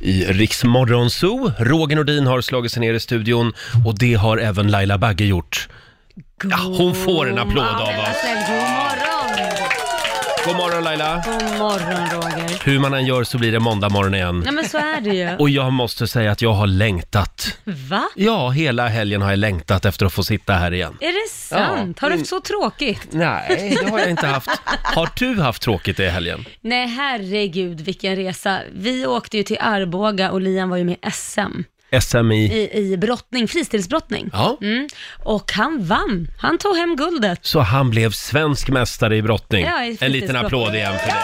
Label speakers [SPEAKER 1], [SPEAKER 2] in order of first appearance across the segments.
[SPEAKER 1] i Riksmorgon Zoo. Roger Nordin har slagit sig ner i studion och det har även Laila Bagge gjort. Ja, hon får en applåd av
[SPEAKER 2] men
[SPEAKER 1] oss.
[SPEAKER 2] alltså, God morgon!
[SPEAKER 1] God morgon Laila!
[SPEAKER 2] God morgon Roger.
[SPEAKER 1] Hur man än gör så blir det måndag morgon igen.
[SPEAKER 2] Nej men så är det ju.
[SPEAKER 1] Mm. Och jag måste säga att jag har längtat.
[SPEAKER 2] Va?
[SPEAKER 1] Ja, hela helgen har jag längtat efter att få sitta här igen.
[SPEAKER 2] Är det sant? Har du haft så tråkigt?
[SPEAKER 1] mm. Nej, det har jag inte haft. Har du haft tråkigt i helgen?
[SPEAKER 2] Nej herregud vilken resa. Vi åkte ju till Arboga och Lian var ju med i SM
[SPEAKER 1] SMI?
[SPEAKER 2] i, i brottning, fristilsbrottning.
[SPEAKER 1] Ja.
[SPEAKER 2] Mm. Och han vann. Han tog hem guldet.
[SPEAKER 1] Så han blev svensk mästare i brottning.
[SPEAKER 2] Ja, i
[SPEAKER 1] en liten
[SPEAKER 2] fritidsbrott.
[SPEAKER 1] applåd igen för det.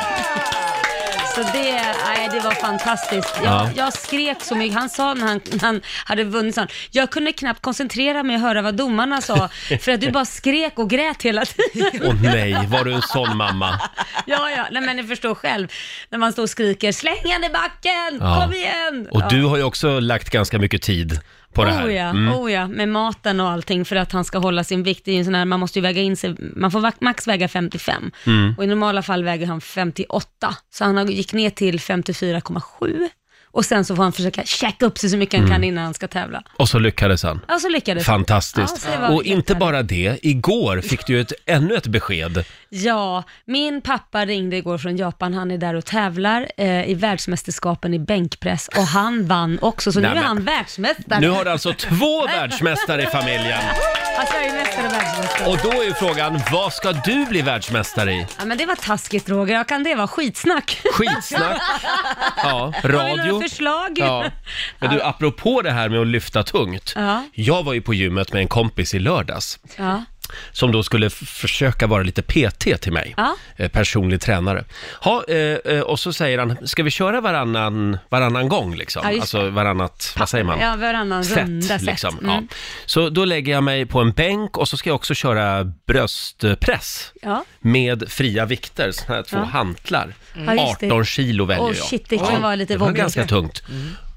[SPEAKER 2] Så det, nej, det var fantastiskt. Jag,
[SPEAKER 1] Ja.
[SPEAKER 2] jag skrek så mycket. Han sa när han, när han hade vunnit, så han, jag kunde knappt koncentrera mig och höra vad domarna sa, för att du bara skrek och grät hela tiden.
[SPEAKER 1] Åh nej, var du en sån mamma?
[SPEAKER 2] Ja, ja, nej men ni förstår själv. När man står och skriker “släng han i backen,
[SPEAKER 1] Ja.
[SPEAKER 2] kom igen!”
[SPEAKER 1] Och
[SPEAKER 2] ja.
[SPEAKER 1] du har ju också lagt ganska mycket tid på det här. Mm.
[SPEAKER 2] Oh ja, oh ja, med maten och allting för att han ska hålla sin vikt. Det är ju en sån här, man måste ju väga in sig, man får va- max väga 55
[SPEAKER 1] Mm.
[SPEAKER 2] och i normala fall väger han 58. Så han har- gick ner till 54,7 och sen så får han försöka käka upp sig så mycket han
[SPEAKER 1] Mm.
[SPEAKER 2] kan innan han ska tävla.
[SPEAKER 1] Och så lyckades han.
[SPEAKER 2] Ja, så lyckades han. Ja,
[SPEAKER 1] Fantastiskt.
[SPEAKER 2] så det var
[SPEAKER 1] och
[SPEAKER 2] helt
[SPEAKER 1] inte
[SPEAKER 2] härligt.
[SPEAKER 1] bara det, igår fick du ju ett, ännu ett besked.
[SPEAKER 2] Ja, min pappa ringde igår från Japan, han är där och tävlar eh, i världsmästerskapen i bänkpress och han vann också, så
[SPEAKER 1] Nej,
[SPEAKER 2] nu är
[SPEAKER 1] men-
[SPEAKER 2] han världsmästare.
[SPEAKER 1] Nu har du alltså två världsmästare i familjen.
[SPEAKER 2] Han kör ju mästare och världsmästare.
[SPEAKER 1] Och då är ju frågan, vad ska du bli världsmästare i?
[SPEAKER 2] Ja, men det var taskigt Roger, jag kan det vara skitsnack.
[SPEAKER 1] Skitsnack. Ja,
[SPEAKER 2] Har vi
[SPEAKER 1] radio.
[SPEAKER 2] några förslag?
[SPEAKER 1] Ja. Men du, apropå det här med att lyfta tungt.
[SPEAKER 2] Ja.
[SPEAKER 1] Jag var ju på gymmet med en kompis i lördags.
[SPEAKER 2] Ja.
[SPEAKER 1] som då skulle f- försöka vara lite PT till mig,
[SPEAKER 2] Ja.
[SPEAKER 1] eh, personlig tränare. Ha, eh, eh, och så säger han, ska vi köra varannan, varannan gång liksom?
[SPEAKER 2] Ja, just
[SPEAKER 1] alltså varannat, vad säger man?
[SPEAKER 2] Ja, varannan runda sätt.
[SPEAKER 1] liksom.
[SPEAKER 2] Mm.
[SPEAKER 1] Ja. Så då lägger jag mig på en bänk och så ska jag också köra bröstpress
[SPEAKER 2] Ja.
[SPEAKER 1] med fria vikter, sådana här två
[SPEAKER 2] Ja.
[SPEAKER 1] hantlar.
[SPEAKER 2] Ja, just det.
[SPEAKER 1] 18 kilo väljer
[SPEAKER 2] Åh,
[SPEAKER 1] jag.
[SPEAKER 2] shit, det kan vara lite
[SPEAKER 1] Det
[SPEAKER 2] Mm.
[SPEAKER 1] var
[SPEAKER 2] vobbigt.
[SPEAKER 1] ganska tungt.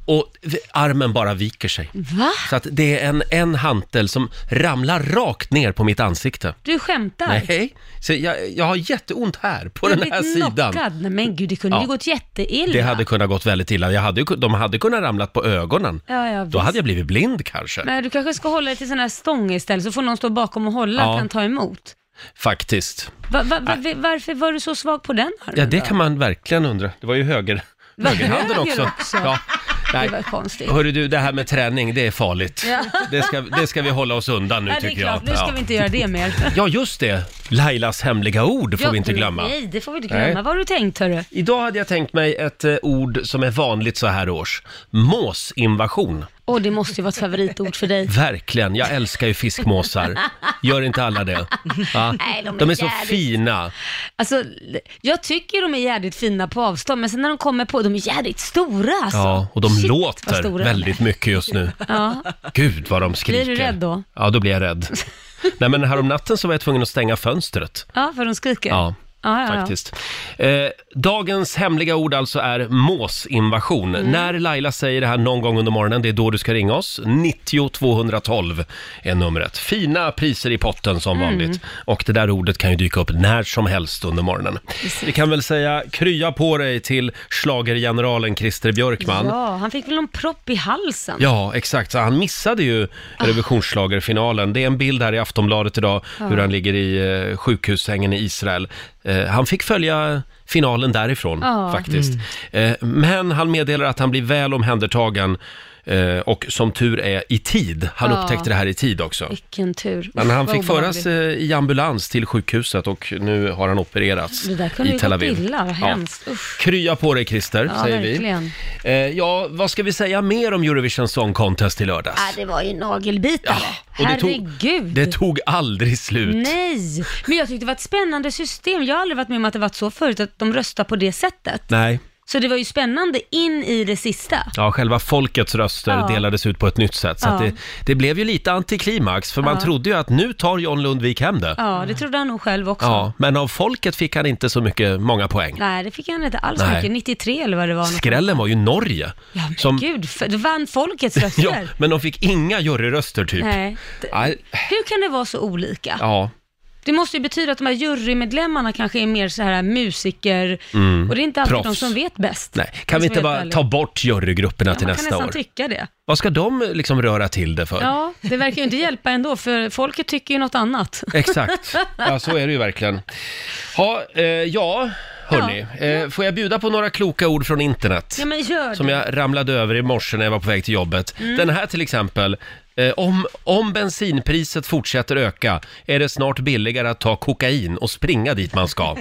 [SPEAKER 1] Och v- armen bara viker sig.
[SPEAKER 2] Va?
[SPEAKER 1] Så att det är en, en hantel som ramlar rakt ner på mitt ansikte.
[SPEAKER 2] Du skämtar?
[SPEAKER 1] Nej, så jag, jag har jätteont här på
[SPEAKER 2] Du har
[SPEAKER 1] den här
[SPEAKER 2] blivit
[SPEAKER 1] sidan.
[SPEAKER 2] knockad. Nej, men gud, det kunde
[SPEAKER 1] Ja.
[SPEAKER 2] ju gått jätteilla.
[SPEAKER 1] Det hade kunnat gått väldigt illa. Jag hade, ju kun- de hade kunnat ramlat på ögonen.
[SPEAKER 2] Ja, ja,
[SPEAKER 1] Då
[SPEAKER 2] visst.
[SPEAKER 1] hade jag blivit blind kanske,
[SPEAKER 2] Men du kanske ska hålla dig till sån här stång istället, så får någon stå bakom och hålla
[SPEAKER 1] Ja.
[SPEAKER 2] och kan ta emot.
[SPEAKER 1] faktiskt.
[SPEAKER 2] Va, va, va, varför var du så svag på den armen?
[SPEAKER 1] Ja, det kan man verkligen undra. Det var ju höger,
[SPEAKER 2] Var
[SPEAKER 1] högerhanden
[SPEAKER 2] höger
[SPEAKER 1] också.
[SPEAKER 2] också?
[SPEAKER 1] Ja. Nej.
[SPEAKER 2] Det var konstigt.
[SPEAKER 1] Hörru du, det här med träning, det är farligt. Det, ska, det ska vi hålla oss undan nu
[SPEAKER 2] Ja, det är
[SPEAKER 1] tycker
[SPEAKER 2] klart.
[SPEAKER 1] jag.
[SPEAKER 2] Nu ska
[SPEAKER 1] ja.
[SPEAKER 2] vi inte göra det mer.
[SPEAKER 1] ja, just det. Lailas hemliga ord får vi inte glömma.
[SPEAKER 2] Nej, det får vi inte
[SPEAKER 1] Nej.
[SPEAKER 2] glömma. Vad har du tänkt, hörru?
[SPEAKER 1] Idag hade jag tänkt mig ett eh, ord som är vanligt så här års. Måsinvasion.
[SPEAKER 2] Åh, det måste ju vara ett favoritord för dig.
[SPEAKER 1] Verkligen, jag älskar ju fiskmåsar. Gör inte alla det? Va?
[SPEAKER 2] Nej, de är
[SPEAKER 1] de är så
[SPEAKER 2] jävligt-
[SPEAKER 1] fina.
[SPEAKER 2] Alltså, jag tycker de är jävligt fina på avstånd, men sen när de kommer på, de är jävligt stora alltså.
[SPEAKER 1] Ja, och de
[SPEAKER 2] Shit, vad
[SPEAKER 1] låter
[SPEAKER 2] stora de är.
[SPEAKER 1] väldigt mycket just nu.
[SPEAKER 2] Ja.
[SPEAKER 1] Gud vad de skriker.
[SPEAKER 2] Blir du rädd då?
[SPEAKER 1] Ja, då blir jag rädd. Nej, men häromnatten så var jag tvungen att stänga fönstret.
[SPEAKER 2] ja, för de skriker.
[SPEAKER 1] Ja.
[SPEAKER 2] Ja, ja, ja.
[SPEAKER 1] Faktiskt. Eh, dagens hemliga ord alltså är måsinvasion. När Laila säger det här någon gång under morgonen, det är då du ska ringa oss. 90 212 är numret. Fina priser i potten som vanligt. Och det där ordet kan ju dyka upp när som helst under morgonen. Vi kan väl säga krya på dig till schlagergeneralen Christer Björkman. Ja.
[SPEAKER 2] Ja, han fick väl någon propp i halsen.
[SPEAKER 1] exakt. Så han missade ju
[SPEAKER 2] Ah.
[SPEAKER 1] revisionsschlagerfinalen. Det är en bild här i Aftonbladet idag hur han ligger i eh, sjukhussängen i Israel. Eh, han fick följa finalen därifrån
[SPEAKER 2] Ja.
[SPEAKER 1] faktiskt.
[SPEAKER 2] Mm.
[SPEAKER 1] Eh, men han meddelar att han blir väl omhändertagen eh, och som tur är i tid. Han
[SPEAKER 2] Ja.
[SPEAKER 1] upptäckte det här i tid också.
[SPEAKER 2] Vilken tur.
[SPEAKER 1] Men
[SPEAKER 2] Usch,
[SPEAKER 1] han
[SPEAKER 2] Ah. vad
[SPEAKER 1] fick föras
[SPEAKER 2] obehagligt.
[SPEAKER 1] eh, i ambulans till sjukhuset och nu har han opererats
[SPEAKER 2] Det där kunde
[SPEAKER 1] i
[SPEAKER 2] ju
[SPEAKER 1] Tel
[SPEAKER 2] gått
[SPEAKER 1] Aviv.
[SPEAKER 2] illa, vad
[SPEAKER 1] Ja.
[SPEAKER 2] hemskt. Usch.
[SPEAKER 1] Krya på dig Christer,
[SPEAKER 2] Ja,
[SPEAKER 1] säger
[SPEAKER 2] verkligen.
[SPEAKER 1] vi. Eh, ja, vad ska vi säga mer om Eurovision Song Contest i lördags?
[SPEAKER 2] Ja, Ah, det var ju nagelbitare.
[SPEAKER 1] Och det tog,
[SPEAKER 2] Herregud.
[SPEAKER 1] det tog aldrig slut.
[SPEAKER 2] Nej, men jag tyckte det var ett spännande system. Jag har aldrig varit med om att det varit så förut, att de röstar på det sättet.
[SPEAKER 1] Nej.
[SPEAKER 2] Så det var ju spännande in i det sista.
[SPEAKER 1] Ja, själva folkets röster
[SPEAKER 2] Ja.
[SPEAKER 1] delades ut på ett nytt sätt. Så att
[SPEAKER 2] Ja.
[SPEAKER 1] det, det blev ju lite antiklimax, för man trodde ju att nu tar John Lundvik hem det. Ja.
[SPEAKER 2] Ja, det trodde han nog själv också.
[SPEAKER 1] men av folket fick han inte så mycket, många poäng.
[SPEAKER 2] Nej, det fick han inte alls
[SPEAKER 1] Nej.
[SPEAKER 2] mycket. 93 eller vad det var.
[SPEAKER 1] Skrällen var ju Norge.
[SPEAKER 2] Ja, men gud, för, det vann folkets
[SPEAKER 1] ja,
[SPEAKER 2] röster.
[SPEAKER 1] men de fick inga juryröster typ.
[SPEAKER 2] Nej. D-
[SPEAKER 1] Nej.
[SPEAKER 2] Hur kan det vara så olika?
[SPEAKER 1] Ja.
[SPEAKER 2] Det måste ju betyda att de här jurymedlemmarna kanske är mer så här musiker, och det är inte alltid
[SPEAKER 1] Mm. Proffs.
[SPEAKER 2] de som vet bäst.
[SPEAKER 1] Nej. Kan vi
[SPEAKER 2] Om jag
[SPEAKER 1] inte
[SPEAKER 2] ska vara
[SPEAKER 1] bara
[SPEAKER 2] helt ärlig.
[SPEAKER 1] ta bort jurygrupperna till
[SPEAKER 2] Man kan
[SPEAKER 1] nästa
[SPEAKER 2] nästan
[SPEAKER 1] år?
[SPEAKER 2] tycka det.
[SPEAKER 1] Vad ska de liksom röra till det för?
[SPEAKER 2] Ja, det verkar ju inte hjälpa ändå, för folket tycker ju något annat.
[SPEAKER 1] Exakt, Alltså, ja, så är det ju verkligen. Ha, eh, ja, hörni, eh, får jag bjuda på några kloka ord från internet?
[SPEAKER 2] Ja, men gör
[SPEAKER 1] Som
[SPEAKER 2] det. Mm.
[SPEAKER 1] jag ramlade över i morse när jag var på väg till jobbet. Den här till exempel. Eh, om, om bensinpriset fortsätter öka är det snart billigare att ta kokain och springa dit man ska.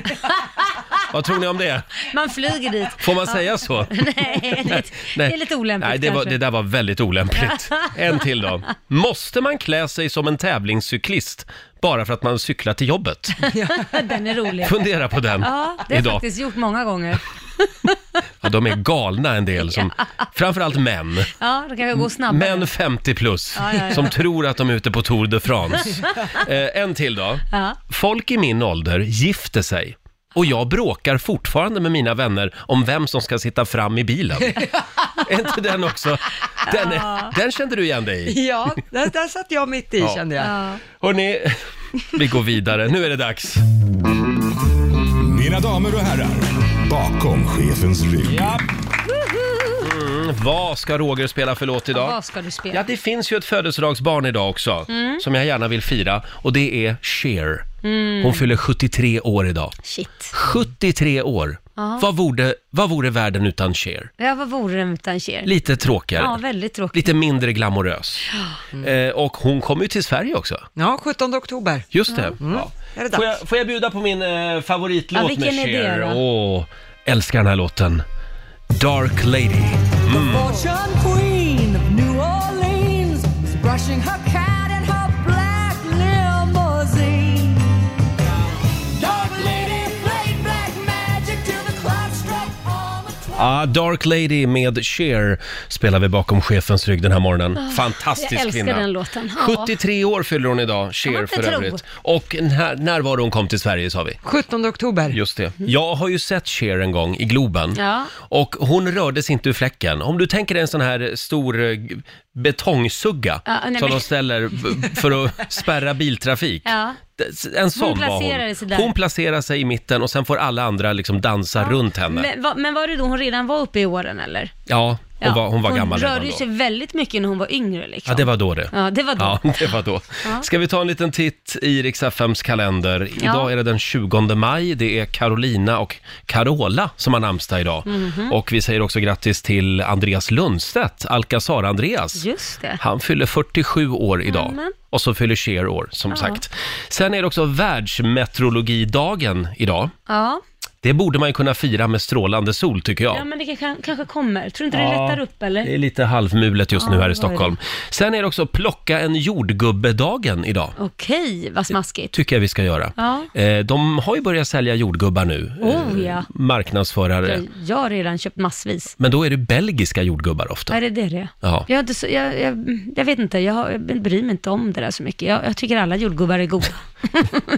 [SPEAKER 1] Vad tror ni om det?
[SPEAKER 2] Man flyger dit.
[SPEAKER 1] Får man säga så?
[SPEAKER 2] Nej, det, det är lite olämpligt
[SPEAKER 1] Nej, det, var,
[SPEAKER 2] kanske.
[SPEAKER 1] det där var väldigt olämpligt. En till då. Måste man klä sig som en tävlingscyklist bara för att man cyklar till jobbet?
[SPEAKER 2] Den är rolig.
[SPEAKER 1] Fundera på den
[SPEAKER 2] Ja, det har jag
[SPEAKER 1] idag.
[SPEAKER 2] faktiskt gjort många gånger.
[SPEAKER 1] Ja, de är galna en del, som, framförallt män.
[SPEAKER 2] Ja, det kanske går snabbare.
[SPEAKER 1] Män 50 plus,
[SPEAKER 2] Ja, ja, ja.
[SPEAKER 1] som tror att de är ute på Tour de France. Eh, en till då.
[SPEAKER 2] Ja.
[SPEAKER 1] Folk i min ålder gifter sig. Och jag bråkar fortfarande med mina vänner om vem som ska sitta fram i bilen. är inte den också? Den, är, den kände du igen dig i?
[SPEAKER 3] Ja, där, där satt jag mitt i
[SPEAKER 1] Ja.
[SPEAKER 3] kände jag.
[SPEAKER 2] Ja.
[SPEAKER 1] Hörni, vi går vidare. Nu är det dags.
[SPEAKER 4] Mina damer och herrar, bakom chefens rygg.
[SPEAKER 1] Mm, vad ska Roger spela för låt idag?
[SPEAKER 2] Vad ska du spela? Mm.
[SPEAKER 1] Ja, det finns ju ett födelsedagsbarn idag också, som jag gärna vill fira. Och det är Cher.
[SPEAKER 2] Mm.
[SPEAKER 1] Hon fyller 73 år idag.
[SPEAKER 2] Shit.
[SPEAKER 1] 73 år! Vad, vore, vad vore världen utan Cher?
[SPEAKER 2] Ja, vad vore den utan Cher?
[SPEAKER 1] Lite tråkigare.
[SPEAKER 2] Ja, väldigt tråkigt. Mm.
[SPEAKER 1] Lite mindre glamorös. Eh, och hon kommer ju till Sverige också.
[SPEAKER 3] Ja, 17 oktober.
[SPEAKER 1] Just det. Ja.
[SPEAKER 3] Är det dags?
[SPEAKER 1] Får, jag, får jag bjuda på min eh, favoritlåt
[SPEAKER 2] Ja,
[SPEAKER 1] med
[SPEAKER 2] vilken är det
[SPEAKER 1] Cher?
[SPEAKER 2] då?
[SPEAKER 1] Åh, älskar den här låten. Dark Lady. Mm.
[SPEAKER 5] Fortune queen of New Orleans is brushing her cat in her black limousine. Dark lady played black magic till the clock struck all the twelve.
[SPEAKER 1] Ah, Dark Lady med Cher spelar vi bakom chefens rygg den här morgonen. Fantastisk
[SPEAKER 2] Ah, jag älskar
[SPEAKER 1] kvinna.
[SPEAKER 2] den låten. Ja.
[SPEAKER 1] 73 år fyller hon idag, Cher
[SPEAKER 2] man inte
[SPEAKER 1] för
[SPEAKER 2] tro.
[SPEAKER 1] övrigt. Och när, när var det hon kom till Sverige sa vi?
[SPEAKER 3] 17 oktober.
[SPEAKER 1] Just det. Jag har ju sett Cher en gång i Globen
[SPEAKER 2] Ja.
[SPEAKER 1] och hon rördes inte ur fläcken. Om du tänker dig en sån här stor eh, betongsugga
[SPEAKER 2] Ja, nej,
[SPEAKER 1] som
[SPEAKER 2] men-
[SPEAKER 1] de ställer b- för att spärra biltrafik.
[SPEAKER 2] Ja.
[SPEAKER 1] D- En sån var
[SPEAKER 2] placerade sig
[SPEAKER 1] hon.
[SPEAKER 2] där.
[SPEAKER 1] Hon placerar sig i mitten och sen får alla andra liksom dansa runt henne.
[SPEAKER 2] Men, va, men var det då hon redan var uppe i åren eller?
[SPEAKER 1] Ja, hon var, hon var gammal
[SPEAKER 2] Hon
[SPEAKER 1] redan
[SPEAKER 2] rörde ju
[SPEAKER 1] då.
[SPEAKER 2] sig väldigt mycket när hon var yngre liksom.
[SPEAKER 1] Ja, det var då det.
[SPEAKER 2] Ja, det var då.
[SPEAKER 1] Ja, det var då. Ska vi ta en liten titt i Rix FMs kalender? Idag är det den 20 maj. Det är Carolina och Carola som har namnsdag idag.
[SPEAKER 2] Mhm.
[SPEAKER 1] Och vi säger också grattis till Andreas Lundstedt, Alcazar-Andreas.
[SPEAKER 2] Just det.
[SPEAKER 1] Han fyller 47 år idag.
[SPEAKER 2] Amen.
[SPEAKER 1] Och så fyller Cher år, som sagt. Sen är det också världsmeteorologidagen idag.
[SPEAKER 2] Ja.
[SPEAKER 1] Det borde man ju kunna fira med strålande sol, tycker jag.
[SPEAKER 2] ja, men det kan, kanske kommer. Tror du inte det
[SPEAKER 1] Ja,
[SPEAKER 2] lättar upp
[SPEAKER 1] Det
[SPEAKER 2] eller?
[SPEAKER 1] är lite halvmulet just nu
[SPEAKER 2] Ja,
[SPEAKER 1] här i
[SPEAKER 2] vad är det?
[SPEAKER 1] Stockholm. Sen är det också plocka en jordgubbe-dagen idag.
[SPEAKER 2] Okej, vad smaskigt.
[SPEAKER 1] tycker jag vi ska göra.
[SPEAKER 2] Ja.
[SPEAKER 1] Eh, De har ju börjat sälja jordgubbar nu, eh,
[SPEAKER 2] Oh, ja.
[SPEAKER 1] marknadsförare.
[SPEAKER 2] Jag, jag har redan köpt massvis.
[SPEAKER 1] Men då är det belgiska jordgubbar ofta.
[SPEAKER 2] Är det det det?
[SPEAKER 1] Ja.
[SPEAKER 2] Jag, har inte så, jag, jag, jag vet inte, jag, har- jag bryr mig inte om det där så mycket. Jag, jag tycker alla jordgubbar är goda.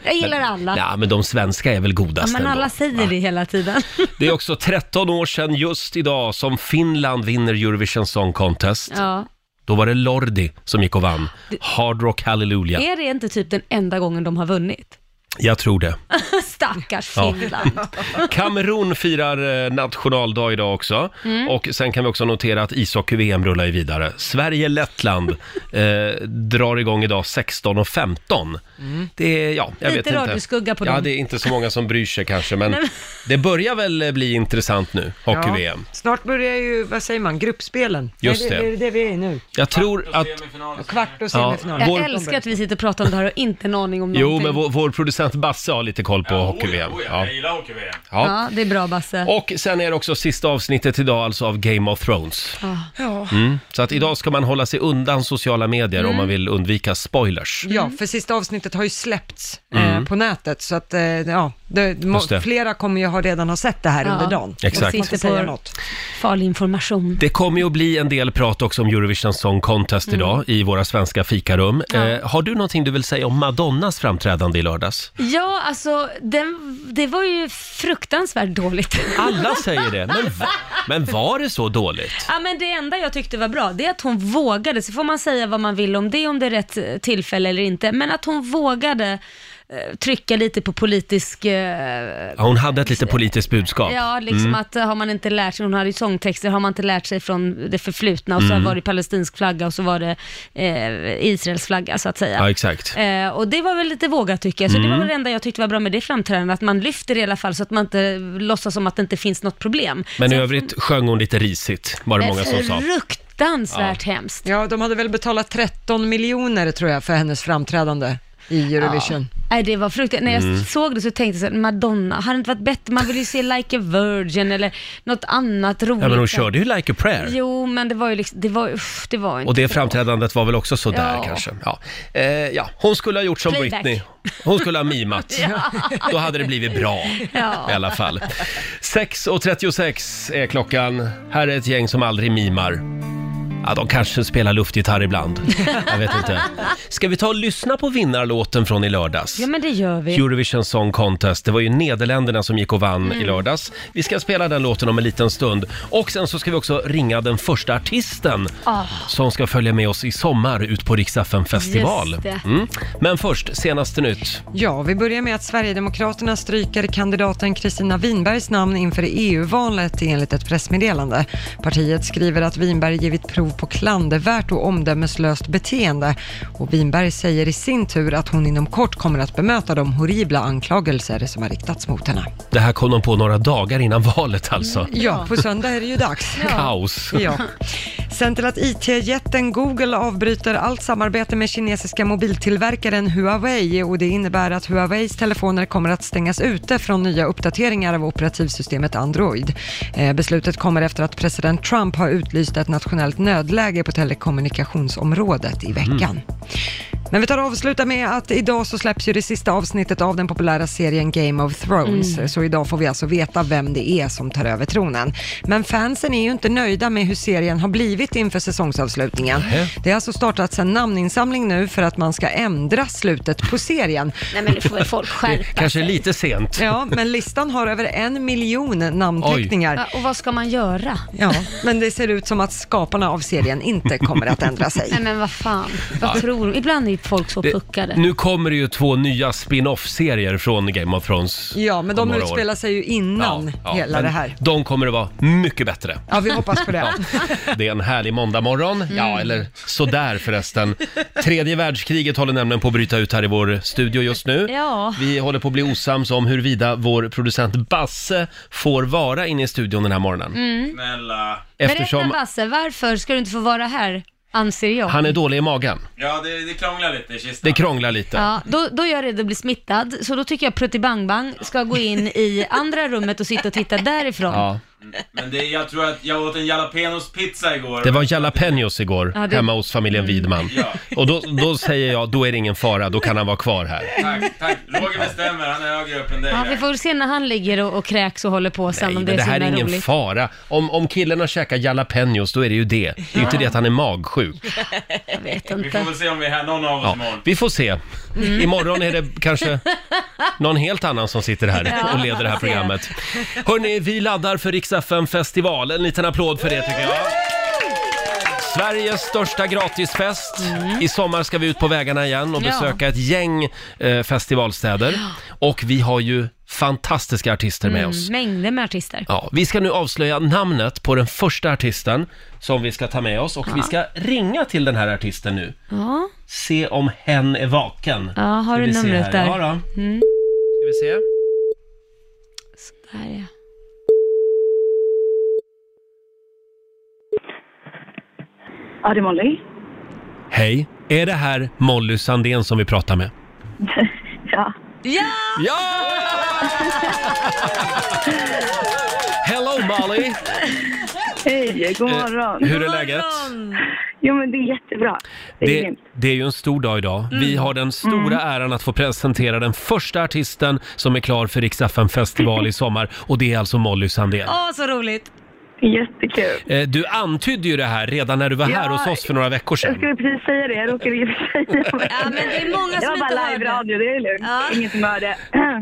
[SPEAKER 2] jag gillar alla.
[SPEAKER 1] Ja, men de svenska är väl
[SPEAKER 2] Ja,
[SPEAKER 1] godast
[SPEAKER 2] men
[SPEAKER 1] ändå.
[SPEAKER 2] alla säger det hela tiden.
[SPEAKER 1] Det är också 13 år sedan just idag som Finland vinner Eurovision Song Contest.
[SPEAKER 2] Ja.
[SPEAKER 1] Då var det Lordi som gick och vann. Hard Rock Hallelujah.
[SPEAKER 2] Är det inte typ den enda gången de har vunnit?
[SPEAKER 1] Jag tror det.
[SPEAKER 2] Stackars
[SPEAKER 1] Ja.
[SPEAKER 2] Finland.
[SPEAKER 1] Kamerun firar eh, nationaldag idag också.
[SPEAKER 2] Mm.
[SPEAKER 1] Och sen kan vi också notera att ishockey-VM rullar ju vidare. Sverige-Lettland eh, drar igång idag 16.15. Det är, ja, jag
[SPEAKER 2] Lite
[SPEAKER 1] vet inte.
[SPEAKER 2] radioskugga på
[SPEAKER 1] Ja,
[SPEAKER 2] dem.
[SPEAKER 1] det är inte så många som bryr sig kanske, men det börjar väl eh, bli intressant nu, hockey-VM.
[SPEAKER 3] Snart börjar ju, vad säger man, gruppspelen. är
[SPEAKER 1] Just
[SPEAKER 3] det,
[SPEAKER 1] det.
[SPEAKER 3] Är det det vi är i nu?
[SPEAKER 1] Jag tror att...
[SPEAKER 3] Kvart och
[SPEAKER 1] Ja.
[SPEAKER 3] semifinal.
[SPEAKER 2] Jag
[SPEAKER 1] Vår-
[SPEAKER 2] älskar att vi sitter och pratar om det här och inte en aning om
[SPEAKER 1] Jo,
[SPEAKER 2] någonting.
[SPEAKER 1] men vår, vår producent Basse har lite koll på hockey-VM. Ja.
[SPEAKER 6] Jag gillar hockey-VM.
[SPEAKER 1] Ja.
[SPEAKER 2] Ja, det är bra Basse.
[SPEAKER 1] Och sen är det också sista avsnittet idag alltså av Game of Thrones.
[SPEAKER 3] Ja.
[SPEAKER 1] Mm. Så att idag ska man hålla sig undan sociala medier
[SPEAKER 2] Mm.
[SPEAKER 1] om man vill undvika spoilers.
[SPEAKER 3] Ja, för sista avsnittet har ju släppts eh, på nätet, så att eh, ja, det, må,
[SPEAKER 1] Mm. Just det.
[SPEAKER 3] flera kommer ju ha redan ha sett det här
[SPEAKER 2] Ja.
[SPEAKER 3] under dagen.
[SPEAKER 1] Exakt.
[SPEAKER 3] Man får
[SPEAKER 2] Sitter på-
[SPEAKER 3] säga något.
[SPEAKER 2] Farlig information.
[SPEAKER 1] Det kommer ju att bli en del prat också om Eurovision Song Contest
[SPEAKER 2] Mm.
[SPEAKER 1] idag i våra svenska fikarum. Eh, har du någonting du vill säga om Madonnas framträdande i lördags?
[SPEAKER 2] Ja, alltså den, det var ju fruktansvärt dåligt.
[SPEAKER 1] Alla säger det, men, va, men var det så dåligt?
[SPEAKER 2] Ja, men det enda jag tyckte var bra, det är att hon eh, vågade. Så får man säga vad man vill om det, om det är rätt tillfälle eller inte. Men att hon vågade eh, trycka lite på politisk... eh,
[SPEAKER 1] Ja, hon hade ett lite politiskt budskap. Mm.
[SPEAKER 2] Ja, liksom att eh, har man inte lärt sig, hon hade ju sångtexter, har man inte lärt sig från det förflutna och så
[SPEAKER 1] Mm.
[SPEAKER 2] var det palestinsk flagga och så var det eh, Israels flagga så att säga.
[SPEAKER 1] Ja, exakt. Mm.
[SPEAKER 2] Eh, och det var väl lite vågat tycker jag, så det var väl det enda jag tyckte var bra med det framträdandet, att man lyfter i alla fall så att man inte låtsas som att det inte finns något problem. Eh,
[SPEAKER 1] Men i
[SPEAKER 2] Sen-
[SPEAKER 1] övrigt sjöng hon lite risigt, var det många som sa.
[SPEAKER 2] Fruktansvärt hemskt.
[SPEAKER 3] Ja, de hade väl betalat 13 miljoner tror jag för hennes framträdande i Eurovision.
[SPEAKER 2] Nej, det var fruktansvärt. När jag
[SPEAKER 1] Mm.
[SPEAKER 2] såg det så tänkte jag så här, Madonna, hade det inte varit bättre? Man vill ju se Like a Virgin eller något annat roligt.
[SPEAKER 1] Ja, men hon körde ju Like a prayer.
[SPEAKER 2] Jo, men det var ju liksom, det var, uff, det var ju inte
[SPEAKER 1] Och det
[SPEAKER 2] bra.
[SPEAKER 1] framträdandet var väl också sådär
[SPEAKER 2] Ja.
[SPEAKER 1] kanske. Ja. Eh, ja. Hon skulle ha gjort som
[SPEAKER 2] Playback.
[SPEAKER 1] Britney. Hon skulle ha mimat. Då hade det blivit bra
[SPEAKER 2] Ja.
[SPEAKER 1] i alla fall. 6.36 är klockan. Här är ett gäng som aldrig mimar. Ja, de kanske spelar luftgitarr ibland. Jag vet inte. Ska vi ta och lyssna på vinnarlåten från i lördags?
[SPEAKER 2] Ja, men det gör vi.
[SPEAKER 1] Eurovision Song Contest. Det var ju Nederländerna som gick och vann
[SPEAKER 2] Mm.
[SPEAKER 1] i lördags. Vi ska spela den låten om en liten stund. Och sen så ska vi också ringa den första artisten
[SPEAKER 2] Ah.
[SPEAKER 1] som ska följa med oss i sommar ut på Rix FM festival.
[SPEAKER 2] Just det.
[SPEAKER 1] Mm. Men först, senaste nytt.
[SPEAKER 3] Ja, vi börjar med att Sverigedemokraterna stryker kandidaten Kristina Winbergs namn inför EU-valet enligt ett pressmeddelande. Partiet skriver att Winberg givit prov på klandervärt och omdömeslöst beteende och Winberg säger i sin tur att hon inom kort kommer att bemöta de horribla anklagelser som har riktats mot henne.
[SPEAKER 1] Det här kom de på några dagar innan valet
[SPEAKER 2] Mm.
[SPEAKER 1] alltså.
[SPEAKER 3] Ja, på söndag är det ju dags.
[SPEAKER 1] Kaos.
[SPEAKER 3] Ja. Sen till att IT-jätten Google avbryter allt samarbete med kinesiska mobiltillverkaren Huawei och det innebär att Huaweis telefoner kommer att stängas ute från nya uppdateringar av operativsystemet Android. Eh, beslutet kommer efter att president Trump har utlyst ett nationellt nödläge på telekommunikationsområdet i veckan. Men vi tar och avslutar med att idag så släpps ju det sista avsnittet av den populära serien Game of Thrones.
[SPEAKER 2] Mm.
[SPEAKER 3] Så idag får vi alltså veta vem det är som tar över tronen. Men fansen är ju inte nöjda med hur serien har blivit inför säsongsavslutningen.
[SPEAKER 1] Nähä.
[SPEAKER 3] Det har alltså startats en namninsamling nu för att man ska ändra slutet på serien.
[SPEAKER 2] Nej, men nu får väl folk
[SPEAKER 1] Det
[SPEAKER 2] skärpa
[SPEAKER 1] kanske är
[SPEAKER 2] sig.
[SPEAKER 1] lite sent.
[SPEAKER 3] Ja, men listan har över en miljon namnteckningar.
[SPEAKER 2] Ja, Och vad ska man göra?
[SPEAKER 3] Ja, men det ser ut som att skaparna av serien inte kommer att ändra sig.
[SPEAKER 2] Nej, men vad fan. Vad tror de? Ibland är ju folk så puckade.
[SPEAKER 1] Det, nu kommer det ju två nya spin-off-serier från Game of Thrones
[SPEAKER 3] Ja, men
[SPEAKER 1] om
[SPEAKER 3] de
[SPEAKER 1] några år.
[SPEAKER 3] utspelar sig ju innan hela
[SPEAKER 1] men
[SPEAKER 3] det här.
[SPEAKER 1] De kommer att vara mycket bättre.
[SPEAKER 3] Ja, vi hoppas på det.
[SPEAKER 1] Det är en härlig måndagmorgon.
[SPEAKER 2] Mm.
[SPEAKER 1] Ja, eller sådär förresten. Tredje världskriget håller nämligen på att bryta ut här i vår studio just nu.
[SPEAKER 2] Ja.
[SPEAKER 1] Vi håller på att bli osams om huruvida vår producent Basse får vara inne i studion den här morgonen.
[SPEAKER 2] Mm.
[SPEAKER 4] Snälla.
[SPEAKER 1] Eftersom
[SPEAKER 2] Berätta Basse, varför ska du inte få vara här, anser jag?
[SPEAKER 1] han är dålig i magen.
[SPEAKER 4] Ja, det, det krånglar lite i kistan.
[SPEAKER 1] Det krånglar lite.
[SPEAKER 2] Ja, då, då är jag rädd att bli smittad, så då tycker jag Prutti Bang Bang ska gå in i andra rummet och sitta och titta därifrån. Ja.
[SPEAKER 1] Ja.
[SPEAKER 4] Men det, jag tror att jag åt en jalapenos pizza igår.
[SPEAKER 1] Det var jalapenos igår
[SPEAKER 2] Ja, det- Mm.
[SPEAKER 1] hemma hos familjen Widman.
[SPEAKER 4] Ja.
[SPEAKER 1] Och då, då säger jag, då är det ingen fara, då kan han vara kvar här.
[SPEAKER 4] Tack, tack. Roger bestämmer, han är högre upp än dig.
[SPEAKER 2] vi
[SPEAKER 4] där.
[SPEAKER 2] får väl se när han ligger och, och kräks och håller på sen
[SPEAKER 1] Nej,
[SPEAKER 2] om
[SPEAKER 1] men
[SPEAKER 2] det är
[SPEAKER 1] det
[SPEAKER 2] så
[SPEAKER 1] här är
[SPEAKER 2] himla
[SPEAKER 1] ingen
[SPEAKER 2] roligt.
[SPEAKER 1] fara. Om, om killen har käkat jalapenos, då är det ju det. Det är ju inte det att han är magsjuk.
[SPEAKER 2] Jag vet
[SPEAKER 4] vi får
[SPEAKER 2] inte.
[SPEAKER 4] väl se om vi är här någon av oss
[SPEAKER 1] Ja,
[SPEAKER 4] imorgon.
[SPEAKER 1] vi får se. Imorgon är det kanske någon helt annan som sitter här och leder det här programmet. Hörni, vi laddar för Rix FM festival. En liten applåd för det tycker jag. Sveriges största gratisfest. I sommar ska vi ut på vägarna igen och
[SPEAKER 2] Ja.
[SPEAKER 1] besöka ett gäng eh, festivalstäder. Och vi har ju fantastiska artister med oss.
[SPEAKER 2] Mm, Mängder med artister.
[SPEAKER 1] Ja, vi ska nu avslöja namnet på den första artisten som vi ska ta med oss och vi ska ringa till den här artisten nu.
[SPEAKER 2] Ja,
[SPEAKER 1] Se om hen är vaken.
[SPEAKER 2] ja har
[SPEAKER 1] Ska
[SPEAKER 2] du Mm.
[SPEAKER 1] vi se
[SPEAKER 2] numret
[SPEAKER 1] här.
[SPEAKER 2] där?
[SPEAKER 1] Ja, då. Ska vi se.
[SPEAKER 2] Där ja.
[SPEAKER 7] Ja, det är Molly.
[SPEAKER 1] Hej, är det här Molly Sandén som vi pratar med?
[SPEAKER 7] Ja.
[SPEAKER 2] ja!
[SPEAKER 1] Ja! Hello Molly!
[SPEAKER 7] Hej, god
[SPEAKER 1] Eh,
[SPEAKER 7] morgon.
[SPEAKER 1] Hur är läget?
[SPEAKER 7] Jo, men det är jättebra. Det är
[SPEAKER 1] Det,
[SPEAKER 7] grymt.
[SPEAKER 1] det är ju en stor dag idag. Vi har den stora äran att få presentera den första artisten som är klar för Rix FM festival i sommar och det är alltså Molly Sandén.
[SPEAKER 2] Åh, så roligt!
[SPEAKER 7] Det är jättekul.
[SPEAKER 1] Eh, Du antydde ju det här redan när du var här
[SPEAKER 7] Ja,
[SPEAKER 1] hos oss för några veckor
[SPEAKER 7] Jag
[SPEAKER 1] sedan.
[SPEAKER 7] skulle precis säga det, jag råkade ju säga det.
[SPEAKER 2] Ja, men det är många
[SPEAKER 7] Det
[SPEAKER 2] som
[SPEAKER 7] var
[SPEAKER 2] inte
[SPEAKER 7] bara
[SPEAKER 2] hör det.
[SPEAKER 7] live-radio, det är lugnt.
[SPEAKER 2] Ja.
[SPEAKER 7] Ingen som hör det.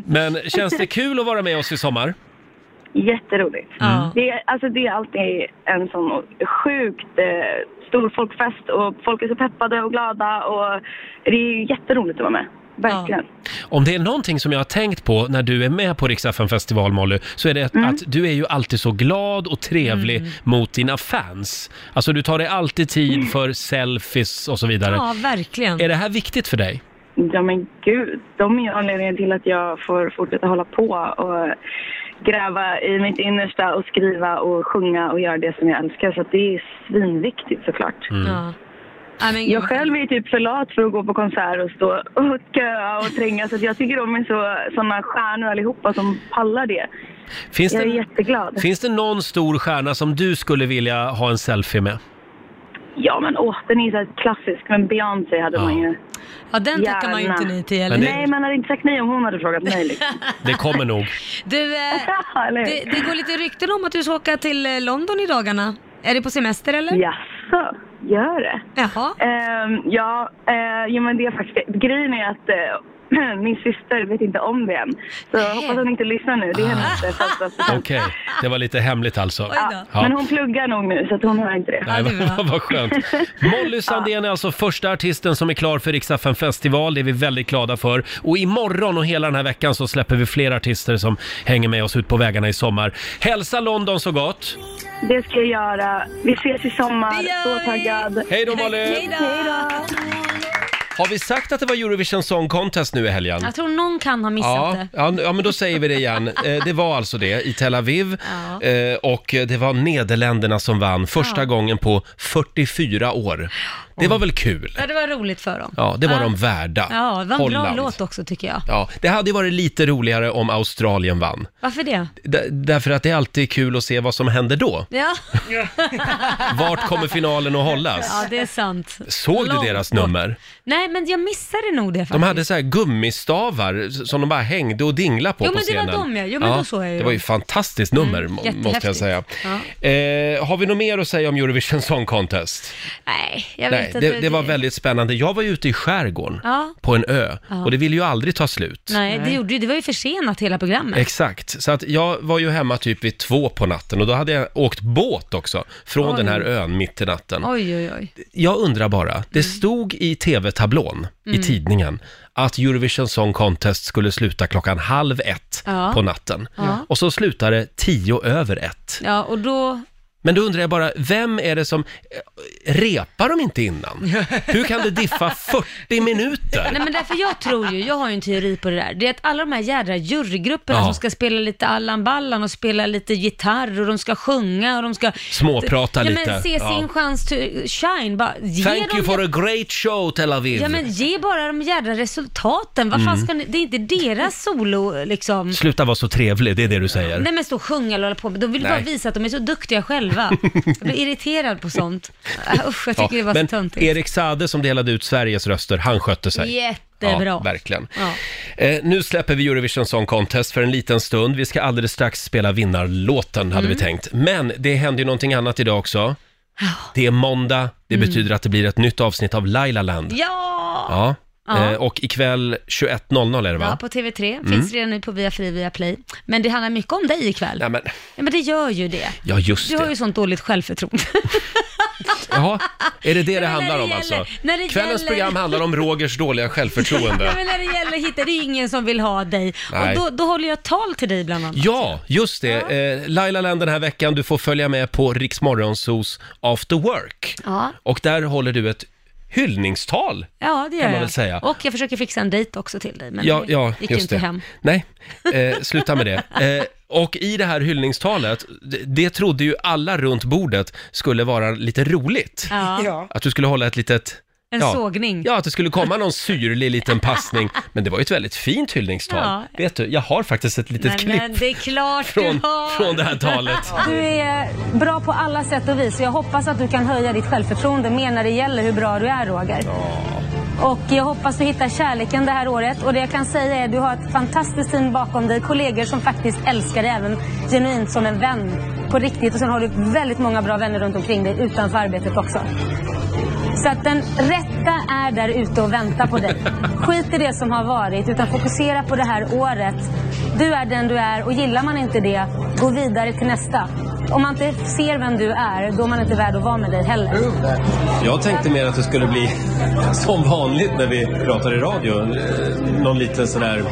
[SPEAKER 1] Men känns det kul att vara med oss i sommar? Mm.
[SPEAKER 7] Jätteroligt.
[SPEAKER 2] Ja.
[SPEAKER 7] Det, är, alltså, det är alltid en sån sjukt eh, stor folkfest och folk är så peppade och glada och det är ju jätteroligt att vara med. verkligen.
[SPEAKER 1] Om det är någonting som jag har tänkt på när du är med på Riksdagen festival Molly, så är det
[SPEAKER 7] Mm.
[SPEAKER 1] att, att du är ju alltid så glad och trevlig mot dina fans. Alltså du tar dig alltid
[SPEAKER 7] Mm.
[SPEAKER 1] tid för selfies och så vidare.
[SPEAKER 8] Ja, verkligen.
[SPEAKER 1] Är det här viktigt för dig?
[SPEAKER 7] Ja. men gud, de är ju anledningen till att jag får fortsätta hålla på och gräva i mitt innersta och skriva och sjunga och göra det som jag älskar. Så att det är svinviktigt såklart.
[SPEAKER 1] Mm.
[SPEAKER 8] Ja. Nej, men,
[SPEAKER 7] Jag själv är typ för lat för att gå på konsert och stå och köa och tränga så att jag tycker de är så, såna stjärnor allihopa som pallar det.
[SPEAKER 1] Finns
[SPEAKER 7] Jag är
[SPEAKER 1] det,
[SPEAKER 7] jätteglad.
[SPEAKER 1] finns det någon stor stjärna som du skulle vilja ha en selfie med?
[SPEAKER 7] Ja men åh, den är ju så här klassisk. Men Beyoncé hade
[SPEAKER 1] Ja.
[SPEAKER 7] man ju.
[SPEAKER 8] ja, den tackar man ju
[SPEAKER 7] Gärna.
[SPEAKER 8] inte nej till. Eller?
[SPEAKER 1] Men det-
[SPEAKER 7] Nej, man hade inte sagt nej om hon hade frågat mig liksom.
[SPEAKER 1] Det kommer nog.
[SPEAKER 8] Du, eh,
[SPEAKER 7] Ja, Eller
[SPEAKER 8] det,
[SPEAKER 7] hur?
[SPEAKER 8] det går lite rykten om att du ska åka till eh, London i dagarna. Är det på semester eller?
[SPEAKER 7] Jaså, gör det?
[SPEAKER 8] Jaha.
[SPEAKER 7] Ehm, ja, eh, jo, men det är faktiskt Grejen är att eh, min syster vet inte om det än. Så jag hoppas hon inte lyssnar nu. Det är hennes eh, födelsedagspresent.
[SPEAKER 1] Okej, det var lite hemligt alltså.
[SPEAKER 8] Ah. Oj då.
[SPEAKER 1] Ja.
[SPEAKER 7] Men hon pluggar nog nu så att hon hör inte det.
[SPEAKER 1] Nej,
[SPEAKER 8] Ja, det är
[SPEAKER 1] vad, vad skönt. Molly Sandén är alltså första artisten som är klar för Riksaffen festival. Det är vi väldigt glada för. Och imorgon och hela den här veckan så släpper vi fler artister som hänger med oss ut på vägarna i sommar. Hälsa London så gott!
[SPEAKER 7] Det ska jag göra. Vi ses i sommar.
[SPEAKER 8] Det gör
[SPEAKER 7] Så
[SPEAKER 8] vi.
[SPEAKER 7] taggad.
[SPEAKER 1] Hej då Molly!
[SPEAKER 8] Hej då.
[SPEAKER 1] Har vi sagt att det var Eurovision Song Contest nu i helgen?
[SPEAKER 2] Jag tror någon kan ha missat
[SPEAKER 1] Ja,
[SPEAKER 2] det.
[SPEAKER 1] ja, ja, men då säger vi det igen. Eh, det var alltså det i Tel Aviv
[SPEAKER 8] Ja.
[SPEAKER 1] eh, och det var Nederländerna som vann första gången på 44 år. Det var väl kul?
[SPEAKER 2] Ja, det var roligt för dem.
[SPEAKER 1] Ja, det var de värda.
[SPEAKER 2] Ja, det var en
[SPEAKER 1] Holland.
[SPEAKER 2] bra låt också tycker jag.
[SPEAKER 1] Ja, det hade ju varit lite roligare om Australien vann.
[SPEAKER 2] Varför det?
[SPEAKER 1] D- därför att det är alltid kul att se vad som händer då.
[SPEAKER 2] Ja,
[SPEAKER 1] Vart kommer finalen att hållas?
[SPEAKER 2] ja det är sant.
[SPEAKER 1] Såg du
[SPEAKER 2] Långt
[SPEAKER 1] deras
[SPEAKER 2] bort.
[SPEAKER 1] nummer?
[SPEAKER 2] Nej, men jag missade nog det faktiskt.
[SPEAKER 1] De hade så här gummistavar s- som de bara hängde och dinglade på
[SPEAKER 2] Jo,
[SPEAKER 1] på
[SPEAKER 2] men det var
[SPEAKER 1] scenen.
[SPEAKER 2] de, ja. Jo, men då såg jag ju
[SPEAKER 1] Det var ju
[SPEAKER 2] dem.
[SPEAKER 1] fantastiskt nummer,
[SPEAKER 2] Mm,
[SPEAKER 1] må- måste jag
[SPEAKER 2] jättehäftigt.
[SPEAKER 1] säga. Eh, har vi något mer att säga om Eurovision Song Contest?
[SPEAKER 2] Nej, jag vet
[SPEAKER 1] Nej,
[SPEAKER 2] inte.
[SPEAKER 1] det, det var väldigt spännande. Jag var ju ute i skärgården,
[SPEAKER 2] Ja.
[SPEAKER 1] på en ö, och det ville ju aldrig ta slut.
[SPEAKER 2] Nej, det gjorde ju, det var ju försenat hela programmet.
[SPEAKER 1] Exakt, så att jag var ju hemma typ vid två på natten och då hade jag åkt båt också från den här ön mitt i natten.
[SPEAKER 2] Oj, Mm. oj, oj.
[SPEAKER 1] Jag undrar bara, det stod i tv-tablån
[SPEAKER 2] Mm.
[SPEAKER 1] i tidningen att Eurovision Song Contest skulle sluta klockan halv ett
[SPEAKER 2] Ja.
[SPEAKER 1] på natten.
[SPEAKER 2] Ja.
[SPEAKER 1] Och så slutade det tio över ett.
[SPEAKER 2] Ja, och då...
[SPEAKER 1] Men då undrar jag bara, vem är det som... eh, Repar de inte innan? Hur kan det diffa 40 minuter?
[SPEAKER 2] Nej, men därför jag tror ju, jag har ju en teori på det där. Det är att alla de här jädra jurygrupperna
[SPEAKER 1] Ja.
[SPEAKER 2] som ska spela lite Allan Ballan och spela lite gitarr och de ska sjunga och de ska...
[SPEAKER 1] Småprata
[SPEAKER 2] ja,
[SPEAKER 1] lite.
[SPEAKER 2] Men se
[SPEAKER 1] Ja.
[SPEAKER 2] sin chans to shine. Bara, ge
[SPEAKER 1] Thank
[SPEAKER 2] dem
[SPEAKER 1] you for a great show Tel Aviv.
[SPEAKER 2] Ja men ge bara de jädra resultaten. Vad fan ska ni, det är inte deras solo liksom.
[SPEAKER 1] Mm. Sluta vara så trevlig, det är det du säger.
[SPEAKER 2] Nej men stå och sjunga eller hålla på med. De vill
[SPEAKER 1] Nej.
[SPEAKER 2] bara visa att de är så duktiga själva. Jag blir irriterad på sånt. Äh, Usch, jag tycker det var
[SPEAKER 1] men
[SPEAKER 2] så töntigt.
[SPEAKER 1] Erik Sade som delade ut Sveriges röster, han skötte sig.
[SPEAKER 2] Jättebra.
[SPEAKER 1] Ja, verkligen.
[SPEAKER 2] Ja.
[SPEAKER 1] Eh, nu släpper vi Eurovision Song Contest för en liten stund. Vi ska alldeles strax spela vinnarlåten, hade
[SPEAKER 2] Mm.
[SPEAKER 1] vi tänkt. Men det händer ju någonting annat idag också. Det är måndag, det betyder att det blir ett nytt avsnitt av Lailaland.
[SPEAKER 2] Mm. Ja!
[SPEAKER 1] Ja.
[SPEAKER 2] Ja.
[SPEAKER 1] Eh, och ikväll 21.00 är det Mm. va?
[SPEAKER 2] Ja, på TV3. Finns redan nu på Via Free, Via Play. Men det handlar mycket om dig ikväll.
[SPEAKER 1] Nej, men,
[SPEAKER 2] Ja, men det gör ju det.
[SPEAKER 1] ja, just
[SPEAKER 2] Du har
[SPEAKER 1] det.
[SPEAKER 2] ju sånt dåligt självförtroende.
[SPEAKER 1] Jaha, är det det det
[SPEAKER 2] men när
[SPEAKER 1] handlar
[SPEAKER 2] det
[SPEAKER 1] om alltså?
[SPEAKER 2] gäller- när det
[SPEAKER 1] Kvällens
[SPEAKER 2] gäller-
[SPEAKER 1] program handlar om Rogers dåliga självförtroende.
[SPEAKER 2] Ja, men när det gäller att hitta, det är ingen som vill ha dig.
[SPEAKER 1] Nej.
[SPEAKER 2] Och då, då håller jag tal till dig bland annat.
[SPEAKER 1] Ja, just det. Eh, Laila Land den här veckan, du får följa med på Rix Morgonzos After Work.
[SPEAKER 2] Ja.
[SPEAKER 1] Och där håller du ett hyllningstal.
[SPEAKER 2] Ja, det gör
[SPEAKER 1] Kan man
[SPEAKER 2] jag.
[SPEAKER 1] väl säga.
[SPEAKER 2] Och jag försöker fixa en dejt också till dig, men
[SPEAKER 1] Ja, ja
[SPEAKER 2] gick ju
[SPEAKER 1] just
[SPEAKER 2] inte
[SPEAKER 1] det.
[SPEAKER 2] hem.
[SPEAKER 1] Nej, eh, sluta med det. Eh, och i det här hyllningstalet, det, det trodde ju alla runt bordet skulle vara lite roligt.
[SPEAKER 2] Ja.
[SPEAKER 3] Ja.
[SPEAKER 1] Att du skulle hålla ett litet...
[SPEAKER 2] En sågning.
[SPEAKER 1] Ja, att det skulle komma någon syrlig liten passning. Men det var ju ett väldigt fint hyllningstal.
[SPEAKER 2] Ja.
[SPEAKER 1] Vet du, jag har faktiskt ett litet
[SPEAKER 2] Nej,
[SPEAKER 1] klipp
[SPEAKER 2] men det är klart
[SPEAKER 1] från,
[SPEAKER 2] du har.
[SPEAKER 1] från det här talet.
[SPEAKER 2] Du är bra på alla sätt och vis och jag hoppas att du kan höja ditt självförtroende mer när det gäller hur bra du är Roger. Och jag hoppas du hittar kärleken det här året och det jag kan säga är att du har ett fantastiskt team bakom dig, kollegor som faktiskt älskar dig även genuint som en vän på riktigt och sen har du väldigt många bra vänner runt omkring dig utanför arbetet också. Så att den rätta är där ute och väntar på dig. Skit i det som har varit, utan fokusera på det här året. Du är den du är och gillar man inte det, gå vidare till nästa. om man inte ser vem du är, då är man inte värd att vara med dig heller.
[SPEAKER 1] Jag tänkte mer att det skulle bli som vanligt när vi pratar i radio. eh, Någon liten sån här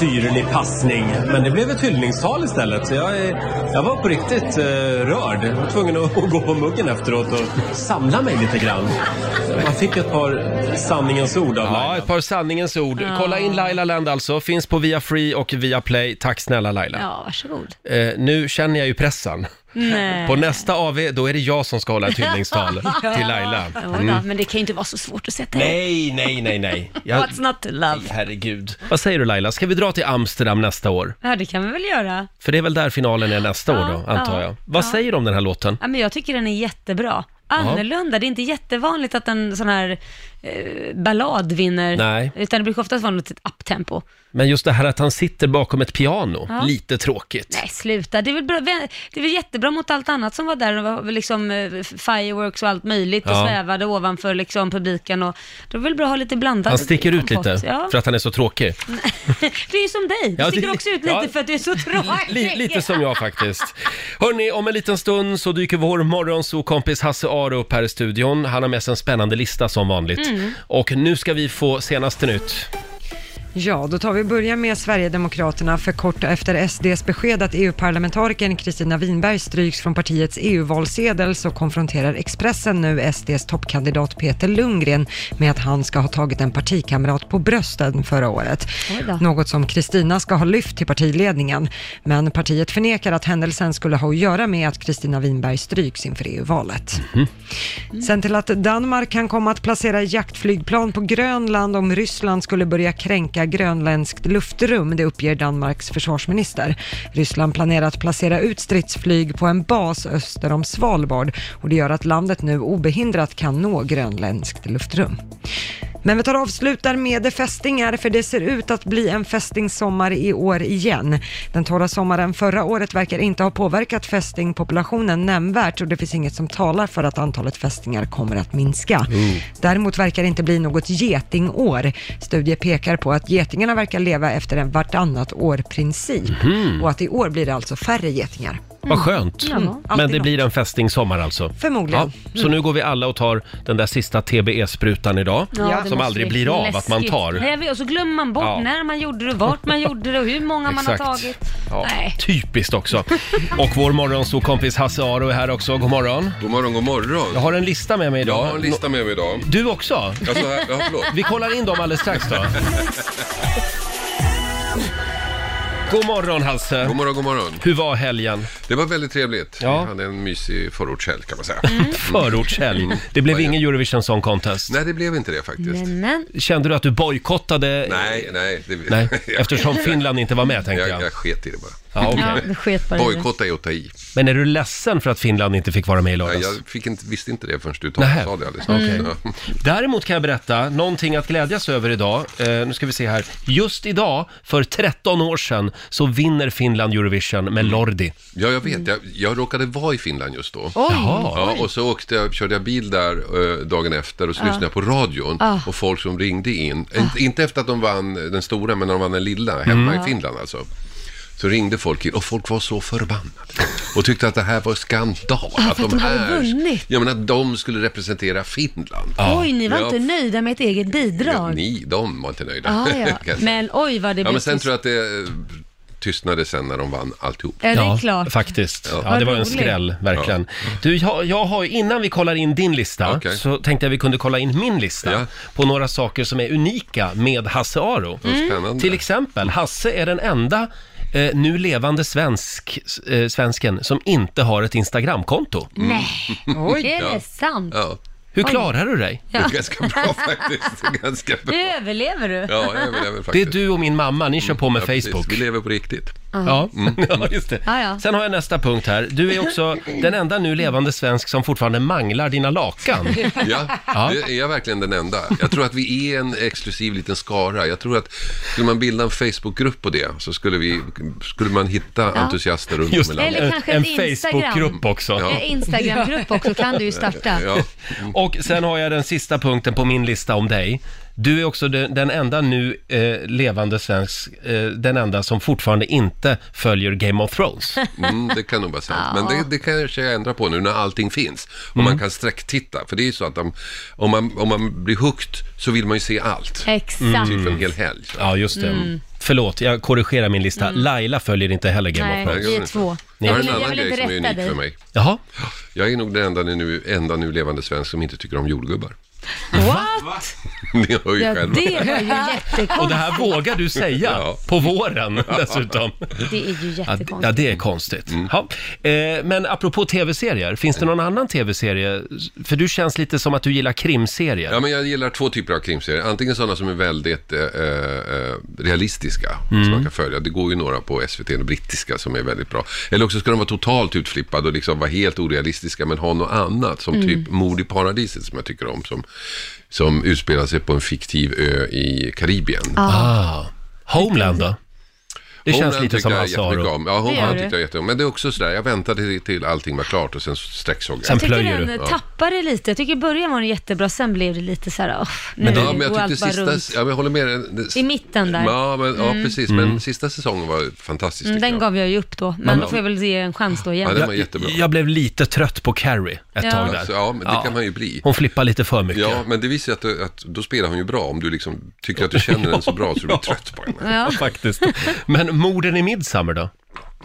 [SPEAKER 1] syrlig passning. Men det blev ett hyllningstal istället. Så jag, är- jag var på riktigt eh, rörd. Jag var tvungen att, att gå på muggen efteråt och samla mig lite grann. Man fick ett par sanningens ord av Laila. Ja, ett par sanningens ord. Kolla in Laila Land alltså. Finns på via Free och via Play. Tack snälla Laila.
[SPEAKER 2] Ja, Mm. varsågod.
[SPEAKER 1] Eh, nu känner jag ju pressen.
[SPEAKER 2] Nej.
[SPEAKER 1] På nästa AV, då är det jag som ska hålla ett hyllningstal till Laila.
[SPEAKER 2] Jodå,
[SPEAKER 1] Mm.
[SPEAKER 2] Men det kan ju inte vara så svårt att sätta ihop.
[SPEAKER 1] Nej, nej, nej, nej. Jag...
[SPEAKER 2] What's not to love?
[SPEAKER 1] Herregud. Vad säger du Laila, ska vi dra till Amsterdam nästa år?
[SPEAKER 2] Ja, det kan vi väl göra.
[SPEAKER 1] För det är väl där finalen är nästa
[SPEAKER 2] Ja,
[SPEAKER 1] år då, antar
[SPEAKER 2] ja,
[SPEAKER 1] jag. Vad
[SPEAKER 2] ja.
[SPEAKER 1] säger du om den här låten?
[SPEAKER 2] Ja, men jag tycker den är jättebra. Annorlunda, det är inte jättevanligt att en sån här eh, ballad vinner.
[SPEAKER 1] Nej.
[SPEAKER 2] Utan det brukar oftast vara något typ uptempo.
[SPEAKER 1] Men just det här att han sitter bakom ett piano,
[SPEAKER 2] Ja.
[SPEAKER 1] lite tråkigt.
[SPEAKER 2] Nej, sluta. Det är, väl bra, det är väl jättebra mot allt annat som var där. Det var liksom eh, fireworks och allt möjligt och
[SPEAKER 1] Ja.
[SPEAKER 2] svävade ovanför liksom publiken. Och, då är det väl bra att ha lite blandat.
[SPEAKER 1] Han sticker ut
[SPEAKER 2] kompott.
[SPEAKER 1] lite
[SPEAKER 2] Ja.
[SPEAKER 1] för att han är så tråkig.
[SPEAKER 2] Det är ju som dig. Du
[SPEAKER 1] Ja, det-
[SPEAKER 2] sticker också ut lite
[SPEAKER 1] ja.
[SPEAKER 2] för att du är så tråkig.
[SPEAKER 1] Li- lite som jag faktiskt. Hörni, om en liten stund så dyker vår morgonsokompis Hasse Aro upp här i studion. Han har med sig en spännande lista som vanligt. Och nu ska vi få senaste nytt.
[SPEAKER 3] Ja, då tar vi början med Sverigedemokraterna för kort efter SDs besked att EU-parlamentarikern Kristina Winberg stryks från partiets EU-valsedel så konfronterar Expressen nu SDs toppkandidat Peter Lundgren med att han ska ha tagit en partikamrat på brösten förra året.
[SPEAKER 2] Oj då.
[SPEAKER 3] Något som Kristina ska ha lyft till partiledningen. Men partiet förnekar att händelsen skulle ha att göra med att Kristina Winberg stryks inför E EU-valet. Sen till att Danmark kan komma att placera jaktflygplan på Grönland om Ryssland skulle börja kränka grönländskt luftrum, det uppger Danmarks försvarsminister. Ryssland planerar att placera ut stridsflyg på en bas öster om Svalbard och det gör att landet nu obehindrat kan nå grönländskt luftrum. Men vi tar och avslutar med fästingar för det ser ut att bli en fästingssommar i år igen. Den torra sommaren förra året verkar inte ha påverkat fästingpopulationen nämnvärt och det finns inget som talar för att antalet fästingar kommer att minska. Däremot verkar det inte bli något getingår. Studier pekar på att getingarna verkar leva efter en vartannat år-princip
[SPEAKER 9] Mhm.
[SPEAKER 3] och att i år blir det alltså färre getingar.
[SPEAKER 1] Vad skönt. Men det
[SPEAKER 3] Alltid
[SPEAKER 1] blir en fästingsommar alltså.
[SPEAKER 3] Förmodligen.
[SPEAKER 1] Ja, så nu går vi alla och tar den där sista TBE-sprutan idag.
[SPEAKER 3] Ja,
[SPEAKER 2] det
[SPEAKER 1] som
[SPEAKER 2] måste
[SPEAKER 1] aldrig
[SPEAKER 2] bli
[SPEAKER 1] blir av att man
[SPEAKER 2] läskigt.
[SPEAKER 1] tar.
[SPEAKER 2] Nej, jag vet, och så glömmer man bort
[SPEAKER 1] Ja.
[SPEAKER 2] när man gjorde det, vart man gjorde det och hur många man har tagit.
[SPEAKER 1] Ja,
[SPEAKER 2] Nej.
[SPEAKER 1] typiskt också. Och vår morgonsokompis Hasse Aro är här också. God morgon.
[SPEAKER 9] God morgon, god morgon.
[SPEAKER 1] Jag har en lista med mig
[SPEAKER 9] Jag
[SPEAKER 1] idag.
[SPEAKER 9] har en lista med mig idag.
[SPEAKER 1] Du också?
[SPEAKER 9] Alltså, här, ja, förlåt.
[SPEAKER 1] Vi kollar in dem alldeles strax då. God morgon Hasse.
[SPEAKER 9] God morgon, god morgon.
[SPEAKER 1] Hur var helgen?
[SPEAKER 9] Det var väldigt trevligt.
[SPEAKER 1] Ja.
[SPEAKER 9] Vi hade en mysig förortshelg kan man säga. Mm.
[SPEAKER 1] Förortshelg. Det blev ingen Eurovision Song Contest.
[SPEAKER 9] Nej, det blev inte det faktiskt.
[SPEAKER 2] Men, men.
[SPEAKER 1] Kände du att du bojkottade?
[SPEAKER 9] Nej, nej. Det...
[SPEAKER 1] Nej, eftersom Finland inte var med tänkte
[SPEAKER 9] Jag, jag
[SPEAKER 1] jag.
[SPEAKER 9] sket i det bara.
[SPEAKER 1] Ja, okej.
[SPEAKER 2] Ja, det sket bara i det.
[SPEAKER 9] Bojkotta är att ta i.
[SPEAKER 1] Men är du ledsen för att Finland inte fick vara med
[SPEAKER 9] Nej,
[SPEAKER 1] i lördags?
[SPEAKER 9] jag fick inte, visste inte det förrän du
[SPEAKER 1] Nähä.
[SPEAKER 9] talade, sa det alldeles nyss. Ja.
[SPEAKER 1] Däremot kan jag berätta någonting att glädjas över idag. Eh, nu ska vi se här. Just idag, för 13 år sedan, så vinner Finland Eurovision
[SPEAKER 9] Mm.
[SPEAKER 1] med Lordi.
[SPEAKER 9] Ja, jag
[SPEAKER 2] Mm.
[SPEAKER 9] vet. Jag, jag råkade vara i Finland just då.
[SPEAKER 1] Jaha.
[SPEAKER 9] Ja, och så åkte jag, körde jag bil där eh, dagen efter
[SPEAKER 2] Ah.
[SPEAKER 9] och så lyssnade jag på radion och folk som ringde in. Inte- Inte efter att de vann den stora, men när de vann den lilla hemma
[SPEAKER 2] Mm.
[SPEAKER 9] i Finland alltså. Så ringde folk in och folk var så förbannade och tyckte att det här var skandal. att
[SPEAKER 2] Ah, för att de hade vunnit.
[SPEAKER 9] Ja, men att de skulle representera Finland.
[SPEAKER 2] Oj, ni var
[SPEAKER 9] Ja.
[SPEAKER 2] inte nöjda med ett eget
[SPEAKER 9] Ja,
[SPEAKER 2] bidrag.
[SPEAKER 9] Ni, de var inte nöjda.
[SPEAKER 2] Ja,
[SPEAKER 9] kan
[SPEAKER 2] ja.
[SPEAKER 9] jag säga.
[SPEAKER 2] Men oj vad det
[SPEAKER 9] ja,
[SPEAKER 2] blev
[SPEAKER 9] men sen
[SPEAKER 2] tyst.
[SPEAKER 9] tror jag att det eh, tystnade sen när de vann alltihop.
[SPEAKER 2] Ja, det är klart.
[SPEAKER 1] faktiskt. Ja.
[SPEAKER 2] Vad
[SPEAKER 1] det var en
[SPEAKER 2] roligt.
[SPEAKER 1] skräll, verkligen. Du, jag, jag har, ju- innan vi kollar in din lista,
[SPEAKER 9] Okej.
[SPEAKER 1] så tänkte jag vi kunde kolla in min lista
[SPEAKER 9] Ja.
[SPEAKER 1] på några saker som är unika med Hasse Aro.
[SPEAKER 9] Spännande.
[SPEAKER 1] Till exempel, Hasse är den enda eh, nu levande svensk, eh, svensken som inte har ett Instagramkonto.
[SPEAKER 2] Mm. Nej,
[SPEAKER 3] Oj!
[SPEAKER 2] är det sant?
[SPEAKER 9] Ja,
[SPEAKER 1] Hur klarar du dig?
[SPEAKER 9] det är ganska bra faktiskt. Det är ganska bra.
[SPEAKER 2] Nu överlever du.
[SPEAKER 9] Ja, jag överlever faktiskt.
[SPEAKER 1] Det är du och min mamma, ni kör på med
[SPEAKER 9] Ja, precis.
[SPEAKER 1] Facebook.
[SPEAKER 9] Vi lever på riktigt. Mm.
[SPEAKER 1] Ja, ja just det.
[SPEAKER 2] Ja, ja.
[SPEAKER 1] Sen har jag nästa punkt här. Du är också den enda nu levande svensk som fortfarande manglar dina lakan.
[SPEAKER 9] Ja, det är jag verkligen den enda. Jag tror att vi är en exklusiv liten skara. Jag tror att skulle man bilda en Facebookgrupp på det så skulle, vi, skulle man hitta entusiaster runt om i
[SPEAKER 1] Just
[SPEAKER 9] landet.
[SPEAKER 2] Eller
[SPEAKER 1] en,
[SPEAKER 2] kanske
[SPEAKER 1] en
[SPEAKER 2] ett Instagram.
[SPEAKER 1] Facebookgrupp också.
[SPEAKER 9] Ja.
[SPEAKER 2] En Instagramgrupp också kan du ju starta.
[SPEAKER 9] Ja,
[SPEAKER 1] Och sen har jag den sista punkten på min lista om dig. Du är också den, den enda nu eh, levande svensk, eh, den enda som fortfarande inte följer Game of Thrones.
[SPEAKER 9] Mm, det kan nog vara sant.
[SPEAKER 1] Ja.
[SPEAKER 9] Men det, det kanske jag ändrar på nu när allting finns. Och
[SPEAKER 1] Mm.
[SPEAKER 9] man kan sträcktitta. För det är ju så att om, om, man, om man blir hooked så vill man ju se allt.
[SPEAKER 1] Exakt.
[SPEAKER 9] Typ en hel helg.
[SPEAKER 1] Mm. Ja, just det.
[SPEAKER 9] Mm.
[SPEAKER 1] Förlåt, jag korrigerar min lista.
[SPEAKER 9] Mm.
[SPEAKER 1] Laila följer inte heller Game
[SPEAKER 9] Nej,
[SPEAKER 1] of Thrones.
[SPEAKER 9] vi är två.
[SPEAKER 1] Ni-
[SPEAKER 9] Jag har en annan grej som är unik för mig.
[SPEAKER 1] Jaha?
[SPEAKER 9] Jag är nog den enda nu, enda nu levande svensk som inte tycker om jordgubbar.
[SPEAKER 5] What?
[SPEAKER 9] Ni hör ju
[SPEAKER 5] Ja,
[SPEAKER 9] själva.
[SPEAKER 5] det var ju jättekonstigt.
[SPEAKER 1] Och det här vågar du säga på våren dessutom.
[SPEAKER 10] Det är ju
[SPEAKER 1] Ja,
[SPEAKER 10] jättekonstigt.
[SPEAKER 1] d- ja, det är konstigt.
[SPEAKER 9] Mm.
[SPEAKER 1] Ja. Eh, men apropå tv-serier, finns det någon annan tv-serie? För du känns lite som att du gillar krimserier.
[SPEAKER 9] Ja, men jag gillar två typer av krimserier. Antingen sådana som är väldigt eh, eh, realistiska,
[SPEAKER 1] Mm.
[SPEAKER 9] som man kan följa. Det går ju några på SVT, den brittiska, som är väldigt bra. Eller också ska de vara totalt utflippade och liksom vara helt orealistiska, men ha något annat. Som
[SPEAKER 1] Mm.
[SPEAKER 9] typ Mord i paradiset, som jag tycker om, som, som utspelar sig på en fiktiv ö i Karibien.
[SPEAKER 1] Ah. Homeland då? Det känns
[SPEAKER 9] Homeland
[SPEAKER 1] lite
[SPEAKER 9] tyckte
[SPEAKER 1] som
[SPEAKER 9] jag
[SPEAKER 1] Hasse Aro.
[SPEAKER 9] jättemycket om. Ja,
[SPEAKER 1] Det gör
[SPEAKER 9] Homeland
[SPEAKER 1] du.
[SPEAKER 9] tyckte jag jättemycket om. Men det är också sådär, jag väntade till, till allting var klart och sen sträcksåg jag.
[SPEAKER 10] jag tycker den eh,
[SPEAKER 9] Ja.
[SPEAKER 10] tappade lite. Jag tycker i början var den jättebra, sen blev det lite så här, oh, nu
[SPEAKER 9] Men, ja, men
[SPEAKER 10] går
[SPEAKER 9] jag
[SPEAKER 10] allt
[SPEAKER 9] tyckte
[SPEAKER 10] bara
[SPEAKER 9] sista,
[SPEAKER 10] runt.
[SPEAKER 9] ja, men jag håller med dig. Det-
[SPEAKER 10] I mitten där.
[SPEAKER 9] Ja, men, ja
[SPEAKER 10] Mm.
[SPEAKER 9] precis. Men sista säsongen var fantastisk.
[SPEAKER 10] Mm,
[SPEAKER 9] tycker
[SPEAKER 10] den
[SPEAKER 9] jag.
[SPEAKER 10] gav jag ju upp då, men
[SPEAKER 9] Ja.
[SPEAKER 10] då får jag väl ge en chans då igen.
[SPEAKER 9] Ja, den var jättebra.
[SPEAKER 1] Jag blev lite trött på Carrie ett
[SPEAKER 10] Ja.
[SPEAKER 1] tag där.
[SPEAKER 9] Alltså, ja, men det kan man ju bli.
[SPEAKER 1] Hon flippar lite för mycket.
[SPEAKER 9] Ja, men det visar ju att, du- att då spelar hon ju bra om du liksom tycker att du känner den så bra så du blir trött på henne.
[SPEAKER 1] Ja. Faktiskt. Men morden i Midsummer då?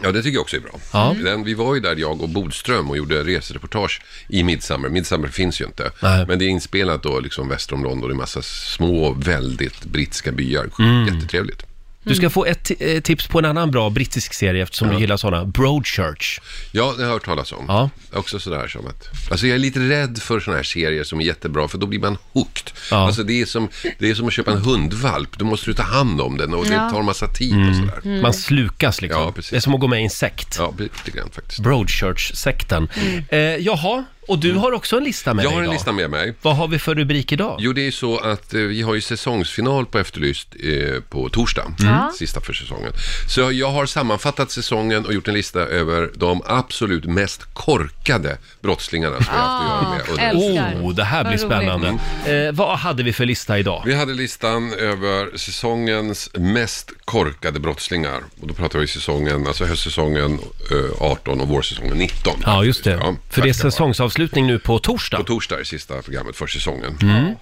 [SPEAKER 9] Ja, det tycker jag också är bra. Mm.
[SPEAKER 1] Ja.
[SPEAKER 9] Den, vi var ju där, jag och Bodström, och gjorde resereportage i Midsummer. Midsummer finns ju inte.
[SPEAKER 1] Nej.
[SPEAKER 9] Men det är inspelat då liksom väster om London i massa små, väldigt brittiska byar.
[SPEAKER 1] Mm.
[SPEAKER 9] Jättetrevligt.
[SPEAKER 1] Du ska få ett ti- eh, tips på en annan bra brittisk serie eftersom du gillar sådana. Broadchurch.
[SPEAKER 9] Ja, det har jag hört talas om. Också sådär som att... Alltså jag är lite rädd för sådana här serier som är jättebra, för då blir man hooked. Alltså det är, som, det är som att köpa en hundvalp, då måste du ta hand om den och det
[SPEAKER 1] Ja.
[SPEAKER 9] tar massa tid och
[SPEAKER 1] Mm.
[SPEAKER 9] sådär.
[SPEAKER 1] Man slukas liksom.
[SPEAKER 9] Ja, precis.
[SPEAKER 1] Det är som att gå med i en sekt.
[SPEAKER 9] Ja, lite grann faktiskt.
[SPEAKER 1] Broadchurch-sekten. Eh, jaha, och du har också en lista med
[SPEAKER 9] Mm. Jag
[SPEAKER 1] dig
[SPEAKER 9] har en
[SPEAKER 1] idag.
[SPEAKER 9] lista med mig.
[SPEAKER 1] Vad har vi för rubrik idag?
[SPEAKER 9] Jo, det är ju så att eh, vi har ju säsongsfinal på Efterlyst eh, på torsdag,
[SPEAKER 1] Mm.
[SPEAKER 9] sista för säsongen. Så jag har sammanfattat säsongen och gjort en lista över de absolut mest korkade brottslingarna som jag haft att göra med. under säsongen. Mm.
[SPEAKER 1] Oh, det här blir spännande. Eh, vad hade vi för lista idag?
[SPEAKER 9] Vi hade listan över säsongens mest korkade brottslingar. Och då pratar vi säsongen, alltså höstsäsongen eh, 18 och vårsäsongen 19.
[SPEAKER 1] Ja, just det. för det är
[SPEAKER 9] tack, grabbar.
[SPEAKER 1] säsongsavslutning nu på torsdag.
[SPEAKER 9] På torsdag är sista programmet för säsongen.
[SPEAKER 1] Mm.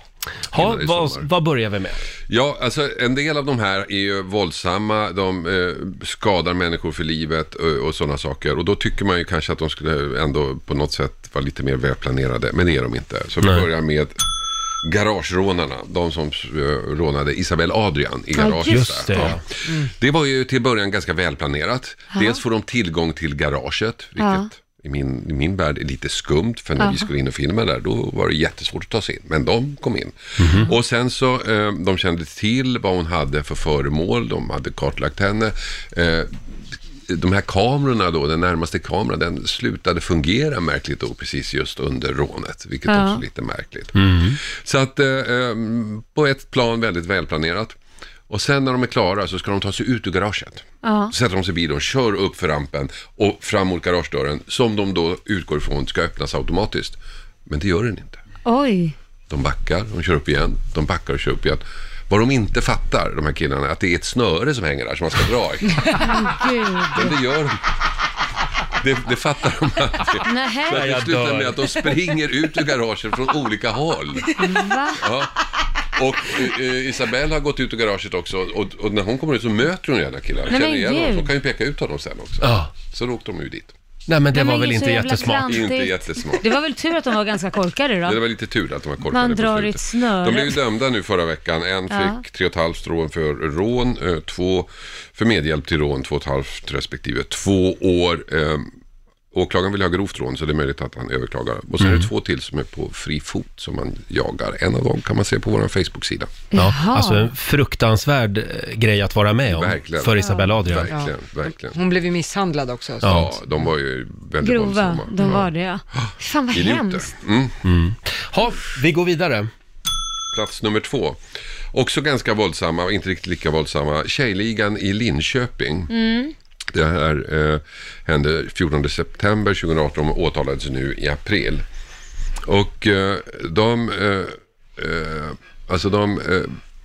[SPEAKER 1] Ha,
[SPEAKER 9] Innan det är
[SPEAKER 1] vad,
[SPEAKER 9] sommar.
[SPEAKER 1] vad börjar vi med?
[SPEAKER 9] Ja, alltså en del av de här är ju våldsamma, de eh, skadar människor för livet eh, och, och sådana saker. Och då tycker man ju kanske att de skulle ändå på något sätt vara lite mer välplanerade, men det är de inte. Så vi
[SPEAKER 1] Nej.
[SPEAKER 9] börjar med garagerånarna, de som eh, rånade Isabel Adrian i
[SPEAKER 1] Ja,
[SPEAKER 9] garaget.
[SPEAKER 1] just
[SPEAKER 9] där.
[SPEAKER 1] det, ja.
[SPEAKER 9] det var ju till början ganska välplanerat.
[SPEAKER 1] Ja.
[SPEAKER 9] Dels får de tillgång till garaget, vilket
[SPEAKER 1] Ja.
[SPEAKER 9] i min, i min värld är lite skumt, för när
[SPEAKER 1] Aha.
[SPEAKER 9] vi skulle in och filma där, då var det jättesvårt att ta sig in. Men de kom in. Och sen så, eh, de kände till vad hon hade för föremål, de hade kartlagt henne. Eh, de här kamerorna då, den närmaste kameran, den slutade fungera märkligt då, precis just under rånet, vilket
[SPEAKER 5] Ja.
[SPEAKER 9] också är lite märkligt.
[SPEAKER 5] Mm.
[SPEAKER 1] Mm.
[SPEAKER 9] Så att, eh, eh, på ett plan väldigt välplanerat. Och sen när de är klara så ska de ta sig ut ur garaget.
[SPEAKER 5] Ja.
[SPEAKER 9] Så sätter de sig i bilen, kör upp för rampen och fram mot garagedörren som de då utgår ifrån ska öppnas automatiskt. Men det gör den inte.
[SPEAKER 10] Oj.
[SPEAKER 9] De backar, de kör upp igen, de backar och kör upp igen. Vad de inte fattar, de här killarna, är att det är ett snöre som hänger där som man ska dra i.
[SPEAKER 5] Men
[SPEAKER 9] Men det gör de. Det, det fattar de aldrig.
[SPEAKER 5] Nähä.
[SPEAKER 9] Så att
[SPEAKER 5] Jag
[SPEAKER 9] det slutar
[SPEAKER 5] dör.
[SPEAKER 9] med att de springer ut ur garaget från olika håll.
[SPEAKER 5] Va?
[SPEAKER 9] Ja. Och eh, eh, Isabelle har gått ut ur garaget också och, och när hon kommer ut så möter hon gärna killar.
[SPEAKER 1] Nej,
[SPEAKER 9] Känner
[SPEAKER 1] men
[SPEAKER 9] igen honom, så
[SPEAKER 1] gud.
[SPEAKER 9] hon kan ju peka ut honom sen också.
[SPEAKER 1] Ja.
[SPEAKER 9] Så då åkte de ju dit.
[SPEAKER 1] Nej, men det
[SPEAKER 10] Nej,
[SPEAKER 1] var
[SPEAKER 10] men
[SPEAKER 1] väl
[SPEAKER 10] det är
[SPEAKER 1] inte
[SPEAKER 10] så jävla
[SPEAKER 1] jättesmart.
[SPEAKER 10] klantigt.
[SPEAKER 9] Inte jättesmart.
[SPEAKER 10] Det var väl tur att de var ganska korkade då.
[SPEAKER 9] Det var lite tur att de var korkade
[SPEAKER 10] Man
[SPEAKER 9] på
[SPEAKER 10] drar i
[SPEAKER 9] slutet.
[SPEAKER 10] ett snöre.
[SPEAKER 9] De blev ju dömda nu förra veckan. En
[SPEAKER 10] Ja.
[SPEAKER 9] fick tre och ett halvt rån för rån, eh, två för medhjälp till rån, två och ett halvt respektive två år. Eh, åklagaren vill ha grovt rån så det är möjligt att han överklagar. Och sen är det två till som är på fri fot som man jagar. En av dem kan man se på vår Facebook-sida.
[SPEAKER 1] Ja, alltså en fruktansvärd eh, grej att vara med om
[SPEAKER 9] Verkligen.
[SPEAKER 1] för Isabella Adrian.
[SPEAKER 9] Verkligen, verkligen.
[SPEAKER 3] Hon blev ju misshandlad också. så-
[SPEAKER 9] Ja, de var ju väldigt
[SPEAKER 10] Grova,
[SPEAKER 9] våldsamma.
[SPEAKER 10] de
[SPEAKER 9] Ja.
[SPEAKER 10] var det ja. Fan vad
[SPEAKER 9] Idioter.
[SPEAKER 10] hemskt.
[SPEAKER 9] Mm.
[SPEAKER 1] Ha, vi går vidare.
[SPEAKER 9] Plats nummer två. Också ganska våldsamma, inte riktigt lika våldsamma. Tjejligan i Linköping.
[SPEAKER 5] Mm.
[SPEAKER 9] Det här eh, hände 14 september 2018 och åtalades nu i april. Och eh, de eh, eh, Alltså de eh,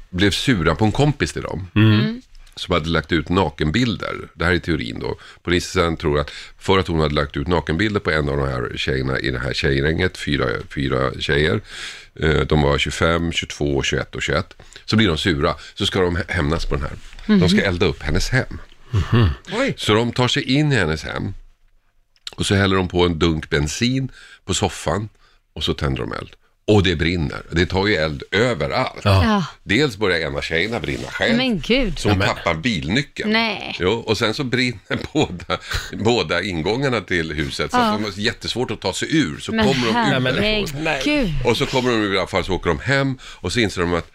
[SPEAKER 9] blev sura på en kompis till dem.
[SPEAKER 5] Mm.
[SPEAKER 9] Som hade lagt ut nakenbilder. Det här är teorin då. Polisen tror att för att hon hade lagt ut nakenbilder på en av de här tjejerna i det här tjejgänget, fyra, fyra tjejer. Eh, de var 25, 22, 21 och 21. Så blir de sura. Så ska de hä- hämnas på den här. De ska
[SPEAKER 5] Mhm.
[SPEAKER 9] elda upp hennes hem. Mhm. Så de tar sig in i hennes hem. Och så häller de på en dunk bensin på soffan och så tänder de eld. Och det brinner. Det tar ju eld överallt.
[SPEAKER 2] Ja.
[SPEAKER 9] Dels börjar ena tjejerna brinna själv. Typ
[SPEAKER 2] Men gud.
[SPEAKER 9] Så hon tappar bilnyckeln.
[SPEAKER 2] Nej.
[SPEAKER 9] Jo, och sen så brinner båda, båda ingångarna till huset. Så
[SPEAKER 2] Ja.
[SPEAKER 9] att de har jättesvårt att ta sig ur. Så
[SPEAKER 2] Men
[SPEAKER 9] kommer de ut därifrån.
[SPEAKER 2] herregud.
[SPEAKER 9] Och så kommer de i alla fall så åker de hem och så inser de att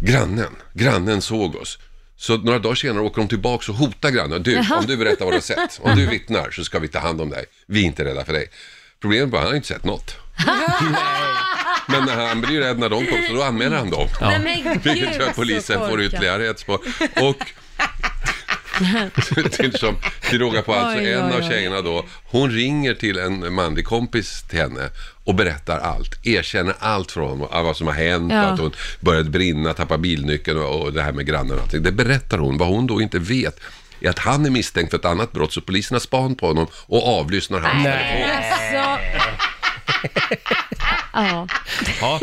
[SPEAKER 9] grannen, grannen såg oss. Så några dagar senare åker de tillbaka och hotar grannen. Du,
[SPEAKER 5] Jaha.
[SPEAKER 9] om du berättar vad du har sett, om du vittnar så ska vi ta hand om dig. Vi är inte rädda för dig. Problemet var att han har inte sett något. Men eh, när han blir ju rädd när de kommer så då anmäler han dem.
[SPEAKER 5] Ja. Nej, men gud,
[SPEAKER 9] Vilket gör att polisen
[SPEAKER 5] så
[SPEAKER 9] får
[SPEAKER 5] korkat.
[SPEAKER 9] ytterligare ett spår. Och till, som, till råga på allt så
[SPEAKER 5] Oj,
[SPEAKER 9] en
[SPEAKER 5] oj,
[SPEAKER 9] av
[SPEAKER 5] oj.
[SPEAKER 9] tjejerna då, hon ringer till en manlig kompis till henne och berättar allt, erkänner allt från honom, av vad som har hänt,
[SPEAKER 5] Ja.
[SPEAKER 9] att hon börjat brinna, tappa bilnyckeln och, och det här med grannen och allting. Det berättar hon, vad hon då inte vet är att han är misstänkt för ett annat brott, så polisen har span på honom och avlyssnar hans telefon.
[SPEAKER 5] Alltså.
[SPEAKER 2] Ja.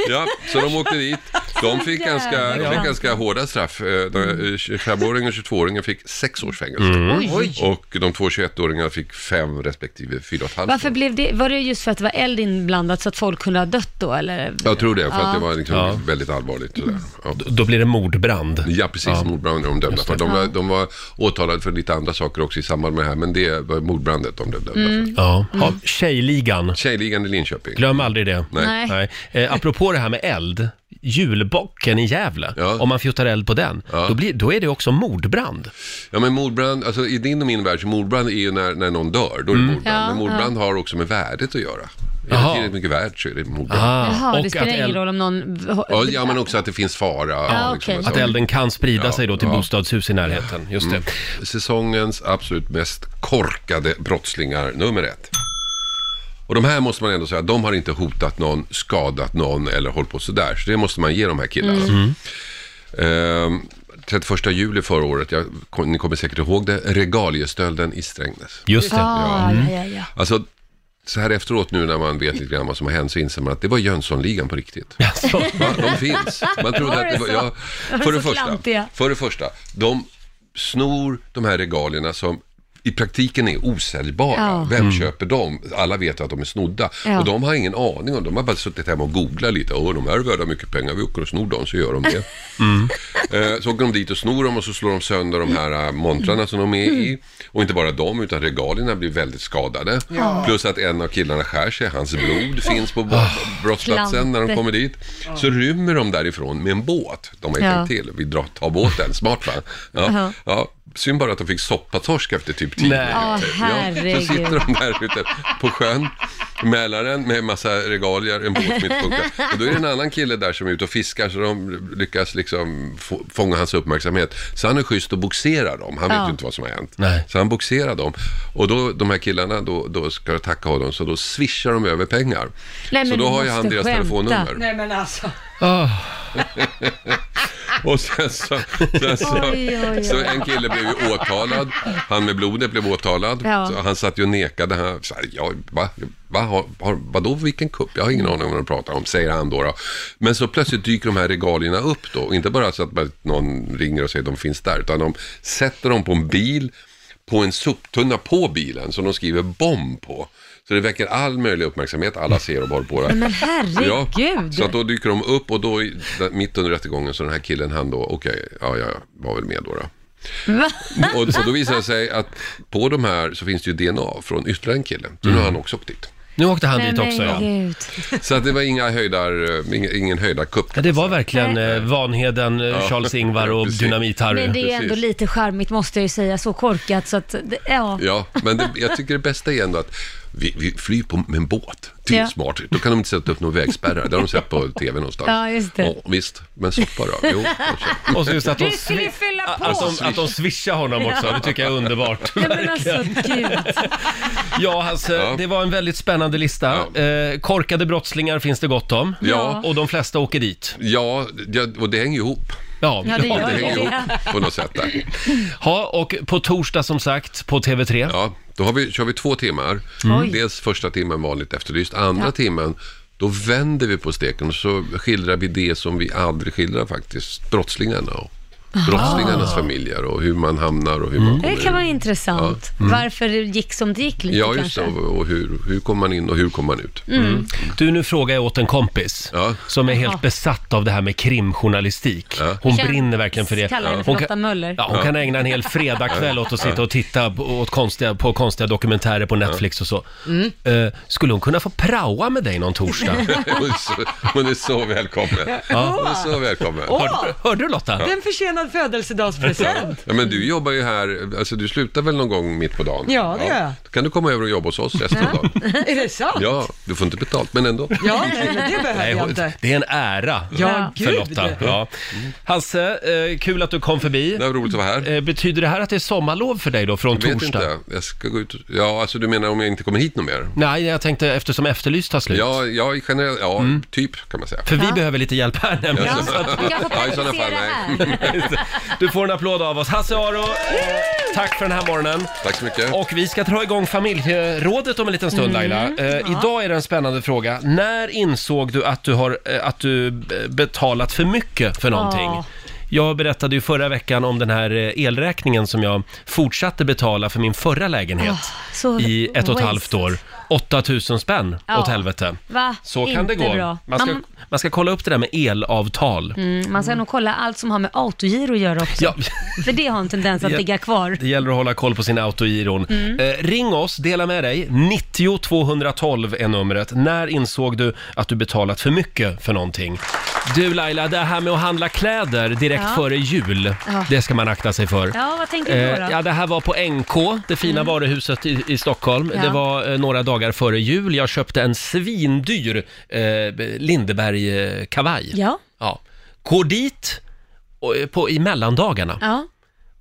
[SPEAKER 9] Ja. så de åkte dit. De fick ganska, de
[SPEAKER 5] Jävlar.
[SPEAKER 9] fick ganska hårda straff. Eh, de- 25-åringen och 22-åringen fick sex års fängelse.
[SPEAKER 5] Mm. Oj.
[SPEAKER 9] Och de två 21-åringarna fick fem respektive fyra och ett halvt.
[SPEAKER 2] Varför blev det, var det just för att det var eld inblandat så att folk kunde ha dött då eller?
[SPEAKER 9] Jag tror det, för att det
[SPEAKER 2] Ja.
[SPEAKER 9] var liksom
[SPEAKER 1] Ja.
[SPEAKER 9] väldigt allvarligt. Sådär. Ja.
[SPEAKER 1] Då blir det mordbrand.
[SPEAKER 9] Ja, precis. Mordbrand är de dömda för. De var, de var åtalade för lite andra saker också i samband med det här, men det var mordbrandet de blev dömda för.
[SPEAKER 1] Mm. Ja. Ja, Tjejligan.
[SPEAKER 9] Tjejligan i Linköping.
[SPEAKER 1] Glöm aldrig det.
[SPEAKER 9] Nej. Nej.
[SPEAKER 1] Eh, apropå det här med eld, julbocken i Gävle, om man fjuttar eld på den, då, blir, då är det också mordbrand.
[SPEAKER 9] Ja, men mordbrand, alltså i din och min värld, så mordbrand är ju när, när någon dör, då är det mordbrand.
[SPEAKER 2] Mm. Ja,
[SPEAKER 9] men mordbrand
[SPEAKER 2] ja.
[SPEAKER 9] har också med värdet att göra. Är det
[SPEAKER 1] Jaha.
[SPEAKER 9] tillräckligt mycket värt så är det mordbrand.
[SPEAKER 2] Jaha, det spelar
[SPEAKER 9] att
[SPEAKER 2] ingen
[SPEAKER 9] eld-
[SPEAKER 2] roll om någon...
[SPEAKER 9] Ja, ja, men också att det finns fara.
[SPEAKER 2] Ja, okej.
[SPEAKER 9] alltså.
[SPEAKER 1] Att elden kan sprida
[SPEAKER 9] Ja,
[SPEAKER 1] sig då till
[SPEAKER 9] ja.
[SPEAKER 1] bostadshus i närheten. Just det.
[SPEAKER 9] Mm. Säsongens absolut mest korkade brottslingar, nummer ett. Och de här måste man ändå säga, de har inte hotat någon, skadat någon eller hållit på sådär. Så det måste man ge de här killarna.
[SPEAKER 5] Mm.
[SPEAKER 1] Mm.
[SPEAKER 9] Ehm, 31 juli förra året, jag, ni kommer säkert ihåg det, regaliestölden i Strängnäs.
[SPEAKER 1] Just det.
[SPEAKER 5] Ja,
[SPEAKER 9] Mm.
[SPEAKER 5] ja, ja, ja.
[SPEAKER 9] Alltså, så här efteråt nu när man vet lite grann vad som har hänt så inser man att det var Jönssonligan på riktigt. Ja, de finns. Man trodde
[SPEAKER 5] Var
[SPEAKER 9] att
[SPEAKER 5] det
[SPEAKER 9] det var,
[SPEAKER 5] så?
[SPEAKER 9] ja,
[SPEAKER 5] De är
[SPEAKER 9] för, det
[SPEAKER 5] så
[SPEAKER 9] första,
[SPEAKER 5] klantiga.
[SPEAKER 9] för det första, de snor de här regalierna som i praktiken är osäljbara.
[SPEAKER 5] Ja.
[SPEAKER 9] Vem
[SPEAKER 5] Mm.
[SPEAKER 9] köper dem? Alla vet att de är snodda.
[SPEAKER 5] Ja.
[SPEAKER 9] Och de har ingen aning om De har bara suttit hemma och googlat lite. Åh, de här är värda mycket pengar. Vi åker och snor dem, så gör de det.
[SPEAKER 1] Mm.
[SPEAKER 9] Eh, Så åker de dit och snor dem och så slår de sönder de här eh, montrarna som de är i. Och inte bara de, utan regalierna blir väldigt skadade.
[SPEAKER 5] Ja.
[SPEAKER 9] Plus att en av killarna skär sig, hans blod finns på bo- brottsplatsen när de
[SPEAKER 5] Klante.
[SPEAKER 9] kommer dit. Så rymmer de därifrån med en båt. De har ju
[SPEAKER 5] Ja.
[SPEAKER 9] tänkt till, vi drar, tar båten, smart va? Ja.
[SPEAKER 5] Jaha.
[SPEAKER 9] ja. Synd bara att de fick soppatorsk efter typ 10
[SPEAKER 5] Nej.
[SPEAKER 9] minuter.
[SPEAKER 5] Åh,
[SPEAKER 9] så
[SPEAKER 5] herregud.
[SPEAKER 9] sitter de där ute på sjön, Mälaren med massa regalier, en båt som inte funkar. Och då är det en annan kille där som är ute och fiskar så de lyckas liksom få, fånga hans uppmärksamhet. Så han är schysst och boxerar dem, han vet
[SPEAKER 5] Ja.
[SPEAKER 9] ju inte vad som har hänt.
[SPEAKER 1] Nej.
[SPEAKER 9] Så han boxerar dem. Och då, de här killarna, då, då ska jag tacka honom, så då swishar de över pengar.
[SPEAKER 5] Nej,
[SPEAKER 9] så
[SPEAKER 5] men
[SPEAKER 9] då
[SPEAKER 5] du
[SPEAKER 9] har ju han
[SPEAKER 5] måste
[SPEAKER 9] deras
[SPEAKER 5] skämta.
[SPEAKER 9] telefonnummer.
[SPEAKER 3] Nej men alltså.
[SPEAKER 9] och sen så, sen så,
[SPEAKER 5] Oj, oj, oj.
[SPEAKER 9] så en kille blev ju åtalad. Han med blodet blev åtalad.
[SPEAKER 5] Ja.
[SPEAKER 9] Så han satt ju och nekade. Han sa, ja, va, va, har, har, vadå vilken kupp? Jag har ingen aning om vad de pratar om, säger han då, då. Men så plötsligt dyker de här regalierna upp då. Och Inte bara så att bara någon ringer och säger att de finns där, utan de sätter dem på en bil, på en soptunna på bilen som de skriver bomb på. Så det väcker all möjlig uppmärksamhet, alla ser och håller på det.
[SPEAKER 2] Men herregud.
[SPEAKER 9] Ja, så att då dyker de upp och då i- där- mitt under rättegången så den här killen han då, okej, ja jag var väl med då. då.
[SPEAKER 2] Va?
[SPEAKER 9] Och så då visar det sig att på de här så finns det ju DNA från ytterligare en kille. Så nu
[SPEAKER 1] Mm.
[SPEAKER 9] har han också åkt dit.
[SPEAKER 1] Nu åkte han
[SPEAKER 2] Nej,
[SPEAKER 1] dit också
[SPEAKER 2] men
[SPEAKER 1] ja.
[SPEAKER 2] gud.
[SPEAKER 9] Så att det var inga höjdar, eh, ingen, ingen höjdarkupp.
[SPEAKER 1] ja. Det var verkligen eh, Vanheden, eh,
[SPEAKER 9] Ja.
[SPEAKER 1] Charles-Ingvar och
[SPEAKER 9] Precis.
[SPEAKER 1] Dynamit-Harry.
[SPEAKER 2] Men det är ändå lite charmigt måste jag ju säga, så korkat så att, det- ja.
[SPEAKER 9] Ja, men det, jag tycker det bästa är ändå att vi, vi flyr på, med en båt. Det är
[SPEAKER 2] Ja.
[SPEAKER 9] smart. Då kan de inte sätta upp några vägspärrar. Det har de sett på tv någonstans.
[SPEAKER 2] Ja, just det.
[SPEAKER 9] Ja, visst, men soppa då? Jo, kanske.
[SPEAKER 1] Och så just att de,
[SPEAKER 2] Du skulle ju
[SPEAKER 1] svi-
[SPEAKER 2] fylla på!
[SPEAKER 1] att de, att de swishar honom också, det tycker jag är underbart.
[SPEAKER 2] Nej, men alltså,
[SPEAKER 1] Verkligen.
[SPEAKER 2] gud.
[SPEAKER 1] Ja, Hasse,
[SPEAKER 9] Ja.
[SPEAKER 1] det var en väldigt spännande lista. Eh, korkade brottslingar finns det gott om.
[SPEAKER 9] Ja.
[SPEAKER 1] Och de flesta åker dit.
[SPEAKER 9] Ja, det- och det hänger ihop.
[SPEAKER 1] Ja,
[SPEAKER 10] Ja, det
[SPEAKER 9] Det
[SPEAKER 10] gör
[SPEAKER 9] hänger
[SPEAKER 10] det.
[SPEAKER 9] ihop på något sätt där.
[SPEAKER 1] Ja, och på torsdag som sagt på TV3.
[SPEAKER 9] Ja, då har vi, kör vi två timmar.
[SPEAKER 2] Mm.
[SPEAKER 9] Dels första timmen vanligt efterlyst, andra timmen då vänder vi på steken och så skildrar vi det som vi aldrig skildrar faktiskt, brottslingarna och brottslingarnas familjer och hur man hamnar och hur man
[SPEAKER 2] Mm. Det
[SPEAKER 9] kommer
[SPEAKER 2] kan vara
[SPEAKER 9] in.
[SPEAKER 2] intressant. Varför det gick som det gick lite
[SPEAKER 9] Mm. Ja, just
[SPEAKER 2] kanske.
[SPEAKER 9] det. Och och hur, hur kommer man in och hur kommer man ut?
[SPEAKER 1] Mm. Du, nu frågar jag åt en kompis
[SPEAKER 9] Mm. Ja.
[SPEAKER 1] som är helt besatt av det här med krimjournalistik. Hon
[SPEAKER 2] Känn-
[SPEAKER 1] brinner verkligen för det.
[SPEAKER 2] Kallar henne för
[SPEAKER 1] Hon
[SPEAKER 2] Lotta
[SPEAKER 1] kan,
[SPEAKER 2] Möller.
[SPEAKER 1] ja, hon kan ägna en hel fredagkväll åt att sitta och titta på, åt konstiga, på konstiga dokumentärer på Netflix och så.
[SPEAKER 2] Mm.
[SPEAKER 1] Eh, skulle hon kunna få praoa med dig någon torsdag?
[SPEAKER 9] Hon är så- Hon är så välkommen. Hon är så välkommen.
[SPEAKER 1] Hörde, hörde du Lotta?
[SPEAKER 3] En försenad födelsedagspresent.
[SPEAKER 9] Ja, men du jobbar ju här, alltså du slutar väl någon gång mitt på dagen?
[SPEAKER 3] Ja, det gör jag.
[SPEAKER 9] Då kan du komma över och jobba hos oss resten av dagen.
[SPEAKER 3] Är det sant? Ja,
[SPEAKER 9] Ja, du får inte betalt, men ändå.
[SPEAKER 3] nej, men det behöver
[SPEAKER 1] Nej,
[SPEAKER 3] jag
[SPEAKER 1] hon-
[SPEAKER 3] inte.
[SPEAKER 1] det är en ära
[SPEAKER 3] Ja,
[SPEAKER 1] för
[SPEAKER 3] gud.
[SPEAKER 1] Lotta. Ja. Hasse, eh, kul att du kom förbi.
[SPEAKER 9] Det var roligt att vara här.
[SPEAKER 1] Eh, betyder det här att det är sommarlov för dig då från
[SPEAKER 9] Jag vet
[SPEAKER 1] torsdag?
[SPEAKER 9] inte. Jag ska gå ut. Ja, alltså du menar om jag inte kommer hit någon mer?
[SPEAKER 1] Nej, jag tänkte eftersom Efterlyst tar slut. Mm.
[SPEAKER 9] Ja, ja i generell, ja, typ kan man säga.
[SPEAKER 1] För vi behöver lite hjälp här nämligen.
[SPEAKER 9] Ja.
[SPEAKER 1] Så att-
[SPEAKER 2] Vi kan få
[SPEAKER 9] Ja, i sådana fall,
[SPEAKER 2] praktisera
[SPEAKER 9] nej.
[SPEAKER 2] här.
[SPEAKER 1] Du får en applåd av oss. Hasse Aro, eh, tack för den här morgonen.
[SPEAKER 9] Tack så mycket.
[SPEAKER 1] Och vi ska dra igång familjerådet om en liten stund
[SPEAKER 3] Mm.
[SPEAKER 9] Mm.
[SPEAKER 1] Laila. Eh, Idag är det en spännande fråga. När insåg du att du har eh, att du b- betalat för mycket för någonting?
[SPEAKER 2] Ja.
[SPEAKER 1] Jag berättade ju förra veckan om den här eh, elräkningen som jag fortsatte betala för min förra lägenhet
[SPEAKER 2] så
[SPEAKER 1] i ett och ett
[SPEAKER 2] waste.
[SPEAKER 1] halvt år. 8000 spänn
[SPEAKER 2] Ja.
[SPEAKER 1] åt helvete.
[SPEAKER 2] Va?
[SPEAKER 1] Så kan det
[SPEAKER 2] Inte
[SPEAKER 1] gå.
[SPEAKER 2] Bra.
[SPEAKER 1] Man ska,
[SPEAKER 2] Man,
[SPEAKER 1] man ska kolla upp det där med elavtal.
[SPEAKER 2] mm, man ska nog kolla allt som har med autogiro att göra också.
[SPEAKER 1] Ja.
[SPEAKER 2] För det har en tendens att
[SPEAKER 1] Ja.
[SPEAKER 2] ligga kvar. Mm.
[SPEAKER 1] Det gäller att hålla koll på sin autogiron. Eh, ring oss, dela med dig. 90 212 är numret. När insåg du att du betalat för mycket för någonting? Du Laila, det här med att handla kläder direkt
[SPEAKER 2] Ja.
[SPEAKER 1] före jul,
[SPEAKER 2] Ja.
[SPEAKER 1] det ska man akta sig för.
[SPEAKER 2] Ja, vad tänker du då? Mm.
[SPEAKER 1] Eh, ja, det här var på NK, det fina varuhuset i, i Stockholm.
[SPEAKER 2] Ja.
[SPEAKER 1] Det var eh, några dagar före jul. Jag köpte en svindyr eh, Lindeberg-kavaj.
[SPEAKER 2] Ja.
[SPEAKER 1] Ja. Går dit och, eh, på, i mellandagarna
[SPEAKER 2] Ja.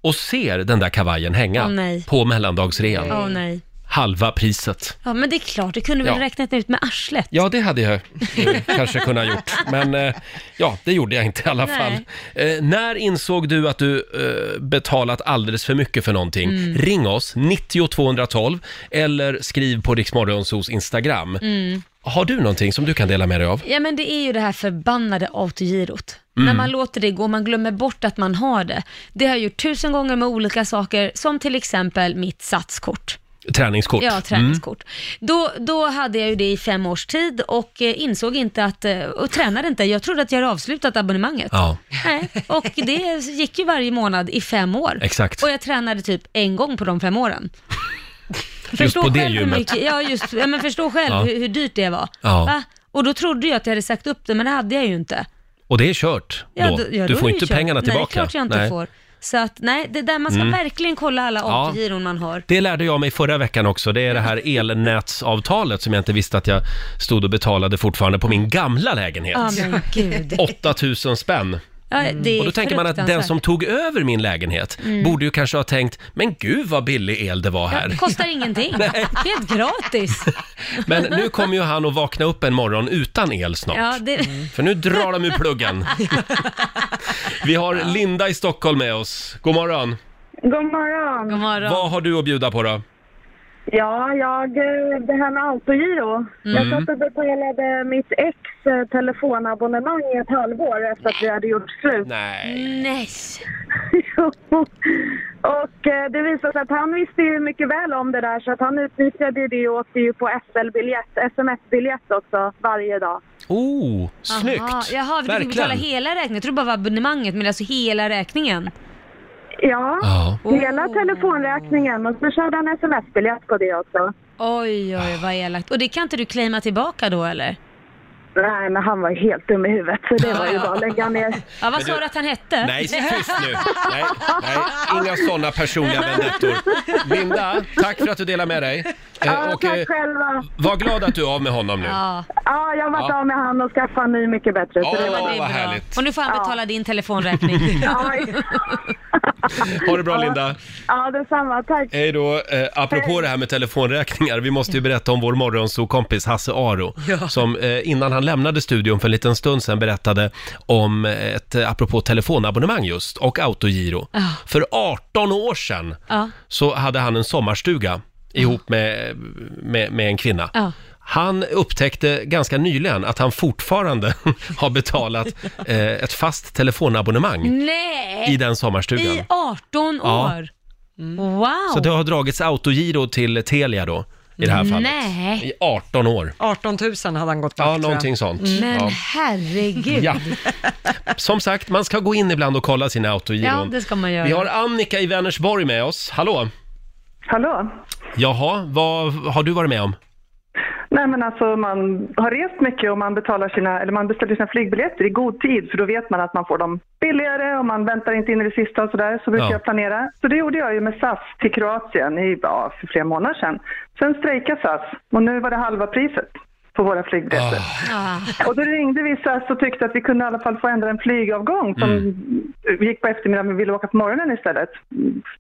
[SPEAKER 1] och ser den där kavajen hänga
[SPEAKER 2] Åh, nej.
[SPEAKER 1] på mellandagsrean.
[SPEAKER 2] Åh nej.
[SPEAKER 1] Halva priset.
[SPEAKER 2] Ja, men det är klart, det kunde väl
[SPEAKER 1] Ja.
[SPEAKER 2] räknat ut med arslet.
[SPEAKER 1] Ja, det hade jag eh, kanske kunnat gjort, men eh, ja, det gjorde jag inte i alla
[SPEAKER 2] Nej.
[SPEAKER 1] fall. Eh, när insåg du att du eh, betalat alldeles för mycket för någonting?
[SPEAKER 2] Mm.
[SPEAKER 1] Ring oss, 90 212 eller skriv på Riksmorgonsos Instagram.
[SPEAKER 2] Mm.
[SPEAKER 1] Har du någonting som du kan dela med dig av?
[SPEAKER 2] Ja men det är ju det här förbannade autogirot.
[SPEAKER 1] Mm.
[SPEAKER 2] När man låter det gå, man glömmer bort att man har det. Det har jag gjort tusen gånger med olika saker, som till exempel mitt satskort.
[SPEAKER 1] Träningskort? Mm.
[SPEAKER 2] Ja, träningskort. Då, då hade jag ju det i fem års tid och eh, insåg inte att, eh, och tränade inte. Jag trodde att jag hade avslutat abonnemanget.
[SPEAKER 1] Ja.
[SPEAKER 2] Nej, och det gick ju varje månad i fem år.
[SPEAKER 1] Exakt.
[SPEAKER 2] Och jag tränade typ en gång på de fem åren.
[SPEAKER 1] på det
[SPEAKER 2] själv hur
[SPEAKER 1] gymmet.
[SPEAKER 2] Mycket, ja, just, ja, men förstå själv
[SPEAKER 1] Ja.
[SPEAKER 2] hur, hur dyrt det var.
[SPEAKER 1] Ja.
[SPEAKER 2] Va? Och då trodde jag att jag hade sagt upp det, men det hade jag ju inte.
[SPEAKER 1] Och det är kört
[SPEAKER 2] Ja,
[SPEAKER 1] då.
[SPEAKER 2] då- ja,
[SPEAKER 1] du
[SPEAKER 2] då
[SPEAKER 1] får
[SPEAKER 2] är det
[SPEAKER 1] inte
[SPEAKER 2] kört.
[SPEAKER 1] pengarna
[SPEAKER 2] Nej, det är
[SPEAKER 1] tillbaka. Mm.
[SPEAKER 2] klart jag inte får. Så att nej, det där man ska verkligen kolla alla
[SPEAKER 1] Ja.
[SPEAKER 2] autogiron man har.
[SPEAKER 1] Det lärde jag mig förra veckan också. Det är det här elnätsavtalet som jag inte visste att jag stod och betalade fortfarande på min gamla lägenhet.
[SPEAKER 2] Ja, men gud.
[SPEAKER 1] 8000 spänn. Mm.
[SPEAKER 2] Ja, det är
[SPEAKER 1] Och då tänker man att den
[SPEAKER 2] fruktansvärt.
[SPEAKER 1] som
[SPEAKER 2] Mm.
[SPEAKER 1] tog över min lägenhet borde ju kanske ha tänkt, men gud vad billig el det var här.
[SPEAKER 2] Kostar ingenting. Helt gratis.
[SPEAKER 1] Men nu kommer ju han att vakna upp en morgon utan el snart. Mm.
[SPEAKER 2] Ja, det...
[SPEAKER 1] För nu drar de ur pluggen. Vi har Linda i Stockholm med oss. God morgon.
[SPEAKER 7] God morgon.
[SPEAKER 2] God morgon.
[SPEAKER 1] Vad har du att bjuda på då?
[SPEAKER 7] Ja, jag, eh, det här med autogiro.
[SPEAKER 1] Mm.
[SPEAKER 7] Jag satt och betalade mitt ex eh, telefonabonnemang i ett halvår efter att vi hade gjort slut.
[SPEAKER 1] Nej.
[SPEAKER 2] Nej.
[SPEAKER 7] och eh, det visade sig att han visste ju mycket väl om det där så att han utnyttjade ju det och åkte ju på SL-biljett, sms-biljett också varje dag.
[SPEAKER 1] Oh, snyggt!
[SPEAKER 2] Jaha, Jaha, vi fick betala hela räkningen. Jag trodde bara det var abonnemanget, men alltså hela räkningen.
[SPEAKER 7] Ja,
[SPEAKER 1] Ja.
[SPEAKER 7] hela
[SPEAKER 2] Oh.
[SPEAKER 7] telefonräkningen och så körde han sms-biljett på det också.
[SPEAKER 2] Oj, oj, vad elakt. Och det kan inte du claima tillbaka då eller?
[SPEAKER 7] Nej, men han var ju helt dum i huvudet så det var ju bara att lägga ner.
[SPEAKER 2] Ja, vad sa du att han hette?
[SPEAKER 1] Nej, tyst nu. Nej, nej, inga sådana personliga vendettor. Linda, tack för att du delar med dig. Eh,
[SPEAKER 7] Ja,
[SPEAKER 1] och, eh,
[SPEAKER 7] tack själva.
[SPEAKER 1] var glad att du är av med honom nu.
[SPEAKER 2] Ja,
[SPEAKER 7] Ja, jag har varit
[SPEAKER 1] Ja.
[SPEAKER 7] av med han och skaffat en ny mycket bättre. så
[SPEAKER 1] Ja,
[SPEAKER 7] det var...
[SPEAKER 1] vad
[SPEAKER 2] det är bra.
[SPEAKER 1] härligt.
[SPEAKER 2] Och nu får han betala din telefonräkning.
[SPEAKER 1] Ha det bra Linda.
[SPEAKER 7] ja detsamma. Tack.
[SPEAKER 1] Hej då. Eh, apropå det här med telefonräkningar, vi måste ju berätta om vår morgonsokompis Hasse Aro, som eh, innan han lämnade studion för en liten stund sedan berättade om ett, eh, apropå telefonabonnemang just, och autogiro. För 18 år sedan
[SPEAKER 2] Ja.
[SPEAKER 1] så hade han en sommarstuga ihop med, med, med en kvinna.
[SPEAKER 2] Ja.
[SPEAKER 1] Han upptäckte ganska nyligen att han fortfarande har betalat eh, ett fast telefonabonnemang i
[SPEAKER 2] Nej!
[SPEAKER 1] den sommarstugan.
[SPEAKER 2] I 18
[SPEAKER 1] Ja.
[SPEAKER 2] år? Wow!
[SPEAKER 1] Så det har dragits autogiro till Telia då, i det här fallet.
[SPEAKER 2] Nej.
[SPEAKER 1] I 18 år.
[SPEAKER 3] 18 000 hade han gått
[SPEAKER 1] Ja,
[SPEAKER 3] bort, tror jag.
[SPEAKER 1] någonting sånt.
[SPEAKER 2] Mm. Men
[SPEAKER 1] Ja.
[SPEAKER 2] herregud.
[SPEAKER 1] ja. Som sagt, man ska gå in ibland och kolla sina autogiron.
[SPEAKER 2] Ja, det ska man göra.
[SPEAKER 1] Vi har Annika i Vänersborg med oss. Hallå!
[SPEAKER 7] Hallå?
[SPEAKER 1] Jaha, vad har du varit med om?
[SPEAKER 7] Nej men alltså man har rest mycket och man betalar sina, eller man beställer sina flygbiljetter i god tid för då vet man att man får dem billigare och man väntar inte in i det sista och sådär. Så brukar
[SPEAKER 1] Ja.
[SPEAKER 7] jag planera. Så det gjorde jag ju med SAS till Kroatien i, ja, för flera månader sedan. Sen strejkade SAS och nu var det halva priset på våra flygbiljetter.
[SPEAKER 2] Ah.
[SPEAKER 7] Och då ringde vi SAS och tyckte att vi kunde i alla fall få ändra en flygavgång som
[SPEAKER 1] Mm.
[SPEAKER 7] gick på eftermiddagen men ville åka på morgonen istället.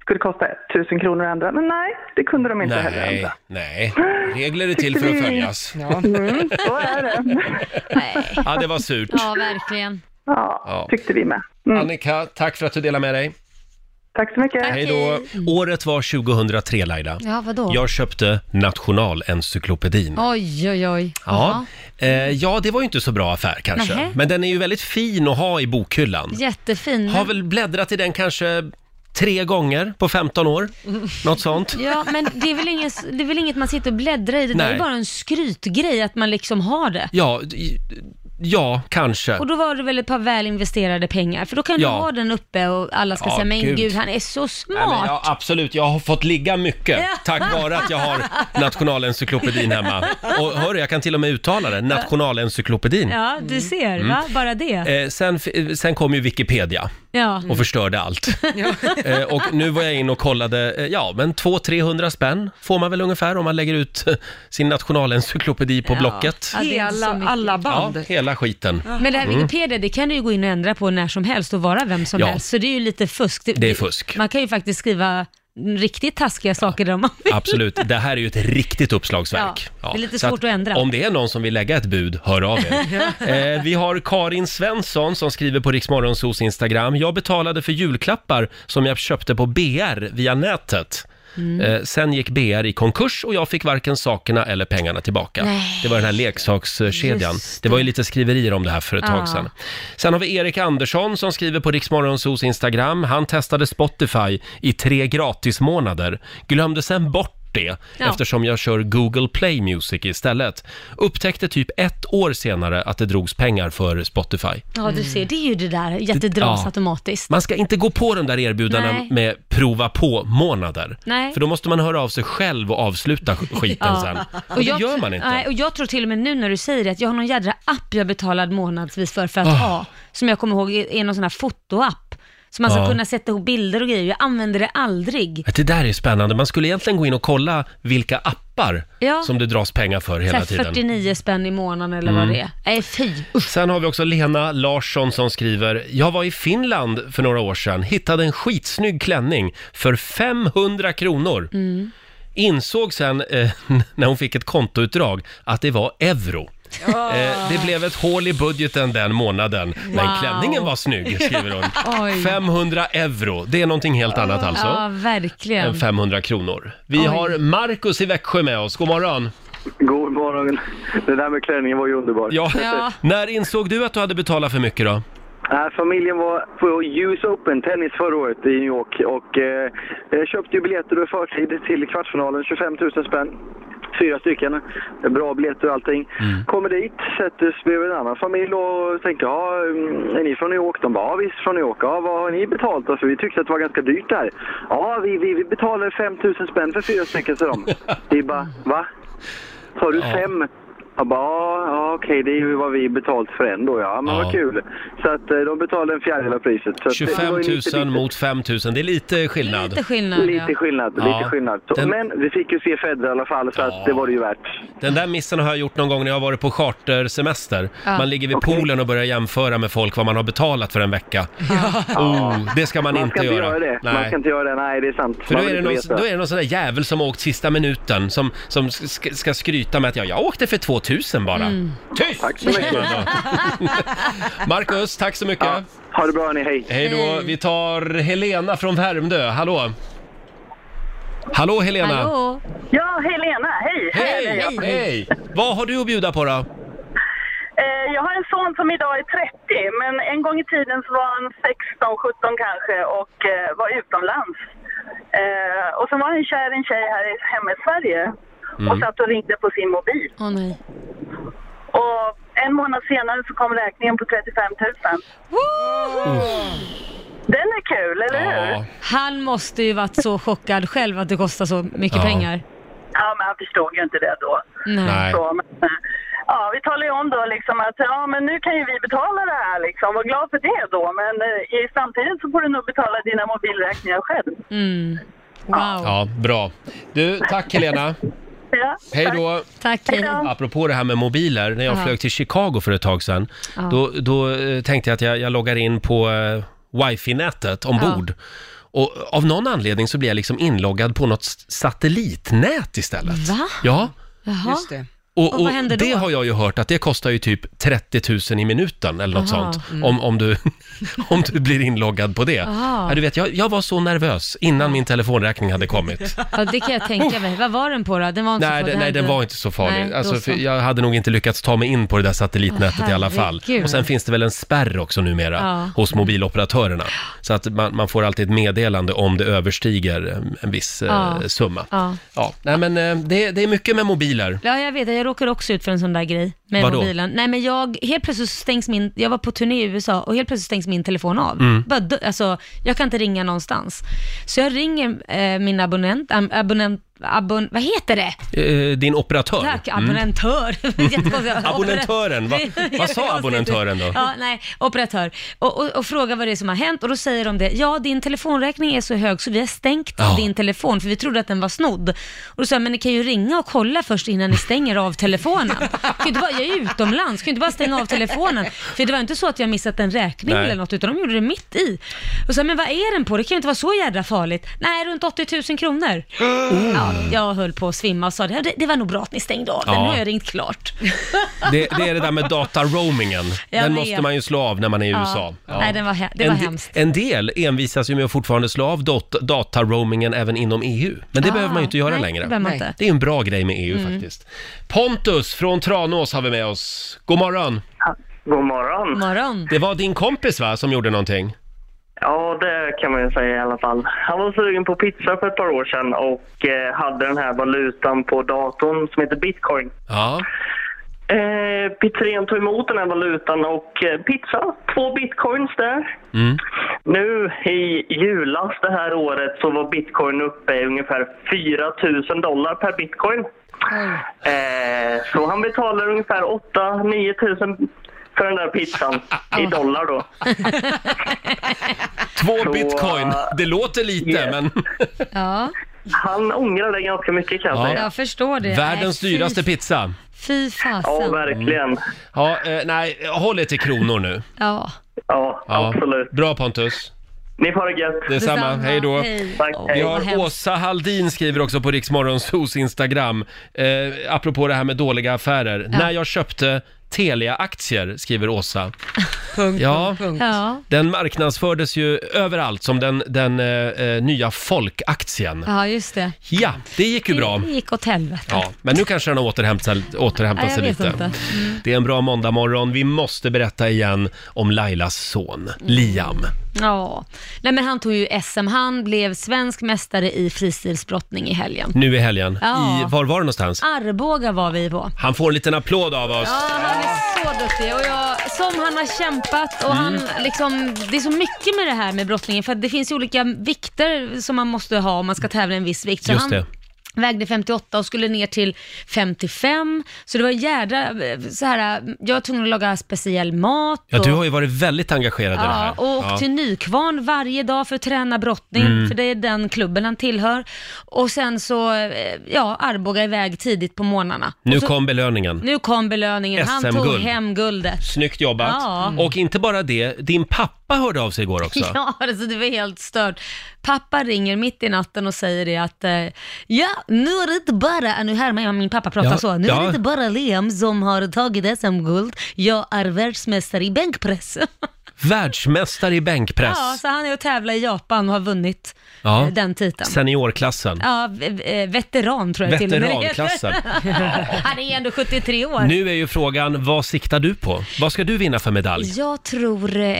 [SPEAKER 7] Skulle kosta 1000 kronor att ändra. Men nej, det kunde de inte heller
[SPEAKER 1] nej,
[SPEAKER 7] ändra.
[SPEAKER 1] nej. Regler är till för att följas.
[SPEAKER 7] Mm, så är det.
[SPEAKER 2] Nej.
[SPEAKER 1] Ja, det var surt.
[SPEAKER 2] Ja, verkligen.
[SPEAKER 7] Ja,
[SPEAKER 1] Ja.
[SPEAKER 7] tyckte vi med. Mm.
[SPEAKER 1] Annika, tack för att du delade med dig.
[SPEAKER 7] Tack så mycket.
[SPEAKER 1] Hej då. Året var 2003, Laila.
[SPEAKER 2] Ja, vadå?
[SPEAKER 1] Jag köpte Nationalencyklopedin.
[SPEAKER 2] Oj, oj, oj.
[SPEAKER 1] Ja. Eh, ja, det var ju inte så bra affär kanske.
[SPEAKER 2] Nähä.
[SPEAKER 1] Men den är ju väldigt fin att ha i bokhyllan.
[SPEAKER 2] Jaha. Jättefin. men-
[SPEAKER 1] Har väl bläddrat i den kanske tre gånger på 15 år. Något sånt.
[SPEAKER 2] Ja, men det är, väl inget, det är väl inget man sitter och bläddrar i. Det där
[SPEAKER 1] Nej.
[SPEAKER 2] är bara en skrytgrej att man liksom har det.
[SPEAKER 1] Ja, i- ja kanske.
[SPEAKER 2] Och då var det väl ett par väl investerade pengar, för då kan
[SPEAKER 1] Ja.
[SPEAKER 2] du ha den uppe och alla ska
[SPEAKER 1] Ja,
[SPEAKER 2] säga men
[SPEAKER 1] gud.
[SPEAKER 2] gud. han är så smart.
[SPEAKER 1] Nej, men jag, absolut, jag har fått ligga mycket tack vare att jag har Nationalencyklopedin hemma. Och hörru, jag kan till och med uttala det. Nationalencyklopedin.
[SPEAKER 2] Ja, du ser, va? Bara det.
[SPEAKER 1] Mm. Eh, sen, f- sen kom ju Wikipedia.
[SPEAKER 2] Ja.
[SPEAKER 1] och förstörde allt. Eh, och nu var jag in och kollade, eh, ja men 200-300 spänn får man väl ungefär om man lägger ut eh, sin nationalencyklopedi på Blocket.
[SPEAKER 2] Ja, det är inte så
[SPEAKER 3] Hela,
[SPEAKER 2] mycket.
[SPEAKER 3] alla
[SPEAKER 1] Ja,
[SPEAKER 3] band.
[SPEAKER 1] hela skiten.
[SPEAKER 2] Men det här Wikipedia, det kan du ju gå in och ändra på när som helst och vara vem som
[SPEAKER 1] Mm. Ja.
[SPEAKER 2] helst. Så det är ju lite fusk.
[SPEAKER 1] Det är fusk.
[SPEAKER 2] Man kan ju faktiskt skriva riktigt taskiga saker där om man vill.
[SPEAKER 1] Absolut, det här är ju ett riktigt uppslagsverk.
[SPEAKER 2] Ja, det är lite
[SPEAKER 1] Så
[SPEAKER 2] svårt att ändra.
[SPEAKER 1] Om det är någon som vill lägga ett bud, hör av er. eh, vi har Karin Svensson som skriver på Riksmorgonsos Instagram. Jag betalade för julklappar som jag köpte på BR via nätet.
[SPEAKER 2] Mm.
[SPEAKER 1] Eh, sen gick BR i konkurs och jag fick varken sakerna eller pengarna tillbaka.
[SPEAKER 2] Nej.
[SPEAKER 1] Det var den här leksakskedjan. Det.
[SPEAKER 2] Just Ah.
[SPEAKER 1] var ju lite skriverier om det här för ett
[SPEAKER 2] Ja.
[SPEAKER 1] tag sedan. Sen har vi Erik Andersson som skriver på Riksmorgonsos Instagram. Han testade Spotify i tre gratismånader. Glömde sen bort det
[SPEAKER 2] Ja.
[SPEAKER 1] eftersom jag kör Google Play Music istället. Upptäckte typ ett år senare att det drogs pengar för Spotify.
[SPEAKER 2] Ja, du ser, det är ju det där jättedras
[SPEAKER 1] Ja.
[SPEAKER 2] automatiskt.
[SPEAKER 1] Man ska inte gå på de där erbjudandena
[SPEAKER 2] Nej.
[SPEAKER 1] med prova på-månader.
[SPEAKER 2] Nej.
[SPEAKER 1] För då måste man höra av sig själv och avsluta sk- skiten
[SPEAKER 2] Ja.
[SPEAKER 1] sen. Och det gör man inte.
[SPEAKER 2] Nej, och jag tror till och med nu när du säger det, att jag har någon jädra app jag betalade månadsvis för,
[SPEAKER 1] Ah.
[SPEAKER 2] för att ha, som jag kommer ihåg är är någon sån här fotoapp. Så man ska
[SPEAKER 1] Ja.
[SPEAKER 2] kunna sätta ihop bilder och grejer. Jag använder det aldrig.
[SPEAKER 1] Det där är spännande. Man skulle egentligen gå in och kolla vilka appar
[SPEAKER 2] Ja.
[SPEAKER 1] som det dras pengar för hela
[SPEAKER 2] Såhär
[SPEAKER 1] tiden. Mm.
[SPEAKER 2] 49 spänn i månaden eller vad det är. Nej, fy.
[SPEAKER 1] Sen har vi också Lena Larsson som skriver, jag var i Finland för några år sedan, hittade en skitsnygg klänning för 500 kronor.
[SPEAKER 2] Mm.
[SPEAKER 1] Insåg sen eh, när hon fick ett kontoutdrag att det var euro. Eh, det blev ett hål i budgeten den månaden,
[SPEAKER 2] Wow.
[SPEAKER 1] men klänningen var snygg, skriver hon.
[SPEAKER 2] Oj.
[SPEAKER 1] 500 euro, det är någonting helt annat alltså.
[SPEAKER 2] Ja,
[SPEAKER 1] Än
[SPEAKER 2] verkligen.
[SPEAKER 1] 500 kronor. Vi har Markus i Växjö med oss, god morgon.
[SPEAKER 4] God morgon. Det där med klänningen var ju underbart.
[SPEAKER 1] Ja.
[SPEAKER 2] Ja.
[SPEAKER 1] När insåg du att du hade betalat för mycket då?
[SPEAKER 4] Äh, Familjen var på US Open tennis förra året i New York och eh, jag köpte ju biljetter i förtid till kvartsfinalen, 25 000 spänn. Fyra stycken, bra biljetter och allting.
[SPEAKER 1] Mm.
[SPEAKER 4] Kommer dit, sätter mig med en annan familj och tänker, ja, mm, är ni från New York? De bara, ja visst från New York. Ja, vad har ni betalt då? För vi tyckte att det var ganska dyrt där. Ja, vi, vi, vi betalade 5 000 spänn för fyra stycken, sa de. Vi bara, va? Sa du fem? Jag bara, ja, ja, okej, det är ju vad vi betalt för en då, ja. Men
[SPEAKER 1] Ja.
[SPEAKER 4] vad kul. Så att eh, de betalade en fjärdedel av priset. Så att det- det
[SPEAKER 1] 25
[SPEAKER 4] var ju lite
[SPEAKER 1] 000
[SPEAKER 4] lite-
[SPEAKER 1] mot 5 000, det är lite skillnad.
[SPEAKER 4] Lite skillnad, lite skillnad.
[SPEAKER 1] Ja,
[SPEAKER 4] Så,
[SPEAKER 1] den-
[SPEAKER 4] Men vi fick ju se Federer i alla fall, så att det var det ju värt.
[SPEAKER 1] Den där missen har jag gjort någon gång när jag har varit på chartersemester.
[SPEAKER 4] Ja.
[SPEAKER 1] Man ligger vid
[SPEAKER 4] Okej.
[SPEAKER 1] poolen och börjar jämföra med folk vad man har betalat för en vecka. Oh, det ska man,
[SPEAKER 4] Man
[SPEAKER 1] inte
[SPEAKER 4] ska inte
[SPEAKER 1] göra.
[SPEAKER 4] göra det. Man
[SPEAKER 1] Nej.
[SPEAKER 4] ska inte göra det. Nej, det är sant.
[SPEAKER 1] För
[SPEAKER 4] Man
[SPEAKER 1] då
[SPEAKER 4] vill
[SPEAKER 1] är, det
[SPEAKER 4] inte
[SPEAKER 1] någon,
[SPEAKER 4] veta.
[SPEAKER 1] då är det någon sån där jävel som har åkt sista minuten som, som ska, ska skryta med att ja, jag åkte för 2000 bara.
[SPEAKER 5] Mm.
[SPEAKER 1] Tyst!
[SPEAKER 5] Tack så mycket.
[SPEAKER 1] Marcus, tack så mycket.
[SPEAKER 4] ha det bra ni, hej.
[SPEAKER 1] Hej då.
[SPEAKER 5] Hej.
[SPEAKER 1] Vi tar Helena från Värmdö. Hallå! Hallå Helena!
[SPEAKER 11] Ja, Helena, hej!
[SPEAKER 1] Hej! Hej! Vad har du att bjuda på då?
[SPEAKER 11] Eh, Jag har en son som idag är 30, men en gång i tiden så var han 16-17 kanske och eh, var utomlands. Eh, Och så var han kär i en tjej här i- hemma i Sverige och
[SPEAKER 5] Mm.
[SPEAKER 11] satt och ringde på sin mobil.
[SPEAKER 2] Åh nej.
[SPEAKER 11] Och en månad senare så kom räkningen på 35 000. Den är kul, eller hur?
[SPEAKER 2] Han måste ju varit så chockad själv att det kostar så mycket
[SPEAKER 11] Ja.
[SPEAKER 2] pengar.
[SPEAKER 11] Ja, men han förstod ju inte det då.
[SPEAKER 2] Nej.
[SPEAKER 11] Så, men, eh, ja, vi talade ju om då liksom att ja, men nu kan ju vi betala det här liksom. Var glad för det då, men eh, i samtidigt så får du nog betala dina mobilräkningar själv.
[SPEAKER 2] Mm. Wow.
[SPEAKER 1] Ja, bra. Du, tack Helena.
[SPEAKER 11] Ja,
[SPEAKER 1] Hej då.
[SPEAKER 2] Tack. Hej då.
[SPEAKER 1] Apropå det här med mobiler, när jag
[SPEAKER 2] Ja.
[SPEAKER 1] flög till Chicago för ett tag sedan,
[SPEAKER 2] Ja.
[SPEAKER 1] då, då eh, tänkte jag att jag, jag loggar in på eh, wifi-nätet ombord. Och av någon anledning så blir jag liksom inloggad på något s- satellitnät istället.
[SPEAKER 2] Va?
[SPEAKER 1] Ja.
[SPEAKER 2] Jaha.
[SPEAKER 3] Just det.
[SPEAKER 1] Och, och
[SPEAKER 2] vad händer då?
[SPEAKER 1] det har jag ju hört att det kostar ju typ 30 000 i minuten eller något
[SPEAKER 2] Aha.
[SPEAKER 1] sånt.
[SPEAKER 2] Mm.
[SPEAKER 1] Om, om, du, om du blir inloggad på det.
[SPEAKER 2] Aha.
[SPEAKER 1] Ja, du vet, jag, jag var så nervös innan min telefonräkning hade kommit.
[SPEAKER 2] Ja, det kan jag tänka mig. Vad var den på då? Den var inte
[SPEAKER 1] Oh. Nej,
[SPEAKER 2] så
[SPEAKER 1] det, nej, den var inte så farlig.
[SPEAKER 2] Nej, då
[SPEAKER 1] alltså, för
[SPEAKER 2] så.
[SPEAKER 1] jag hade nog inte lyckats ta mig in på det där satellitnätet
[SPEAKER 2] Åh,
[SPEAKER 1] i alla fall.
[SPEAKER 2] herregud.
[SPEAKER 1] Och sen finns det väl en spärr också numera
[SPEAKER 2] Ja.
[SPEAKER 1] hos mobiloperatörerna. Så att man, man får alltid ett meddelande om det överstiger eh, en viss eh,
[SPEAKER 2] Ja.
[SPEAKER 1] summa.
[SPEAKER 2] Ja.
[SPEAKER 1] Ja, nej men eh, det, det är mycket med mobiler.
[SPEAKER 2] Ja, jag vet. Jag råkar också ut för en sån där grej med
[SPEAKER 1] Vadå?
[SPEAKER 2] mobilen. Nej, men jag, helt plötsligt så stängs min, jag var på turné i USA och helt plötsligt stängs min telefon av.
[SPEAKER 5] Mm.
[SPEAKER 2] Bara, dö- alltså, jag kan inte ringa någonstans. Så jag ringer eh, min abonnent, ab- abonnent, abon, vad heter det?
[SPEAKER 1] Eh, din operatör.
[SPEAKER 2] Tack,
[SPEAKER 1] Mm.
[SPEAKER 2] abonnentör. Jättekonstigt.
[SPEAKER 1] Abonnentören, va-
[SPEAKER 2] Det-
[SPEAKER 1] vad sa
[SPEAKER 2] jättekonstigt.
[SPEAKER 1] abonnentören då?
[SPEAKER 2] Ja, nej, operatör. Och, och, och frågar vad det är som har hänt och då säger de det. Ja, din telefonräkning är så hög så vi har stängt
[SPEAKER 1] Ja.
[SPEAKER 2] din telefon för vi trodde att den var snodd. Och då sa jag, men ni kan ju ringa och kolla först innan ni stänger av telefonen. Kan ju inte bara, jag är utomlands, kan ju inte bara stänga av telefonen. För det var inte så att jag missat en räkning
[SPEAKER 5] Nej.
[SPEAKER 2] eller något utan de gjorde det mitt i. Och så men vad är den på? Det kan ju inte vara så jädra farligt. Nej, runt 80 000 kronor.
[SPEAKER 1] Oh.
[SPEAKER 2] Ja, jag höll på att svimma och sa det, det var nog bra att ni stängde av den,
[SPEAKER 1] Ja.
[SPEAKER 2] nu har jag ringt klart.
[SPEAKER 1] Det, det är det där med dataroamingen.
[SPEAKER 2] Jag
[SPEAKER 1] Den
[SPEAKER 2] vet.
[SPEAKER 1] måste man ju slå av när man är i
[SPEAKER 2] Ja.
[SPEAKER 1] USA.
[SPEAKER 2] Nej, den var he- det var
[SPEAKER 1] en, de-
[SPEAKER 2] hemskt.
[SPEAKER 1] En del envisas ju med att fortfarande slå av dot- dataroamingen även inom EU. Men det
[SPEAKER 2] Ah,
[SPEAKER 1] behöver man ju inte göra
[SPEAKER 2] nej,
[SPEAKER 1] längre.
[SPEAKER 2] det behöver man inte.
[SPEAKER 1] det är en bra grej med EU
[SPEAKER 2] Mm.
[SPEAKER 1] faktiskt. Pontus från Tranås har vi med oss. God morgon!
[SPEAKER 12] God morgon.
[SPEAKER 2] morgon!
[SPEAKER 1] Det var din kompis va, som gjorde någonting?
[SPEAKER 12] Ja, det kan man ju säga i alla fall. Han var sugen på pizza för ett par år sedan och eh, hade den här valutan på datorn som heter bitcoin.
[SPEAKER 1] Ja.
[SPEAKER 12] Eh, pizzerian tog emot den här valutan och eh, pizza, två bitcoins där.
[SPEAKER 5] Mm.
[SPEAKER 12] Nu i julas det här året så var bitcoin uppe i ungefär 4 000 dollar per bitcoin. Eh, så han betalar ungefär 8-9 000 för den där pizzan i dollar då.
[SPEAKER 1] Två
[SPEAKER 12] Så,
[SPEAKER 1] bitcoin! Det låter lite men...
[SPEAKER 2] Ja,
[SPEAKER 12] Han ångrar det ganska mycket kan jag
[SPEAKER 1] Ja.
[SPEAKER 12] säga.
[SPEAKER 2] jag förstår det.
[SPEAKER 1] Världens
[SPEAKER 2] Nej, fy-
[SPEAKER 1] dyraste pizza.
[SPEAKER 2] Fy fasen.
[SPEAKER 1] Mm. Ja, eh, nej, håll er till kronor nu.
[SPEAKER 2] Ja.
[SPEAKER 12] Ja, absolut.
[SPEAKER 1] Bra Pontus.
[SPEAKER 12] Ni får det gött.
[SPEAKER 1] Detsamma,
[SPEAKER 2] Detsamma.
[SPEAKER 1] hej då.
[SPEAKER 2] Hej.
[SPEAKER 12] Tack,
[SPEAKER 1] Vi
[SPEAKER 12] hej.
[SPEAKER 1] har
[SPEAKER 12] Vad hemskt.
[SPEAKER 1] Åsa Haldin skriver också på Riksmorgonsos Instagram, eh, apropå det här med dåliga affärer. När jag köpte Telia-aktier, skriver Åsa.
[SPEAKER 3] Punkt,
[SPEAKER 1] Ja.
[SPEAKER 3] punkt, punkt.
[SPEAKER 2] Ja.
[SPEAKER 1] Den marknadsfördes ju överallt som den, den eh, eh, nya folkaktien.
[SPEAKER 2] ja, just det.
[SPEAKER 1] Ja, det gick ju bra.
[SPEAKER 2] Det gick åt helvete.
[SPEAKER 1] Ja, men nu kanske den har återhämtat, återhämtat
[SPEAKER 2] Nej, jag
[SPEAKER 1] sig
[SPEAKER 2] vet
[SPEAKER 1] lite.
[SPEAKER 2] inte. Mm.
[SPEAKER 1] Det är en bra måndagmorgon. Vi måste berätta igen om Lailas
[SPEAKER 2] Mm.
[SPEAKER 1] son, Liam.
[SPEAKER 2] Ja. Nej, men han tog ju SM. Han blev svensk mästare i fristilsbrottning i helgen.
[SPEAKER 1] Nu i helgen.
[SPEAKER 2] Ja.
[SPEAKER 1] I, var var det någonstans?
[SPEAKER 2] Arboga var vi på.
[SPEAKER 1] Han får en liten applåd av oss.
[SPEAKER 2] Ja, han är så duktig. Och jag, som han har kämpat och
[SPEAKER 1] Mm.
[SPEAKER 2] han liksom, det är så mycket med det här med brottningen för att det finns ju olika vikter som man måste ha om man ska tävla i en viss vikt. Så
[SPEAKER 1] Just
[SPEAKER 2] han,
[SPEAKER 1] det.
[SPEAKER 2] Vägde 58 och skulle ner till 55. Så det var jädra, eh, så här, eh, jag var tvungen att laga speciell mat.
[SPEAKER 1] Ja,
[SPEAKER 2] och-
[SPEAKER 1] du har ju varit väldigt engagerad i det här.
[SPEAKER 2] Ja, och åkt
[SPEAKER 1] Ja.
[SPEAKER 2] till Nykvarn varje dag för att träna brottning,
[SPEAKER 1] Mm.
[SPEAKER 2] för det är den klubben han tillhör. Och sen så, eh, ja, Arboga iväg tidigt på morgnarna.
[SPEAKER 1] Nu
[SPEAKER 2] och så,
[SPEAKER 1] kom belöningen.
[SPEAKER 2] nu kom belöningen, han tog
[SPEAKER 1] SM-guld.
[SPEAKER 2] hem guldet.
[SPEAKER 1] Snyggt jobbat. Mm.
[SPEAKER 2] Ja.
[SPEAKER 1] Och inte bara det, din pappa hörde av sig igår också.
[SPEAKER 2] Ja, alltså det var helt stört. Pappa ringer mitt i natten och säger det att eh, ja, nu är det inte bara, nu härmar jag min pappa prata
[SPEAKER 5] Ja,
[SPEAKER 2] så, nu är
[SPEAKER 5] ja.
[SPEAKER 2] det inte bara Liam som har tagit SM-guld, jag är världsmästare i bänkpress.
[SPEAKER 1] Världsmästare i bänkpress.
[SPEAKER 2] Ja, så han är och tävlar i Japan och har vunnit
[SPEAKER 1] Ja.
[SPEAKER 2] eh, den titeln.
[SPEAKER 1] Seniorklassen.
[SPEAKER 2] Ja, v- v- eh, veteran tror jag till och med det heter.
[SPEAKER 1] Veteranklassen.
[SPEAKER 2] Han är ändå 73 år.
[SPEAKER 1] Nu är ju frågan, vad siktar du på? Vad ska du vinna för medalj?
[SPEAKER 2] Jag tror eh,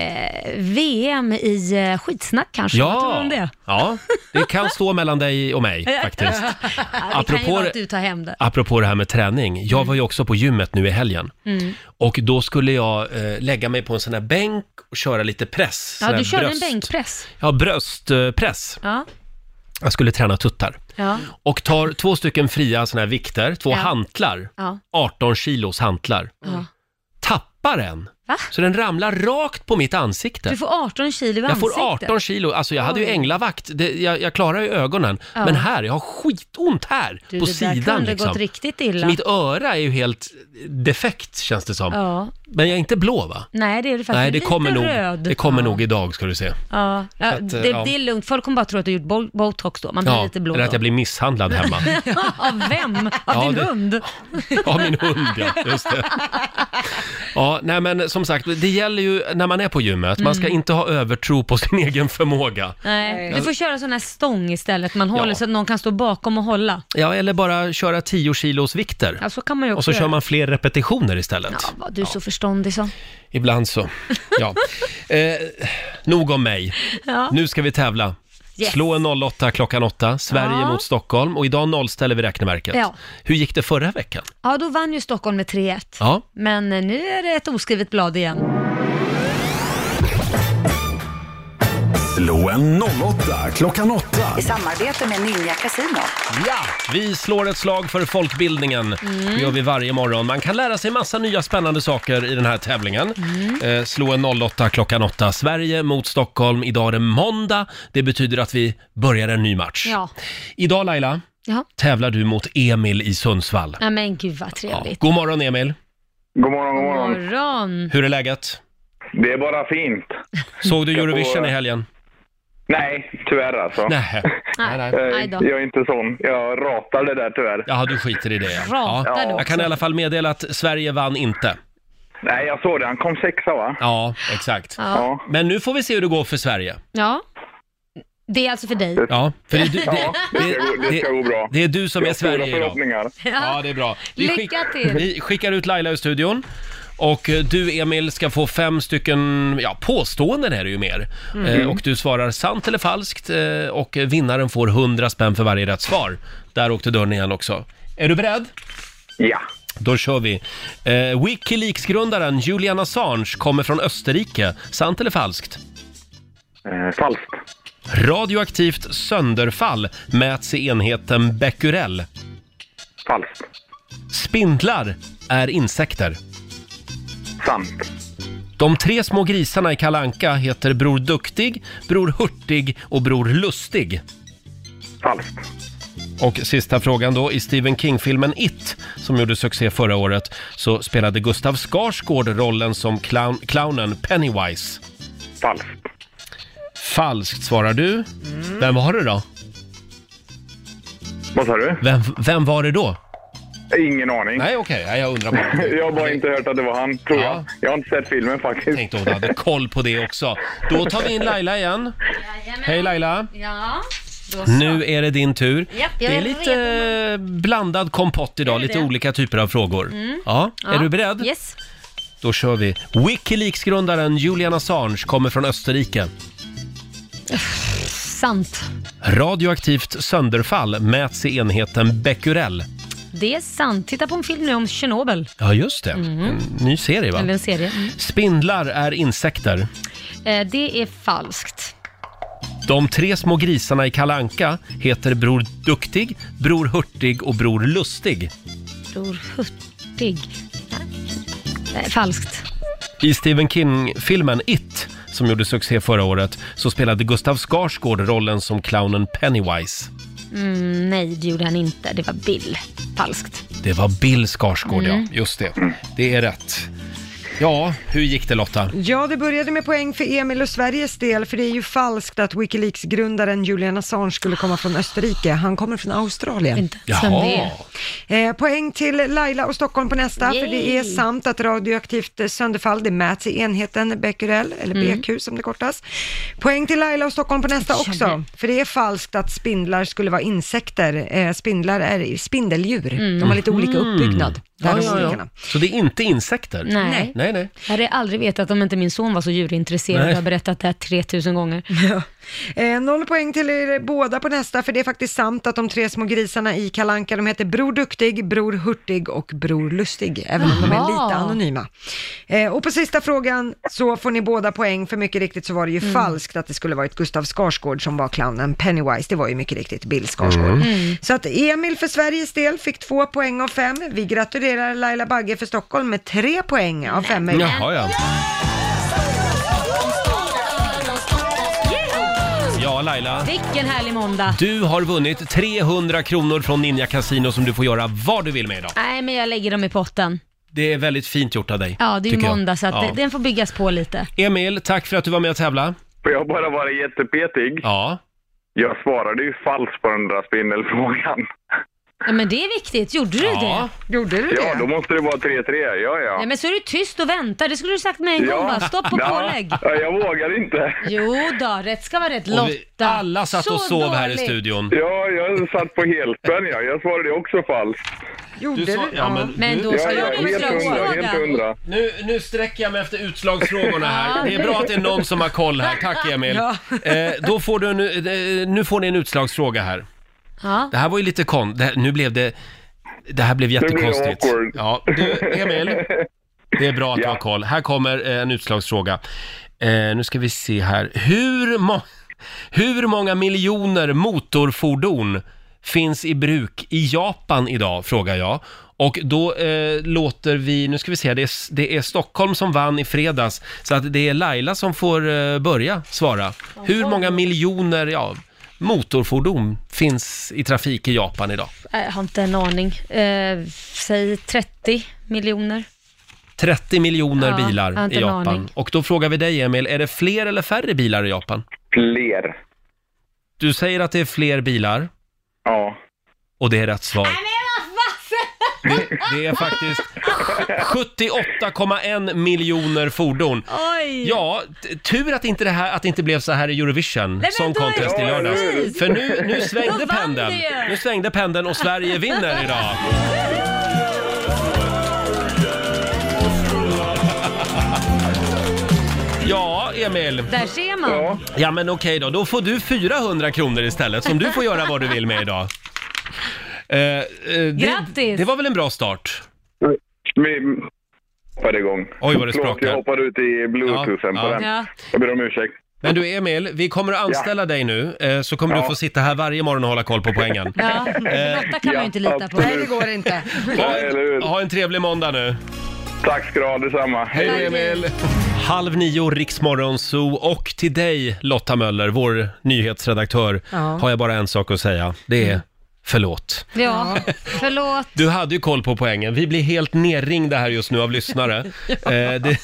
[SPEAKER 2] VM i eh, skitsnack kanske. Vad tror du om det?
[SPEAKER 1] ja, det kan stå mellan dig och mig faktiskt.
[SPEAKER 2] Ja, det kan ju
[SPEAKER 1] Apropå
[SPEAKER 2] vara
[SPEAKER 1] det-
[SPEAKER 2] att du tar hem det.
[SPEAKER 1] Apropå det här med träning, jag var ju också på gymmet nu i helgen.
[SPEAKER 2] Mm.
[SPEAKER 1] Och då skulle jag eh, lägga mig på en sån här bänk och köra lite press. sån
[SPEAKER 2] Ja,
[SPEAKER 1] här
[SPEAKER 2] du körde
[SPEAKER 1] bröst-
[SPEAKER 2] en bänkpress.
[SPEAKER 1] Ja, bröstpress.
[SPEAKER 2] Ja.
[SPEAKER 1] Jag skulle träna tuttar.
[SPEAKER 2] Ja.
[SPEAKER 1] Och tar två stycken fria såna här vikter, två
[SPEAKER 2] Ja.
[SPEAKER 1] hantlar.
[SPEAKER 2] Ja.
[SPEAKER 1] 18 kilos hantlar.
[SPEAKER 2] ja.
[SPEAKER 1] Tappar en! Så den ramlar rakt på mitt ansikte.
[SPEAKER 2] Du får 18 kilo i
[SPEAKER 1] jag
[SPEAKER 2] ansiktet.
[SPEAKER 1] får 18 kilo, alltså jag hade ju
[SPEAKER 2] Oj.
[SPEAKER 1] änglavakt, det, jag, jag klarar ju ögonen.
[SPEAKER 2] Ja.
[SPEAKER 1] Men här, jag har skitont här,
[SPEAKER 2] Du,
[SPEAKER 1] på
[SPEAKER 2] det
[SPEAKER 1] sidan
[SPEAKER 2] där kunde
[SPEAKER 1] liksom.
[SPEAKER 2] gått riktigt illa.
[SPEAKER 1] Mitt öra är ju helt defekt känns det som.
[SPEAKER 2] Ja.
[SPEAKER 1] Men jag är inte blå va?
[SPEAKER 2] Nej, det är du faktiskt.
[SPEAKER 1] Nej, det
[SPEAKER 2] Lite
[SPEAKER 1] kommer, nog,
[SPEAKER 2] röd.
[SPEAKER 1] det kommer
[SPEAKER 2] ja.
[SPEAKER 1] nog idag ska du se.
[SPEAKER 2] Ja, ja,
[SPEAKER 1] att,
[SPEAKER 2] det,
[SPEAKER 1] ja.
[SPEAKER 2] det är lugnt. Folk kommer bara tro att du har gjort bol- botox då. Man blir lite blå
[SPEAKER 1] eller
[SPEAKER 2] då.
[SPEAKER 1] att jag blir misshandlad hemma.
[SPEAKER 2] Av vem? Av
[SPEAKER 1] Ja,
[SPEAKER 2] din
[SPEAKER 1] det-
[SPEAKER 2] hund?
[SPEAKER 1] Av min hund, ja. Just det. Ja, nej men som sagt, det gäller ju när man är på gymmet, man ska
[SPEAKER 2] Mm.
[SPEAKER 1] inte ha övertro på sin egen förmåga.
[SPEAKER 2] Nej. Du får köra sån här stång istället, man håller
[SPEAKER 1] Ja.
[SPEAKER 2] så att någon kan stå bakom och hålla.
[SPEAKER 1] Ja, eller bara köra 10 kilos vikter.
[SPEAKER 2] Ja, så kan man ju också
[SPEAKER 1] Och så kör
[SPEAKER 2] göra.
[SPEAKER 1] man fler repetitioner istället.
[SPEAKER 2] Vad Du är så förståndig så.
[SPEAKER 1] Ibland så. Ja. Eh, nog om mig.
[SPEAKER 2] Ja.
[SPEAKER 1] Nu ska vi tävla.
[SPEAKER 2] Yes.
[SPEAKER 1] Slå en 08 klockan 8, Sverige
[SPEAKER 2] Ja.
[SPEAKER 1] mot Stockholm och idag nollställer vi räkneverket.
[SPEAKER 2] Ja.
[SPEAKER 1] Hur gick det förra veckan?
[SPEAKER 2] Ja, då vann ju Stockholm med 3-1.
[SPEAKER 1] Ja.
[SPEAKER 2] Men eh, nu är det ett oskrivet blad igen.
[SPEAKER 13] Slå en 08 klockan 8.
[SPEAKER 14] I samarbete med Ninja Casino.
[SPEAKER 1] Ja! Vi slår ett slag för folkbildningen.
[SPEAKER 14] Mm.
[SPEAKER 1] Det gör vi varje morgon. Man kan lära sig massa nya spännande saker i den här tävlingen.
[SPEAKER 2] Mm.
[SPEAKER 1] Eh, slå en 08 klockan 8. Sverige mot Stockholm. Idag är det måndag. Det betyder att vi börjar en ny match.
[SPEAKER 2] Ja.
[SPEAKER 1] Idag Laila,
[SPEAKER 2] Ja.
[SPEAKER 1] tävlar du mot Emil i Sundsvall.
[SPEAKER 2] Nej men gud vad trevligt.
[SPEAKER 1] God morgon Emil.
[SPEAKER 15] God morgon, god
[SPEAKER 2] God
[SPEAKER 15] morgon.
[SPEAKER 2] morgon.
[SPEAKER 1] Mm. Hur är läget?
[SPEAKER 15] Det är bara fint.
[SPEAKER 1] Såg du
[SPEAKER 15] Jag får-
[SPEAKER 1] Eurovision i helgen?
[SPEAKER 15] Nej, tyvärr alltså.
[SPEAKER 1] Nej.
[SPEAKER 2] Nej, nej.
[SPEAKER 8] Eh,
[SPEAKER 15] Jag,
[SPEAKER 2] Aj då.
[SPEAKER 15] jag är inte sån. Jag ratar det där tyvärr.
[SPEAKER 1] Jaha, du skiter i det ja.
[SPEAKER 15] Ratar du
[SPEAKER 1] ja.
[SPEAKER 15] också?
[SPEAKER 1] Jag kan i alla fall meddela att Sverige vann inte.
[SPEAKER 15] Nej, jag såg det. Han kom sexa va?
[SPEAKER 1] Ja, exakt.
[SPEAKER 2] Ja.
[SPEAKER 1] Men nu får vi se hur det går för Sverige.
[SPEAKER 2] Ja. Det är alltså för dig.
[SPEAKER 1] Ja, för det är du, det,
[SPEAKER 2] Ja, det ska gå- det ska gå bra.
[SPEAKER 1] Det är du som
[SPEAKER 15] Jag
[SPEAKER 1] är
[SPEAKER 15] har stora
[SPEAKER 1] Sverige
[SPEAKER 15] förhoppningar.
[SPEAKER 1] idag. Ja, det är bra.
[SPEAKER 2] Lycka till.
[SPEAKER 1] Vi skickar ut Laila ur studion. Och eh, du Emil ska få fem stycken, ja påståenden är det ju mer.
[SPEAKER 2] Mm.
[SPEAKER 1] Eh, och du svarar sant eller falskt eh, och vinnaren får 100 spänn för varje rätt svar. Där åkte dörren igen också. Är du beredd?
[SPEAKER 15] Ja.
[SPEAKER 1] Då kör vi. Eh, Wikileaks-grundaren Julian Assange kommer från Österrike. Sant eller falskt?
[SPEAKER 15] Eh, falskt.
[SPEAKER 1] Radioaktivt sönderfall mäts i enheten becquerel.
[SPEAKER 15] Falskt.
[SPEAKER 1] Spindlar är insekter.
[SPEAKER 15] Sant.
[SPEAKER 1] De tre små grisarna i Kalanka heter Bror Duktig, Bror Hurtig och Bror Lustig.
[SPEAKER 15] Falskt.
[SPEAKER 1] Och sista frågan då. I Stephen King-filmen It, som gjorde succé förra året, så spelade Gustav Skarsgård rollen som clown, clownen Pennywise.
[SPEAKER 15] Falskt.
[SPEAKER 1] Falskt svarar du. Vem var det då?
[SPEAKER 15] Vad sa du?
[SPEAKER 1] Vem, vem var det då?
[SPEAKER 15] Ingen aning.
[SPEAKER 1] Nej, okej. Jag undrar bara.
[SPEAKER 15] jag har bara inte hört att det var han, tror jag. Jag har inte sett filmen faktiskt.
[SPEAKER 1] Tänkte hon hade koll på det också. Då tar vi in Laila igen. Hej Laila!
[SPEAKER 2] Ja. Då så.
[SPEAKER 1] Nu är det din tur.
[SPEAKER 2] Japp, jag
[SPEAKER 1] det är
[SPEAKER 2] är
[SPEAKER 1] lite blandad kompott idag,
[SPEAKER 2] Är det
[SPEAKER 1] lite
[SPEAKER 2] det?
[SPEAKER 1] olika typer av frågor.
[SPEAKER 2] Mm.
[SPEAKER 1] Ja, är du beredd?
[SPEAKER 2] Yes.
[SPEAKER 1] Då kör vi. Wikileaks-grundaren Julian Assange kommer från Österrike.
[SPEAKER 2] Sant.
[SPEAKER 1] Radioaktivt sönderfall mäts i enheten becquerel.
[SPEAKER 2] Det är sant. Titta på en film nu om Tjernobyl.
[SPEAKER 1] Ja, just det.
[SPEAKER 2] Mm.
[SPEAKER 1] En ny serie, va?
[SPEAKER 2] Eller en serie. Mm.
[SPEAKER 1] Spindlar är insekter.
[SPEAKER 2] Eh, Det är falskt.
[SPEAKER 1] De tre små grisarna i Kalanka heter Bror Duktig, Bror Hurtig och Bror Lustig.
[SPEAKER 2] Bror Hurtig. Nej, falskt.
[SPEAKER 1] I Stephen King-filmen It, som gjorde succé förra året, så spelade Gustav Skarsgård rollen som clownen Pennywise.
[SPEAKER 2] Mm, nej, det gjorde han inte. Det var Bill. Falskt.
[SPEAKER 1] Det var Bill Skarsgård,
[SPEAKER 2] Mm.
[SPEAKER 1] ja. Just det. Det är rätt. Ja, hur gick det Lotta?
[SPEAKER 3] Ja, det började med poäng för Emil och Sveriges del, för det är ju falskt att Wikileaks-grundaren Julian Assange skulle komma från Österrike. Han kommer från Australien. Inte
[SPEAKER 5] ens vem det
[SPEAKER 3] Eh, poäng till Laila och Stockholm på nästa, för det är
[SPEAKER 5] Yay.
[SPEAKER 3] sant att radioaktivt eh, sönderfall, det mäts i enheten becquerel, eller
[SPEAKER 5] Mm.
[SPEAKER 3] BQ som det kortas. Poäng till Laila och Stockholm på nästa
[SPEAKER 5] Jag
[SPEAKER 3] också,
[SPEAKER 5] kände-
[SPEAKER 3] för det är falskt att spindlar skulle vara insekter. Eh, spindlar är spindeldjur, Mm, de har lite olika uppbyggnad.
[SPEAKER 1] Mm.
[SPEAKER 3] Där
[SPEAKER 1] Ja,
[SPEAKER 3] de
[SPEAKER 1] ja, ja.
[SPEAKER 3] olikarna.
[SPEAKER 1] Så det är inte insekter?
[SPEAKER 2] Nej.
[SPEAKER 1] nej, nej.
[SPEAKER 2] Jag hade aldrig vetat om inte min son var så djurintresserad.
[SPEAKER 1] Nej.
[SPEAKER 2] Jag har berättat det här 3000 gånger.
[SPEAKER 3] Eh, noll poäng till er båda på nästa, för det är faktiskt sant att de tre små grisarna i Kalanka, de heter Bror Duktig, Bror Hurtig och Bror Lustig, även om de är
[SPEAKER 5] Jaha.
[SPEAKER 3] lite anonyma. Eh, och på sista frågan så får ni båda poäng, för mycket riktigt så var det ju
[SPEAKER 5] Mm.
[SPEAKER 3] falskt att det skulle varit Gustav Skarsgård som var clownen Pennywise, det var ju mycket riktigt Bill Skarsgård.
[SPEAKER 5] Mm. Mm.
[SPEAKER 3] Så att Emil för Sveriges del fick två poäng av fem. Vi gratulerar Laila Bagge för Stockholm med tre poäng av fem möjliga.
[SPEAKER 1] Jaha, ja. Ja, Laila.
[SPEAKER 2] Vilken härlig måndag.
[SPEAKER 1] Du har vunnit 300 kronor från Ninja Casino som du får göra vad du vill med idag.
[SPEAKER 2] Nej, men jag lägger dem i potten.
[SPEAKER 1] Det är väldigt fint gjort av dig.
[SPEAKER 2] Ja, det är ju
[SPEAKER 1] tycker jag.
[SPEAKER 2] måndag så att
[SPEAKER 1] Ja.
[SPEAKER 2] det- den får byggas på lite.
[SPEAKER 1] Emil, tack för att du var med och tävla.
[SPEAKER 15] Får jag bara vara jättepetig?
[SPEAKER 1] Ja.
[SPEAKER 15] Jag svarade ju falskt på den där spindelfrågan.
[SPEAKER 2] Ja, men det är viktigt. Gjorde du
[SPEAKER 15] Ja.
[SPEAKER 2] det? Gjorde
[SPEAKER 15] Ja, då måste det vara 3-3. Ja, ja.
[SPEAKER 2] Nej, men så är du tyst och väntar. Det skulle du sagt med en gång bara. Stopp och
[SPEAKER 15] Ja.
[SPEAKER 2] pålägg.
[SPEAKER 15] Ja, jag vågar inte.
[SPEAKER 2] Jo då, rätt ska vara rätt.
[SPEAKER 15] Och
[SPEAKER 2] Lotta.
[SPEAKER 15] vi-
[SPEAKER 1] alla satt och sov här i studion.
[SPEAKER 15] Ja, jag satt på helspänn ja. Jag svarade också falskt.
[SPEAKER 3] Gjorde
[SPEAKER 1] du? sa- Ja, men,
[SPEAKER 15] Men då ska Ja, jag ja, ha en helt hundra, utslagsfråga. helt hundra.
[SPEAKER 1] Nu, nu sträcker jag mig efter utslagsfrågorna här. Det är bra att det är någon som har koll här. Tack Emil.
[SPEAKER 5] Ja.
[SPEAKER 1] Eh, då får du en, eh, nu får ni en utslagsfråga här.
[SPEAKER 2] Ja.
[SPEAKER 1] Det här var ju lite kon... Det här, nu blev det... Det här blev
[SPEAKER 5] Nu blir det
[SPEAKER 1] jättekonstigt.
[SPEAKER 5] awkward.
[SPEAKER 1] Ja, du, Emil. Det är bra att du har koll. Här kommer eh, en utslagsfråga. Eh, nu ska vi se här. Hur, må- hur många miljoner motorfordon finns i bruk i Japan idag, frågar jag. Och då eh, låter vi, nu ska vi se, det är, s- det är Stockholm som vann i fredags, så att det är Laila som får eh, börja svara. Hur många miljoner ja, motorfordon finns i trafik i Japan idag?
[SPEAKER 2] Nej, Jag har inte en aning. Eh, säg 30 miljoner.
[SPEAKER 1] 30 miljoner
[SPEAKER 2] Ja, jag har
[SPEAKER 1] bilar
[SPEAKER 2] inte
[SPEAKER 1] i
[SPEAKER 2] en
[SPEAKER 1] Japan.
[SPEAKER 2] aning.
[SPEAKER 1] Och då frågar vi dig Emil, är det fler eller färre bilar i Japan?
[SPEAKER 15] Fler.
[SPEAKER 1] Du säger att det är fler bilar.
[SPEAKER 15] Ja.
[SPEAKER 1] Och det är rätt svar. Det är faktiskt 78,1 miljoner fordon.
[SPEAKER 5] Oj.
[SPEAKER 1] Ja, t- tur att inte det, här, att det inte blev så här i Eurovision
[SPEAKER 5] men
[SPEAKER 1] Song
[SPEAKER 5] då är det
[SPEAKER 1] Contest i
[SPEAKER 5] Ja,
[SPEAKER 1] lördags.
[SPEAKER 5] precis.
[SPEAKER 1] För nu, nu
[SPEAKER 5] Då
[SPEAKER 1] svängde
[SPEAKER 5] vann
[SPEAKER 1] pendeln.
[SPEAKER 5] det ju.
[SPEAKER 1] Nu svängde pendeln och Sverige vinner idag. Ja, Emil.
[SPEAKER 2] Där ser man.
[SPEAKER 1] Ja men okej då, då får du 400 kronor istället som du får göra vad du vill med idag. Eh, eh, Det,
[SPEAKER 2] Grattis!
[SPEAKER 1] det var väl en bra start?
[SPEAKER 15] Vi hoppade igång.
[SPEAKER 1] Oj, vad det
[SPEAKER 15] Förlåt,
[SPEAKER 1] sprakar.
[SPEAKER 15] Jag hoppade ut i bluetoothen
[SPEAKER 1] Ja,
[SPEAKER 15] på
[SPEAKER 1] ja.
[SPEAKER 15] den.
[SPEAKER 1] Ja.
[SPEAKER 15] Jag ber om ursäkt.
[SPEAKER 1] Men du Emil, vi kommer att anställa dig nu eh, så kommer du få sitta här varje morgon och hålla koll på poängen.
[SPEAKER 2] Ja, Lotta kan man ju inte lita på.
[SPEAKER 15] absolut. Nej, det
[SPEAKER 3] går inte.
[SPEAKER 1] Ha en trevlig måndag nu.
[SPEAKER 15] Tack ska du ha, detsamma.
[SPEAKER 1] Hej Emil! Halv nio, Riksmorgon Zoo och till dig Lotta Möller, vår nyhetsredaktör,
[SPEAKER 2] Ja.
[SPEAKER 1] har jag bara en sak att säga. Det är förlåt.
[SPEAKER 2] Ja, förlåt.
[SPEAKER 1] Du hade ju koll på poängen. Vi blir helt nerringda här just nu av lyssnare. eh, det,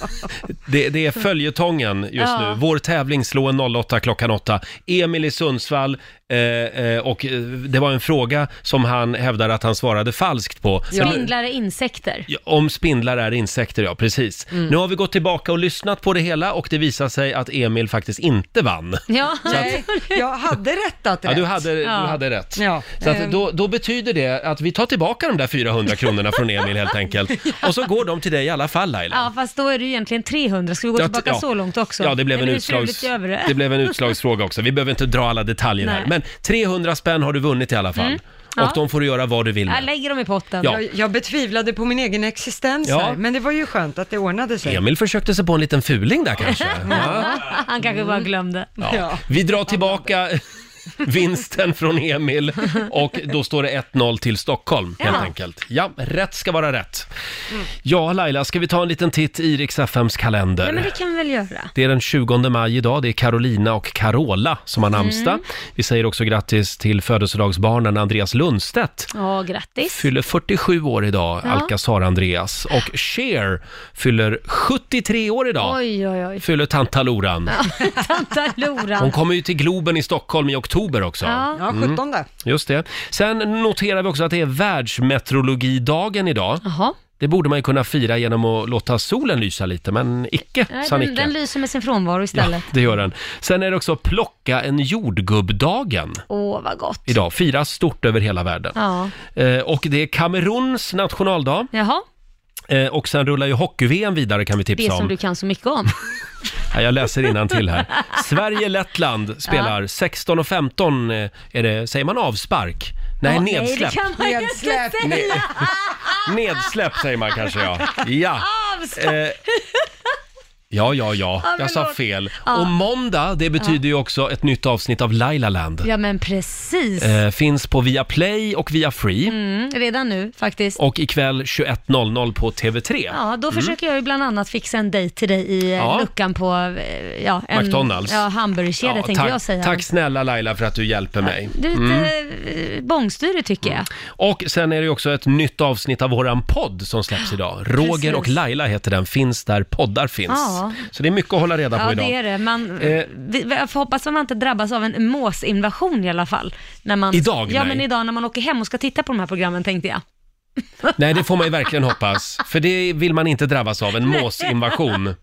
[SPEAKER 1] det, det är följetongen just
[SPEAKER 5] Ja.
[SPEAKER 1] nu. Vår tävling slår en 08 klockan 8. Emil i Sundsvall eh, eh, och eh, det var en fråga som han hävdar att han svarade falskt på. Men-
[SPEAKER 2] Spindlar är insekter.
[SPEAKER 1] Ja, Om spindlar är insekter, ja precis.
[SPEAKER 2] Mm.
[SPEAKER 1] Nu har vi gått tillbaka och lyssnat på det hela och det visar sig att Emil faktiskt inte vann.
[SPEAKER 2] Ja,
[SPEAKER 3] Nej, jag hade rättat
[SPEAKER 1] Ja,
[SPEAKER 3] rätt.
[SPEAKER 1] du hade, du hade rätt.
[SPEAKER 3] Ja.
[SPEAKER 1] Så att
[SPEAKER 3] Ehm.
[SPEAKER 1] då, då betyder det att vi tar tillbaka de där 400 kronorna från Emil helt enkelt. Och så går de till dig i alla fall Laila.
[SPEAKER 2] Ja, fast då är det ju egentligen 300. Ska vi gå
[SPEAKER 1] Ja,
[SPEAKER 2] tillbaka
[SPEAKER 1] ja.
[SPEAKER 2] så långt också?
[SPEAKER 1] Ja, det blev, en,
[SPEAKER 2] Eller hur
[SPEAKER 1] utslags...
[SPEAKER 2] struligt gör vi
[SPEAKER 1] det blev en utslagsfråga också. Vi behöver inte dra alla detaljer här.
[SPEAKER 2] Nej.
[SPEAKER 1] Men 300 spänn har du vunnit i alla fall.
[SPEAKER 2] Mm.
[SPEAKER 10] Ja.
[SPEAKER 1] och de får du göra vad du vill med.
[SPEAKER 10] Jag lägger dem i potten.
[SPEAKER 1] Ja.
[SPEAKER 3] Jag, jag betvivlade på min egen existens
[SPEAKER 1] Ja.
[SPEAKER 3] här, men det var ju skönt att det ordnade sig.
[SPEAKER 1] Emil försökte sig på en liten fuling där kanske. Ja.
[SPEAKER 2] Han kanske bara glömde.
[SPEAKER 1] Ja. Vi drar tillbaka vinsten från Emil och då står det 1-0 till Stockholm helt
[SPEAKER 2] Ja.
[SPEAKER 1] enkelt. Ja, rätt ska vara rätt. Ja, Laila, ska vi ta en liten titt i Rix FMs kalender?
[SPEAKER 2] Ja, men det kan vi väl göra.
[SPEAKER 1] Det är den 20 maj idag, det är Carolina och Carola som har namnsdag.
[SPEAKER 2] Mm.
[SPEAKER 1] Vi säger också grattis till födelsedagsbarnen Andreas Lundstedt.
[SPEAKER 2] Ja, grattis.
[SPEAKER 1] Fyller 47 år idag,
[SPEAKER 2] Ja.
[SPEAKER 1] Alcazar Andreas. Och Cher fyller 73 år idag.
[SPEAKER 2] Oj, oj, oj.
[SPEAKER 1] Fyller tanta Loran.
[SPEAKER 2] Ja, Tanta Loran.
[SPEAKER 1] Hon kommer ju till Globen i Stockholm i oktober också. Mm.
[SPEAKER 2] Ja. Ja, 17.
[SPEAKER 1] Just det. Sen noterar vi också att det är världsmeteorologidagen idag. Det borde man ju kunna fira genom att låta solen lysa lite, men icke,
[SPEAKER 2] Nej,
[SPEAKER 1] sa
[SPEAKER 2] den,
[SPEAKER 1] Nicke.
[SPEAKER 2] den lyser med sin frånvaro istället.
[SPEAKER 1] Det gör den. Sen är det också plocka en jordgubbdagen
[SPEAKER 2] Åh, vad gott.
[SPEAKER 1] idag. Firas stort över hela världen.
[SPEAKER 2] Ja.
[SPEAKER 1] Eh, och det är Kameruns nationaldag.
[SPEAKER 2] Jaha,
[SPEAKER 1] Eh, och sen rullar ju hockey-VM vidare kan vi
[SPEAKER 2] det
[SPEAKER 1] tipsa
[SPEAKER 2] som
[SPEAKER 1] om.
[SPEAKER 2] du kan så mycket om.
[SPEAKER 1] Ja, jag läser till här. Sverige-Lettland spelar 16 och 15 eh, är det, säger man avspark? Nej,
[SPEAKER 5] Ja, nej,
[SPEAKER 1] nedsläpp.
[SPEAKER 5] det kan man ju inte Nedsläpp. säga.
[SPEAKER 1] Ne- nedsläpp säger man kanske ja. Ja.
[SPEAKER 5] Avspark.
[SPEAKER 1] Eh, Ja, ja, ja.
[SPEAKER 2] Ja,
[SPEAKER 1] Jag sa
[SPEAKER 2] förlåt.
[SPEAKER 1] fel.
[SPEAKER 2] Ja.
[SPEAKER 1] Och måndag, det betyder ju också ett nytt avsnitt av Lailaland.
[SPEAKER 2] Ja, men precis.
[SPEAKER 1] Eh, finns på Viaplay och via Free.
[SPEAKER 2] Mm, redan nu faktiskt.
[SPEAKER 1] Och ikväll 21.00 på TV3.
[SPEAKER 2] Ja, då försöker jag ju bland annat fixa en dejt till dig i eh,
[SPEAKER 1] Mm. Ja.
[SPEAKER 2] luckan på eh, ja, en,
[SPEAKER 1] McDonalds.
[SPEAKER 2] Ja, hamburgerkedja tänkte
[SPEAKER 1] tack,
[SPEAKER 2] jag säga.
[SPEAKER 1] Tack snälla Laila för att du hjälper mig.
[SPEAKER 2] Du är
[SPEAKER 1] Mm.
[SPEAKER 2] lite eh, bångstyrig tycker jag.
[SPEAKER 1] Och sen är det ju också ett nytt avsnitt av våran podd som släpps idag. Roger
[SPEAKER 2] Precis.
[SPEAKER 1] och Laila heter den, finns där poddar finns.
[SPEAKER 2] Ja.
[SPEAKER 1] Så det är mycket att hålla reda på
[SPEAKER 2] Ja,
[SPEAKER 1] idag.
[SPEAKER 2] det är det. Man,
[SPEAKER 1] Eh.
[SPEAKER 2] vi, jag får hoppas att man inte drabbas av en måsinvasion i alla fall. När man,
[SPEAKER 1] Idag,
[SPEAKER 2] Ja,
[SPEAKER 1] nej.
[SPEAKER 2] men idag när man åker hem och ska titta på de här programmen tänkte jag.
[SPEAKER 1] Nej, det får man ju verkligen hoppas. För det vill man inte drabbas av, en
[SPEAKER 2] Nej.
[SPEAKER 1] måsinvasion.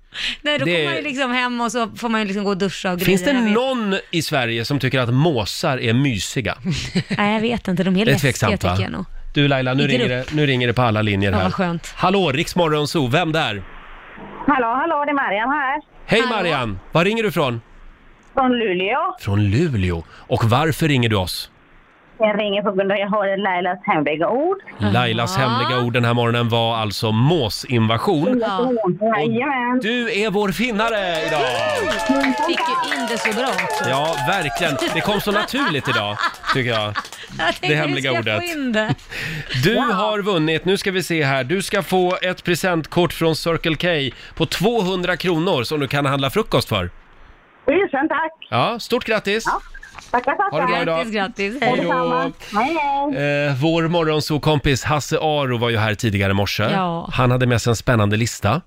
[SPEAKER 2] Nej, då
[SPEAKER 1] Det-
[SPEAKER 2] kommer man ju liksom hem och så får man ju liksom gå och duscha och grejer.
[SPEAKER 1] Finns det
[SPEAKER 2] Jag vet-
[SPEAKER 1] någon i Sverige som tycker att måsar är mysiga?
[SPEAKER 2] Nej, jag vet inte. De är
[SPEAKER 1] Det är
[SPEAKER 2] läskiga
[SPEAKER 1] tveksamt va?
[SPEAKER 2] tycker jag nog.
[SPEAKER 1] Du Laila, nu
[SPEAKER 2] I
[SPEAKER 1] ringer, det,
[SPEAKER 2] grupp.
[SPEAKER 1] nu ringer det på alla linjer
[SPEAKER 2] Ja,
[SPEAKER 1] här.
[SPEAKER 2] vad skönt.
[SPEAKER 1] Hallå, Rix Morgonzoo, vem där?
[SPEAKER 8] Hallå, hallå, det är Mariam här.
[SPEAKER 1] Hej Marianne, var ringer du ifrån?
[SPEAKER 8] Från Luleå.
[SPEAKER 1] Från Luleå. Och varför ringer du oss?
[SPEAKER 8] Jag ringer på grund av att jag hörde Lailas hemliga ord.
[SPEAKER 1] Lailas hemliga ord den här morgonen var alltså måsinvasion.
[SPEAKER 8] Jajamän.
[SPEAKER 1] Du är vår finnare idag!
[SPEAKER 2] Fick ju in det så bra också.
[SPEAKER 1] Ja, verkligen. Det kom så naturligt idag, tycker jag.
[SPEAKER 2] Jag tänkte
[SPEAKER 1] Det hemliga
[SPEAKER 2] vi ska
[SPEAKER 1] ordet.
[SPEAKER 2] Få in det.
[SPEAKER 1] Du har vunnit, nu ska vi se här, du ska få ett presentkort från Circle K på 200 kronor som du kan handla frukost för.
[SPEAKER 8] Tusen tack.
[SPEAKER 1] Ja, stort grattis!
[SPEAKER 8] Tackar, tackar.
[SPEAKER 1] Ha det bra idag. Grattis,
[SPEAKER 2] grattis.
[SPEAKER 1] Hej då.
[SPEAKER 8] Detsamma. Hej, hej.
[SPEAKER 1] Eh, vår morgonsokompis Hasse Aro var ju här tidigare i morse.
[SPEAKER 2] Ja.
[SPEAKER 1] Han hade med sig en spännande lista.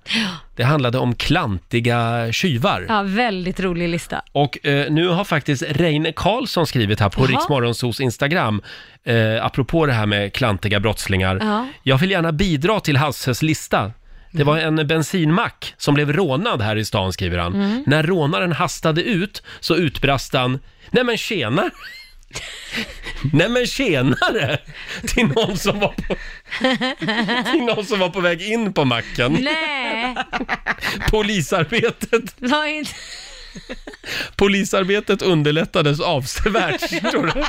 [SPEAKER 1] Det handlade om klantiga tjuvar.
[SPEAKER 2] Ja, väldigt rolig lista.
[SPEAKER 1] Och eh, nu har faktiskt Reine Karlsson skrivit här på
[SPEAKER 2] Jaha.
[SPEAKER 1] Riksmorgonsos Instagram, eh, apropå det här med klantiga brottslingar.
[SPEAKER 2] Ja.
[SPEAKER 1] Jag vill gärna bidra till Hasses lista. Det var en bensinmack som blev rånad här i stan, skriver han.
[SPEAKER 5] Mm.
[SPEAKER 1] När rånaren hastade ut så utbrast han “Nej men tjena!” Nej men tjenare! Till någon som var på, till någon som var på väg in på macken.
[SPEAKER 2] Nej,
[SPEAKER 1] Polisarbetet
[SPEAKER 2] var inte...
[SPEAKER 1] Polisarbetet underlättades avsevärt, förstår du?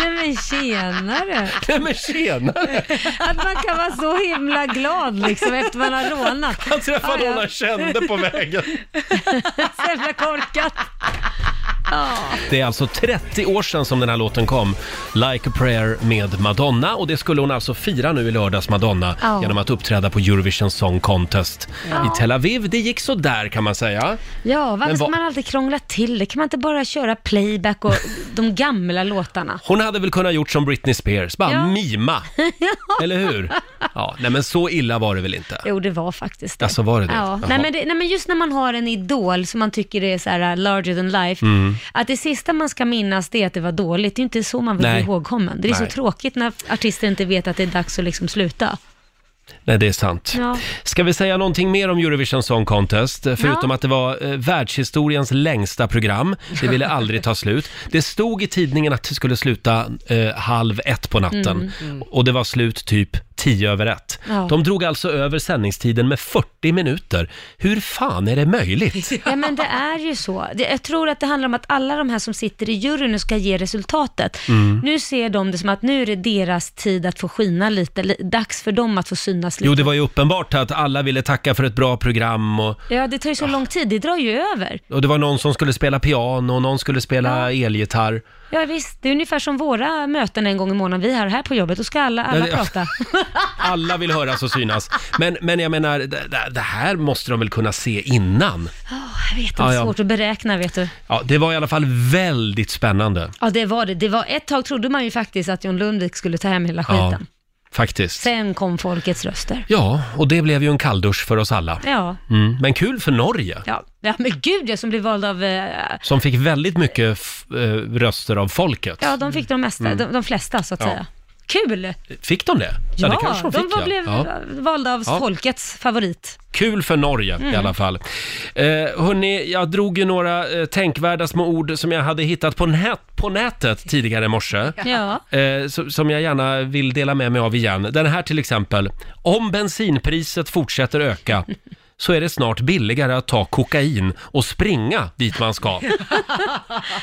[SPEAKER 2] Nej men tjenare.
[SPEAKER 1] Nej men tjenare!
[SPEAKER 2] Att man kan vara så himla glad liksom efter man har rånat.
[SPEAKER 1] Han träffade någon han kände på vägen.
[SPEAKER 2] Så jävla korkat. Ja.
[SPEAKER 1] Det är alltså 30 år sedan som den här låten kom, Like a prayer med Madonna och det skulle hon alltså fira nu i lördags, Madonna,
[SPEAKER 2] Ja.
[SPEAKER 1] genom att uppträda på Eurovision Song Contest
[SPEAKER 2] Ja.
[SPEAKER 1] i Tel Aviv. Det gick så där kan man säga.
[SPEAKER 2] Ja, varför
[SPEAKER 1] Men
[SPEAKER 2] ska
[SPEAKER 1] vad-
[SPEAKER 2] man alltid krångla till det? Kan man inte bara köra playback och de gamla låtarna?
[SPEAKER 1] Hon hade väl kunnat gjort som Britney Spears, bara
[SPEAKER 2] Ja.
[SPEAKER 1] mima, eller hur? Ja, nej men så illa var det väl inte?
[SPEAKER 2] Jo, det var faktiskt det.
[SPEAKER 1] Alltså var det det?
[SPEAKER 2] Ja.
[SPEAKER 1] Jaha.
[SPEAKER 2] Nej, men det, nej, men just när man har en idol som man tycker är så här uh, larger than life,
[SPEAKER 1] Mm.
[SPEAKER 2] att det sista man ska minnas det är att det var dåligt. Det är inte så man vill
[SPEAKER 1] Nej.
[SPEAKER 2] bli ihågkommen. Det är så
[SPEAKER 1] Nej.
[SPEAKER 2] tråkigt när artister inte vet att det är dags att liksom sluta.
[SPEAKER 1] Nej, det är sant.
[SPEAKER 2] Ja.
[SPEAKER 1] Ska vi säga någonting mer om Eurovision Song Contest? Förutom att det var eh, världshistoriens längsta program. Det ville aldrig ta slut. Det stod i tidningen att det skulle sluta eh, halv ett på natten.
[SPEAKER 5] Mm. Mm.
[SPEAKER 1] Och det var slut typ tio över ett.
[SPEAKER 10] Ja.
[SPEAKER 1] De drog alltså över sändningstiden med 40 minuter. Hur fan är det möjligt?
[SPEAKER 2] Ja men det är ju så. Det- Jag tror att det handlar om att alla de här som sitter i juryn nu ska ge resultatet.
[SPEAKER 1] Mm.
[SPEAKER 2] Nu ser de det som att nu är det deras tid att få skina lite, li- dags för dem att få synas lite.
[SPEAKER 1] Jo, det var ju uppenbart att alla ville tacka för ett bra program och,
[SPEAKER 2] Ja, det
[SPEAKER 1] Ah.
[SPEAKER 2] tar ju så lång tid, det drar ju över.
[SPEAKER 1] och det var någon som skulle spela piano och någon skulle spela elgitarr.
[SPEAKER 2] Ja visst, det är ungefär som våra möten en gång i månaden vi har här på jobbet, då ska alla, alla
[SPEAKER 1] Ja, det-
[SPEAKER 2] prata.
[SPEAKER 1] Alla vill höras och synas. Men, men jag menar, det, det- det här måste de väl kunna se innan?
[SPEAKER 2] Jag vet, det
[SPEAKER 1] Ja,
[SPEAKER 2] är
[SPEAKER 1] ja.
[SPEAKER 2] svårt att beräkna vet du.
[SPEAKER 1] Ja, det var i alla fall väldigt spännande.
[SPEAKER 2] Ja det var det, det var ett tag trodde man ju faktiskt att John Lundvik skulle ta hem hela
[SPEAKER 1] Ja,
[SPEAKER 2] skiten.
[SPEAKER 1] faktiskt.
[SPEAKER 2] Sen kom folkets röster.
[SPEAKER 1] Ja, och det blev ju en kalldusch för oss alla.
[SPEAKER 2] Ja,
[SPEAKER 1] Mm, men kul för Norge,
[SPEAKER 2] ja. ja men gud jag som blev vald av eh,
[SPEAKER 1] som fick väldigt mycket f- eh, röster av folket.
[SPEAKER 2] Ja, de fick de, mesta,
[SPEAKER 1] Mm.
[SPEAKER 2] de, de flesta så att
[SPEAKER 1] Ja.
[SPEAKER 2] säga. Kul!
[SPEAKER 1] Fick de det?
[SPEAKER 2] Ja,
[SPEAKER 1] det kanske de
[SPEAKER 2] de
[SPEAKER 1] fick
[SPEAKER 2] var,
[SPEAKER 1] ja.
[SPEAKER 2] blev eh,
[SPEAKER 1] ja.
[SPEAKER 2] valda av
[SPEAKER 1] Ja.
[SPEAKER 2] folkets favorit.
[SPEAKER 1] Kul för Norge i
[SPEAKER 2] Mm.
[SPEAKER 1] alla fall. Eh, hörni, jag drog ju några eh, tänkvärda små ord som jag hade hittat på, nät, på nätet tidigare i morse.
[SPEAKER 2] Ja.
[SPEAKER 1] Eh, so- som jag gärna vill dela med mig av igen. Den här till exempel. Om bensinpriset fortsätter öka så är det snart billigare att ta kokain och springa dit man ska.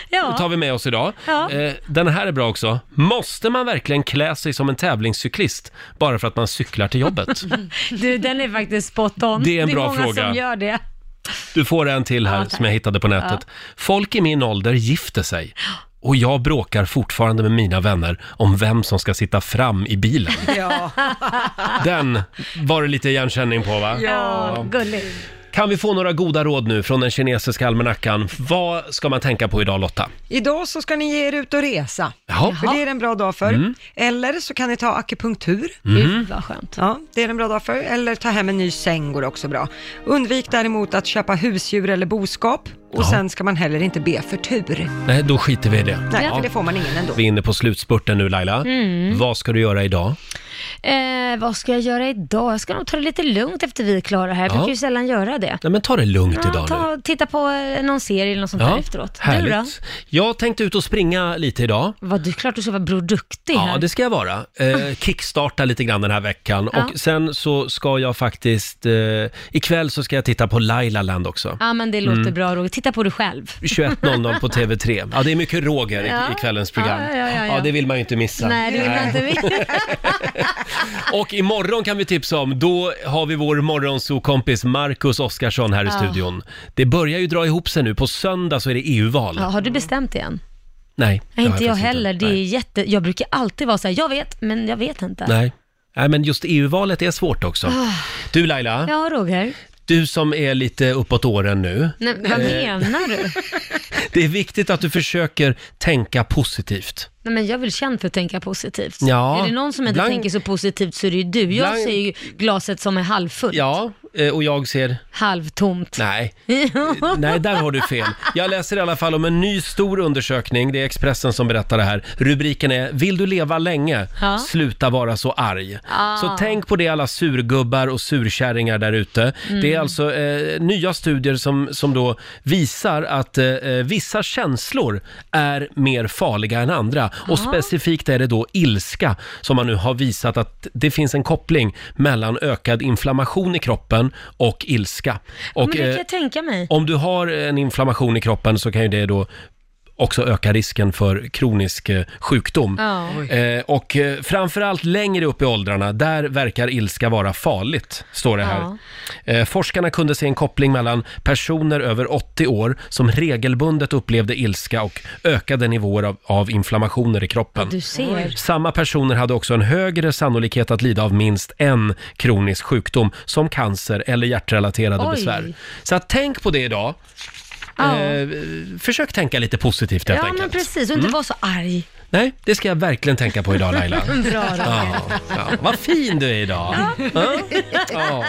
[SPEAKER 2] Ja.
[SPEAKER 1] Det tar vi med oss idag.
[SPEAKER 2] Ja.
[SPEAKER 1] Eh, Den här är bra också. Måste man verkligen klä sig som en tävlingscyklist bara för att man cyklar till jobbet?
[SPEAKER 2] Du, den är faktiskt spot on.
[SPEAKER 1] Det är en bra
[SPEAKER 2] många
[SPEAKER 1] fråga.
[SPEAKER 2] som gör det.
[SPEAKER 1] Du får en till här
[SPEAKER 2] Ja, tack.
[SPEAKER 1] som jag hittade på nätet. Folk i min ålder gifter sig och jag bråkar fortfarande med mina vänner om vem som ska sitta fram i bilen.
[SPEAKER 5] Ja.
[SPEAKER 1] Den var det lite igenkänning på va?
[SPEAKER 5] Ja,
[SPEAKER 2] gulligt.
[SPEAKER 1] Kan vi få några goda råd nu från den kinesiska almanackan? Vad ska man tänka på idag Lotta?
[SPEAKER 3] Idag så ska ni ge er ut och resa.
[SPEAKER 1] Jaha.
[SPEAKER 3] För det är en bra dag för.
[SPEAKER 1] Mm.
[SPEAKER 3] Eller så kan ni ta akupunktur.
[SPEAKER 1] Mm. Gud,
[SPEAKER 2] vad skönt.
[SPEAKER 3] Ja, det är en bra dag för. Eller ta hem en ny säng går också bra. Undvik däremot att köpa husdjur eller boskap. Och sen ska man heller inte be för tur.
[SPEAKER 1] Nej, då skiter vi i det.
[SPEAKER 3] Nej,
[SPEAKER 1] Ja.
[SPEAKER 3] för det får man ingen ändå.
[SPEAKER 1] Vi är inne på slutspurten nu Laila.
[SPEAKER 2] Mm.
[SPEAKER 1] Vad ska du göra idag?
[SPEAKER 2] Eh, vad ska jag göra idag? Jag ska nog ta det lite lugnt efter vi är klara här. Jag
[SPEAKER 1] Ja.
[SPEAKER 2] brukar ju sällan göra det.
[SPEAKER 1] Nej men ta det lugnt
[SPEAKER 2] Ja,
[SPEAKER 1] idag nu.
[SPEAKER 2] ta, titta på eh, någon serie eller något sånt där efteråt. Du då?
[SPEAKER 1] härligt. Jag tänkte ut och springa lite idag.
[SPEAKER 2] Vad, du klart du ska vara produktig
[SPEAKER 1] Ja,
[SPEAKER 2] här. Ah.
[SPEAKER 1] det ska jag vara. Eh, kickstarta lite grann den här veckan.
[SPEAKER 2] Ja.
[SPEAKER 1] Och sen så ska jag faktiskt, eh, ikväll så ska jag titta på Laila Land också.
[SPEAKER 2] Ja, men det låter
[SPEAKER 1] Mm.
[SPEAKER 2] bra Roger. Titta på dig själv.
[SPEAKER 1] 21.00 på TV3. Ja, det är mycket Roger i,
[SPEAKER 2] Ja.
[SPEAKER 1] i kvällens program.
[SPEAKER 2] Ja, ja, ja, ja.
[SPEAKER 1] det vill man ju inte missa.
[SPEAKER 2] Nej, det vill man inte veta.
[SPEAKER 1] Och imorgon kan vi tipsa om, då har vi vår morgonsokompis Marcus Oskarsson här i
[SPEAKER 2] Ja.
[SPEAKER 1] studion. Det börjar ju dra ihop sig nu. På söndag så är det EU-val.
[SPEAKER 2] Ja, har du bestämt det än?
[SPEAKER 1] Nej, det
[SPEAKER 2] Nej,
[SPEAKER 1] har
[SPEAKER 2] inte jag
[SPEAKER 1] faktiskt
[SPEAKER 2] heller. Det är jätte... Jag brukar alltid vara så här, jag vet, men jag vet inte.
[SPEAKER 1] Nej. Nej, men just EU-valet är svårt också.
[SPEAKER 2] Ah.
[SPEAKER 1] Du Laila,
[SPEAKER 2] Ja, Roger.
[SPEAKER 1] du som är lite uppåt åren nu.
[SPEAKER 2] Nej, vad
[SPEAKER 1] Eh,
[SPEAKER 2] menar du?
[SPEAKER 1] Det är viktigt att du försöker tänka positivt.
[SPEAKER 2] Nej, men jag vill känd för att tänka positivt.
[SPEAKER 1] Ja.
[SPEAKER 2] Är det någon som inte
[SPEAKER 1] Blank-
[SPEAKER 2] tänker så positivt så är det ju du. Jag
[SPEAKER 1] Blank-
[SPEAKER 2] ser ju glaset som är halvfullt.
[SPEAKER 1] Ja, eh, och jag ser...
[SPEAKER 2] Halvtomt.
[SPEAKER 1] Nej, Nej, där har du fel. Jag läser i alla fall om en ny stor undersökning. Det är Expressen som berättar det här. Rubriken är “Vill du leva länge?
[SPEAKER 5] Ja.
[SPEAKER 1] Sluta vara så arg”.
[SPEAKER 5] Ah.
[SPEAKER 1] Så tänk på det alla surgubbar och surkärringar där ute.
[SPEAKER 5] Mm.
[SPEAKER 1] Det är alltså eh, nya studier som, som då visar att eh, vissa känslor är mer farliga än andra. Och
[SPEAKER 5] Ah.
[SPEAKER 1] specifikt är det då ilska som man nu har visat att det finns en koppling mellan ökad inflammation i kroppen och ilska.
[SPEAKER 2] Ja,
[SPEAKER 1] Och,
[SPEAKER 2] men det kan
[SPEAKER 1] eh,
[SPEAKER 2] jag tänka mig.
[SPEAKER 1] om du har en inflammation i kroppen så kan ju det då också öka risken för kronisk eh, sjukdom.
[SPEAKER 5] Ja. Oj.
[SPEAKER 1] Eh, och eh, framförallt längre upp i åldrarna, där verkar ilska vara farligt, står det här. Eh, forskarna kunde se en koppling mellan personer över 80 år som regelbundet upplevde ilska och ökade nivåer av, av inflammationer i kroppen.
[SPEAKER 5] du ser. Oj.
[SPEAKER 1] Samma personer hade också en högre sannolikhet att lida av minst en kronisk sjukdom som cancer eller hjärtrelaterade
[SPEAKER 5] Oj.
[SPEAKER 1] besvär. Så att tänk på det idag.
[SPEAKER 2] Ja.
[SPEAKER 1] Eh, försök tänka lite positivt helt
[SPEAKER 2] Ja,
[SPEAKER 1] enkelt.
[SPEAKER 2] men precis. Och inte
[SPEAKER 1] Mm.
[SPEAKER 2] vara så arg.
[SPEAKER 1] Nej, det ska jag verkligen tänka på idag Laila.
[SPEAKER 2] Bra, Roger.
[SPEAKER 1] ja, ja. Vad fin du är idag. Ja. Ja.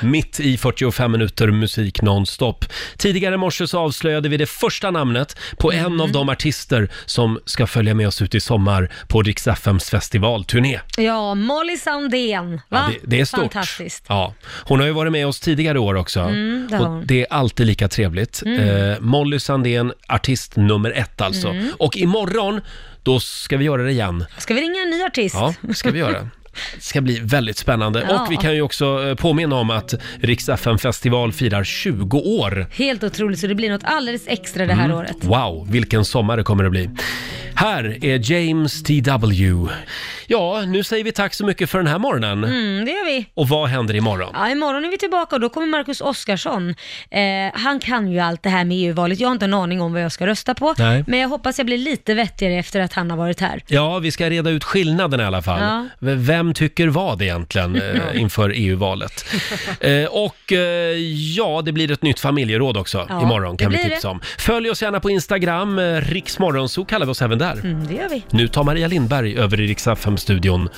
[SPEAKER 1] Mitt i 45 minuter musik nonstop. Tidigare i morse så avslöjade vi det första namnet på en
[SPEAKER 2] Mm.
[SPEAKER 1] av de artister som ska följa med oss ut i sommar på Rix FMs festivalturné.
[SPEAKER 2] Ja, Molly Sandén. Va?
[SPEAKER 1] Ja, det, det är stort.
[SPEAKER 2] Fantastiskt.
[SPEAKER 1] Ja. Hon har ju varit med oss tidigare år också.
[SPEAKER 2] Mm, det har
[SPEAKER 1] och
[SPEAKER 2] hon.
[SPEAKER 1] det är alltid lika trevligt.
[SPEAKER 2] Mm.
[SPEAKER 1] Eh, Molly Sandén, artist nummer ett alltså.
[SPEAKER 2] Mm.
[SPEAKER 1] Och imorgon, då ska vi göra det igen.
[SPEAKER 2] Ska vi ringa en ny artist?
[SPEAKER 1] Ja, ska vi göra. ska bli väldigt spännande.
[SPEAKER 2] Ja.
[SPEAKER 1] Och vi kan ju också eh, påminna om att Rix FM festival firar 20 år.
[SPEAKER 2] Helt otroligt, så det blir något alldeles extra det här
[SPEAKER 1] Mm.
[SPEAKER 2] året.
[SPEAKER 1] Wow, vilken sommar det kommer att bli. Här är James T.W. Ja, nu säger vi tack så mycket för den här morgonen.
[SPEAKER 2] Mm, det gör vi.
[SPEAKER 1] Och vad händer imorgon?
[SPEAKER 2] Ja, imorgon är vi tillbaka och då kommer Marcus Oskarsson. Eh, han kan ju allt det här med EU-valet. Jag har inte en aning om vad jag ska rösta på,
[SPEAKER 1] Nej.
[SPEAKER 2] men jag hoppas jag blir lite vettigare efter att han har varit här.
[SPEAKER 1] Ja, vi ska reda ut skillnaden i alla fall.
[SPEAKER 2] Ja.
[SPEAKER 1] V- Vem tycker vad egentligen eh, inför EU-valet? Eh, och eh, ja, det blir ett nytt familjeråd också
[SPEAKER 2] Ja,
[SPEAKER 1] imorgon kan
[SPEAKER 2] det
[SPEAKER 1] vi
[SPEAKER 2] blir
[SPEAKER 1] tipsa
[SPEAKER 2] det.
[SPEAKER 1] om. Följ oss gärna på Instagram, eh, riksmorgonso kallar vi oss även där.
[SPEAKER 2] Mm, det gör vi.
[SPEAKER 1] Nu tar Maria Lindberg över i Rix FM-studion.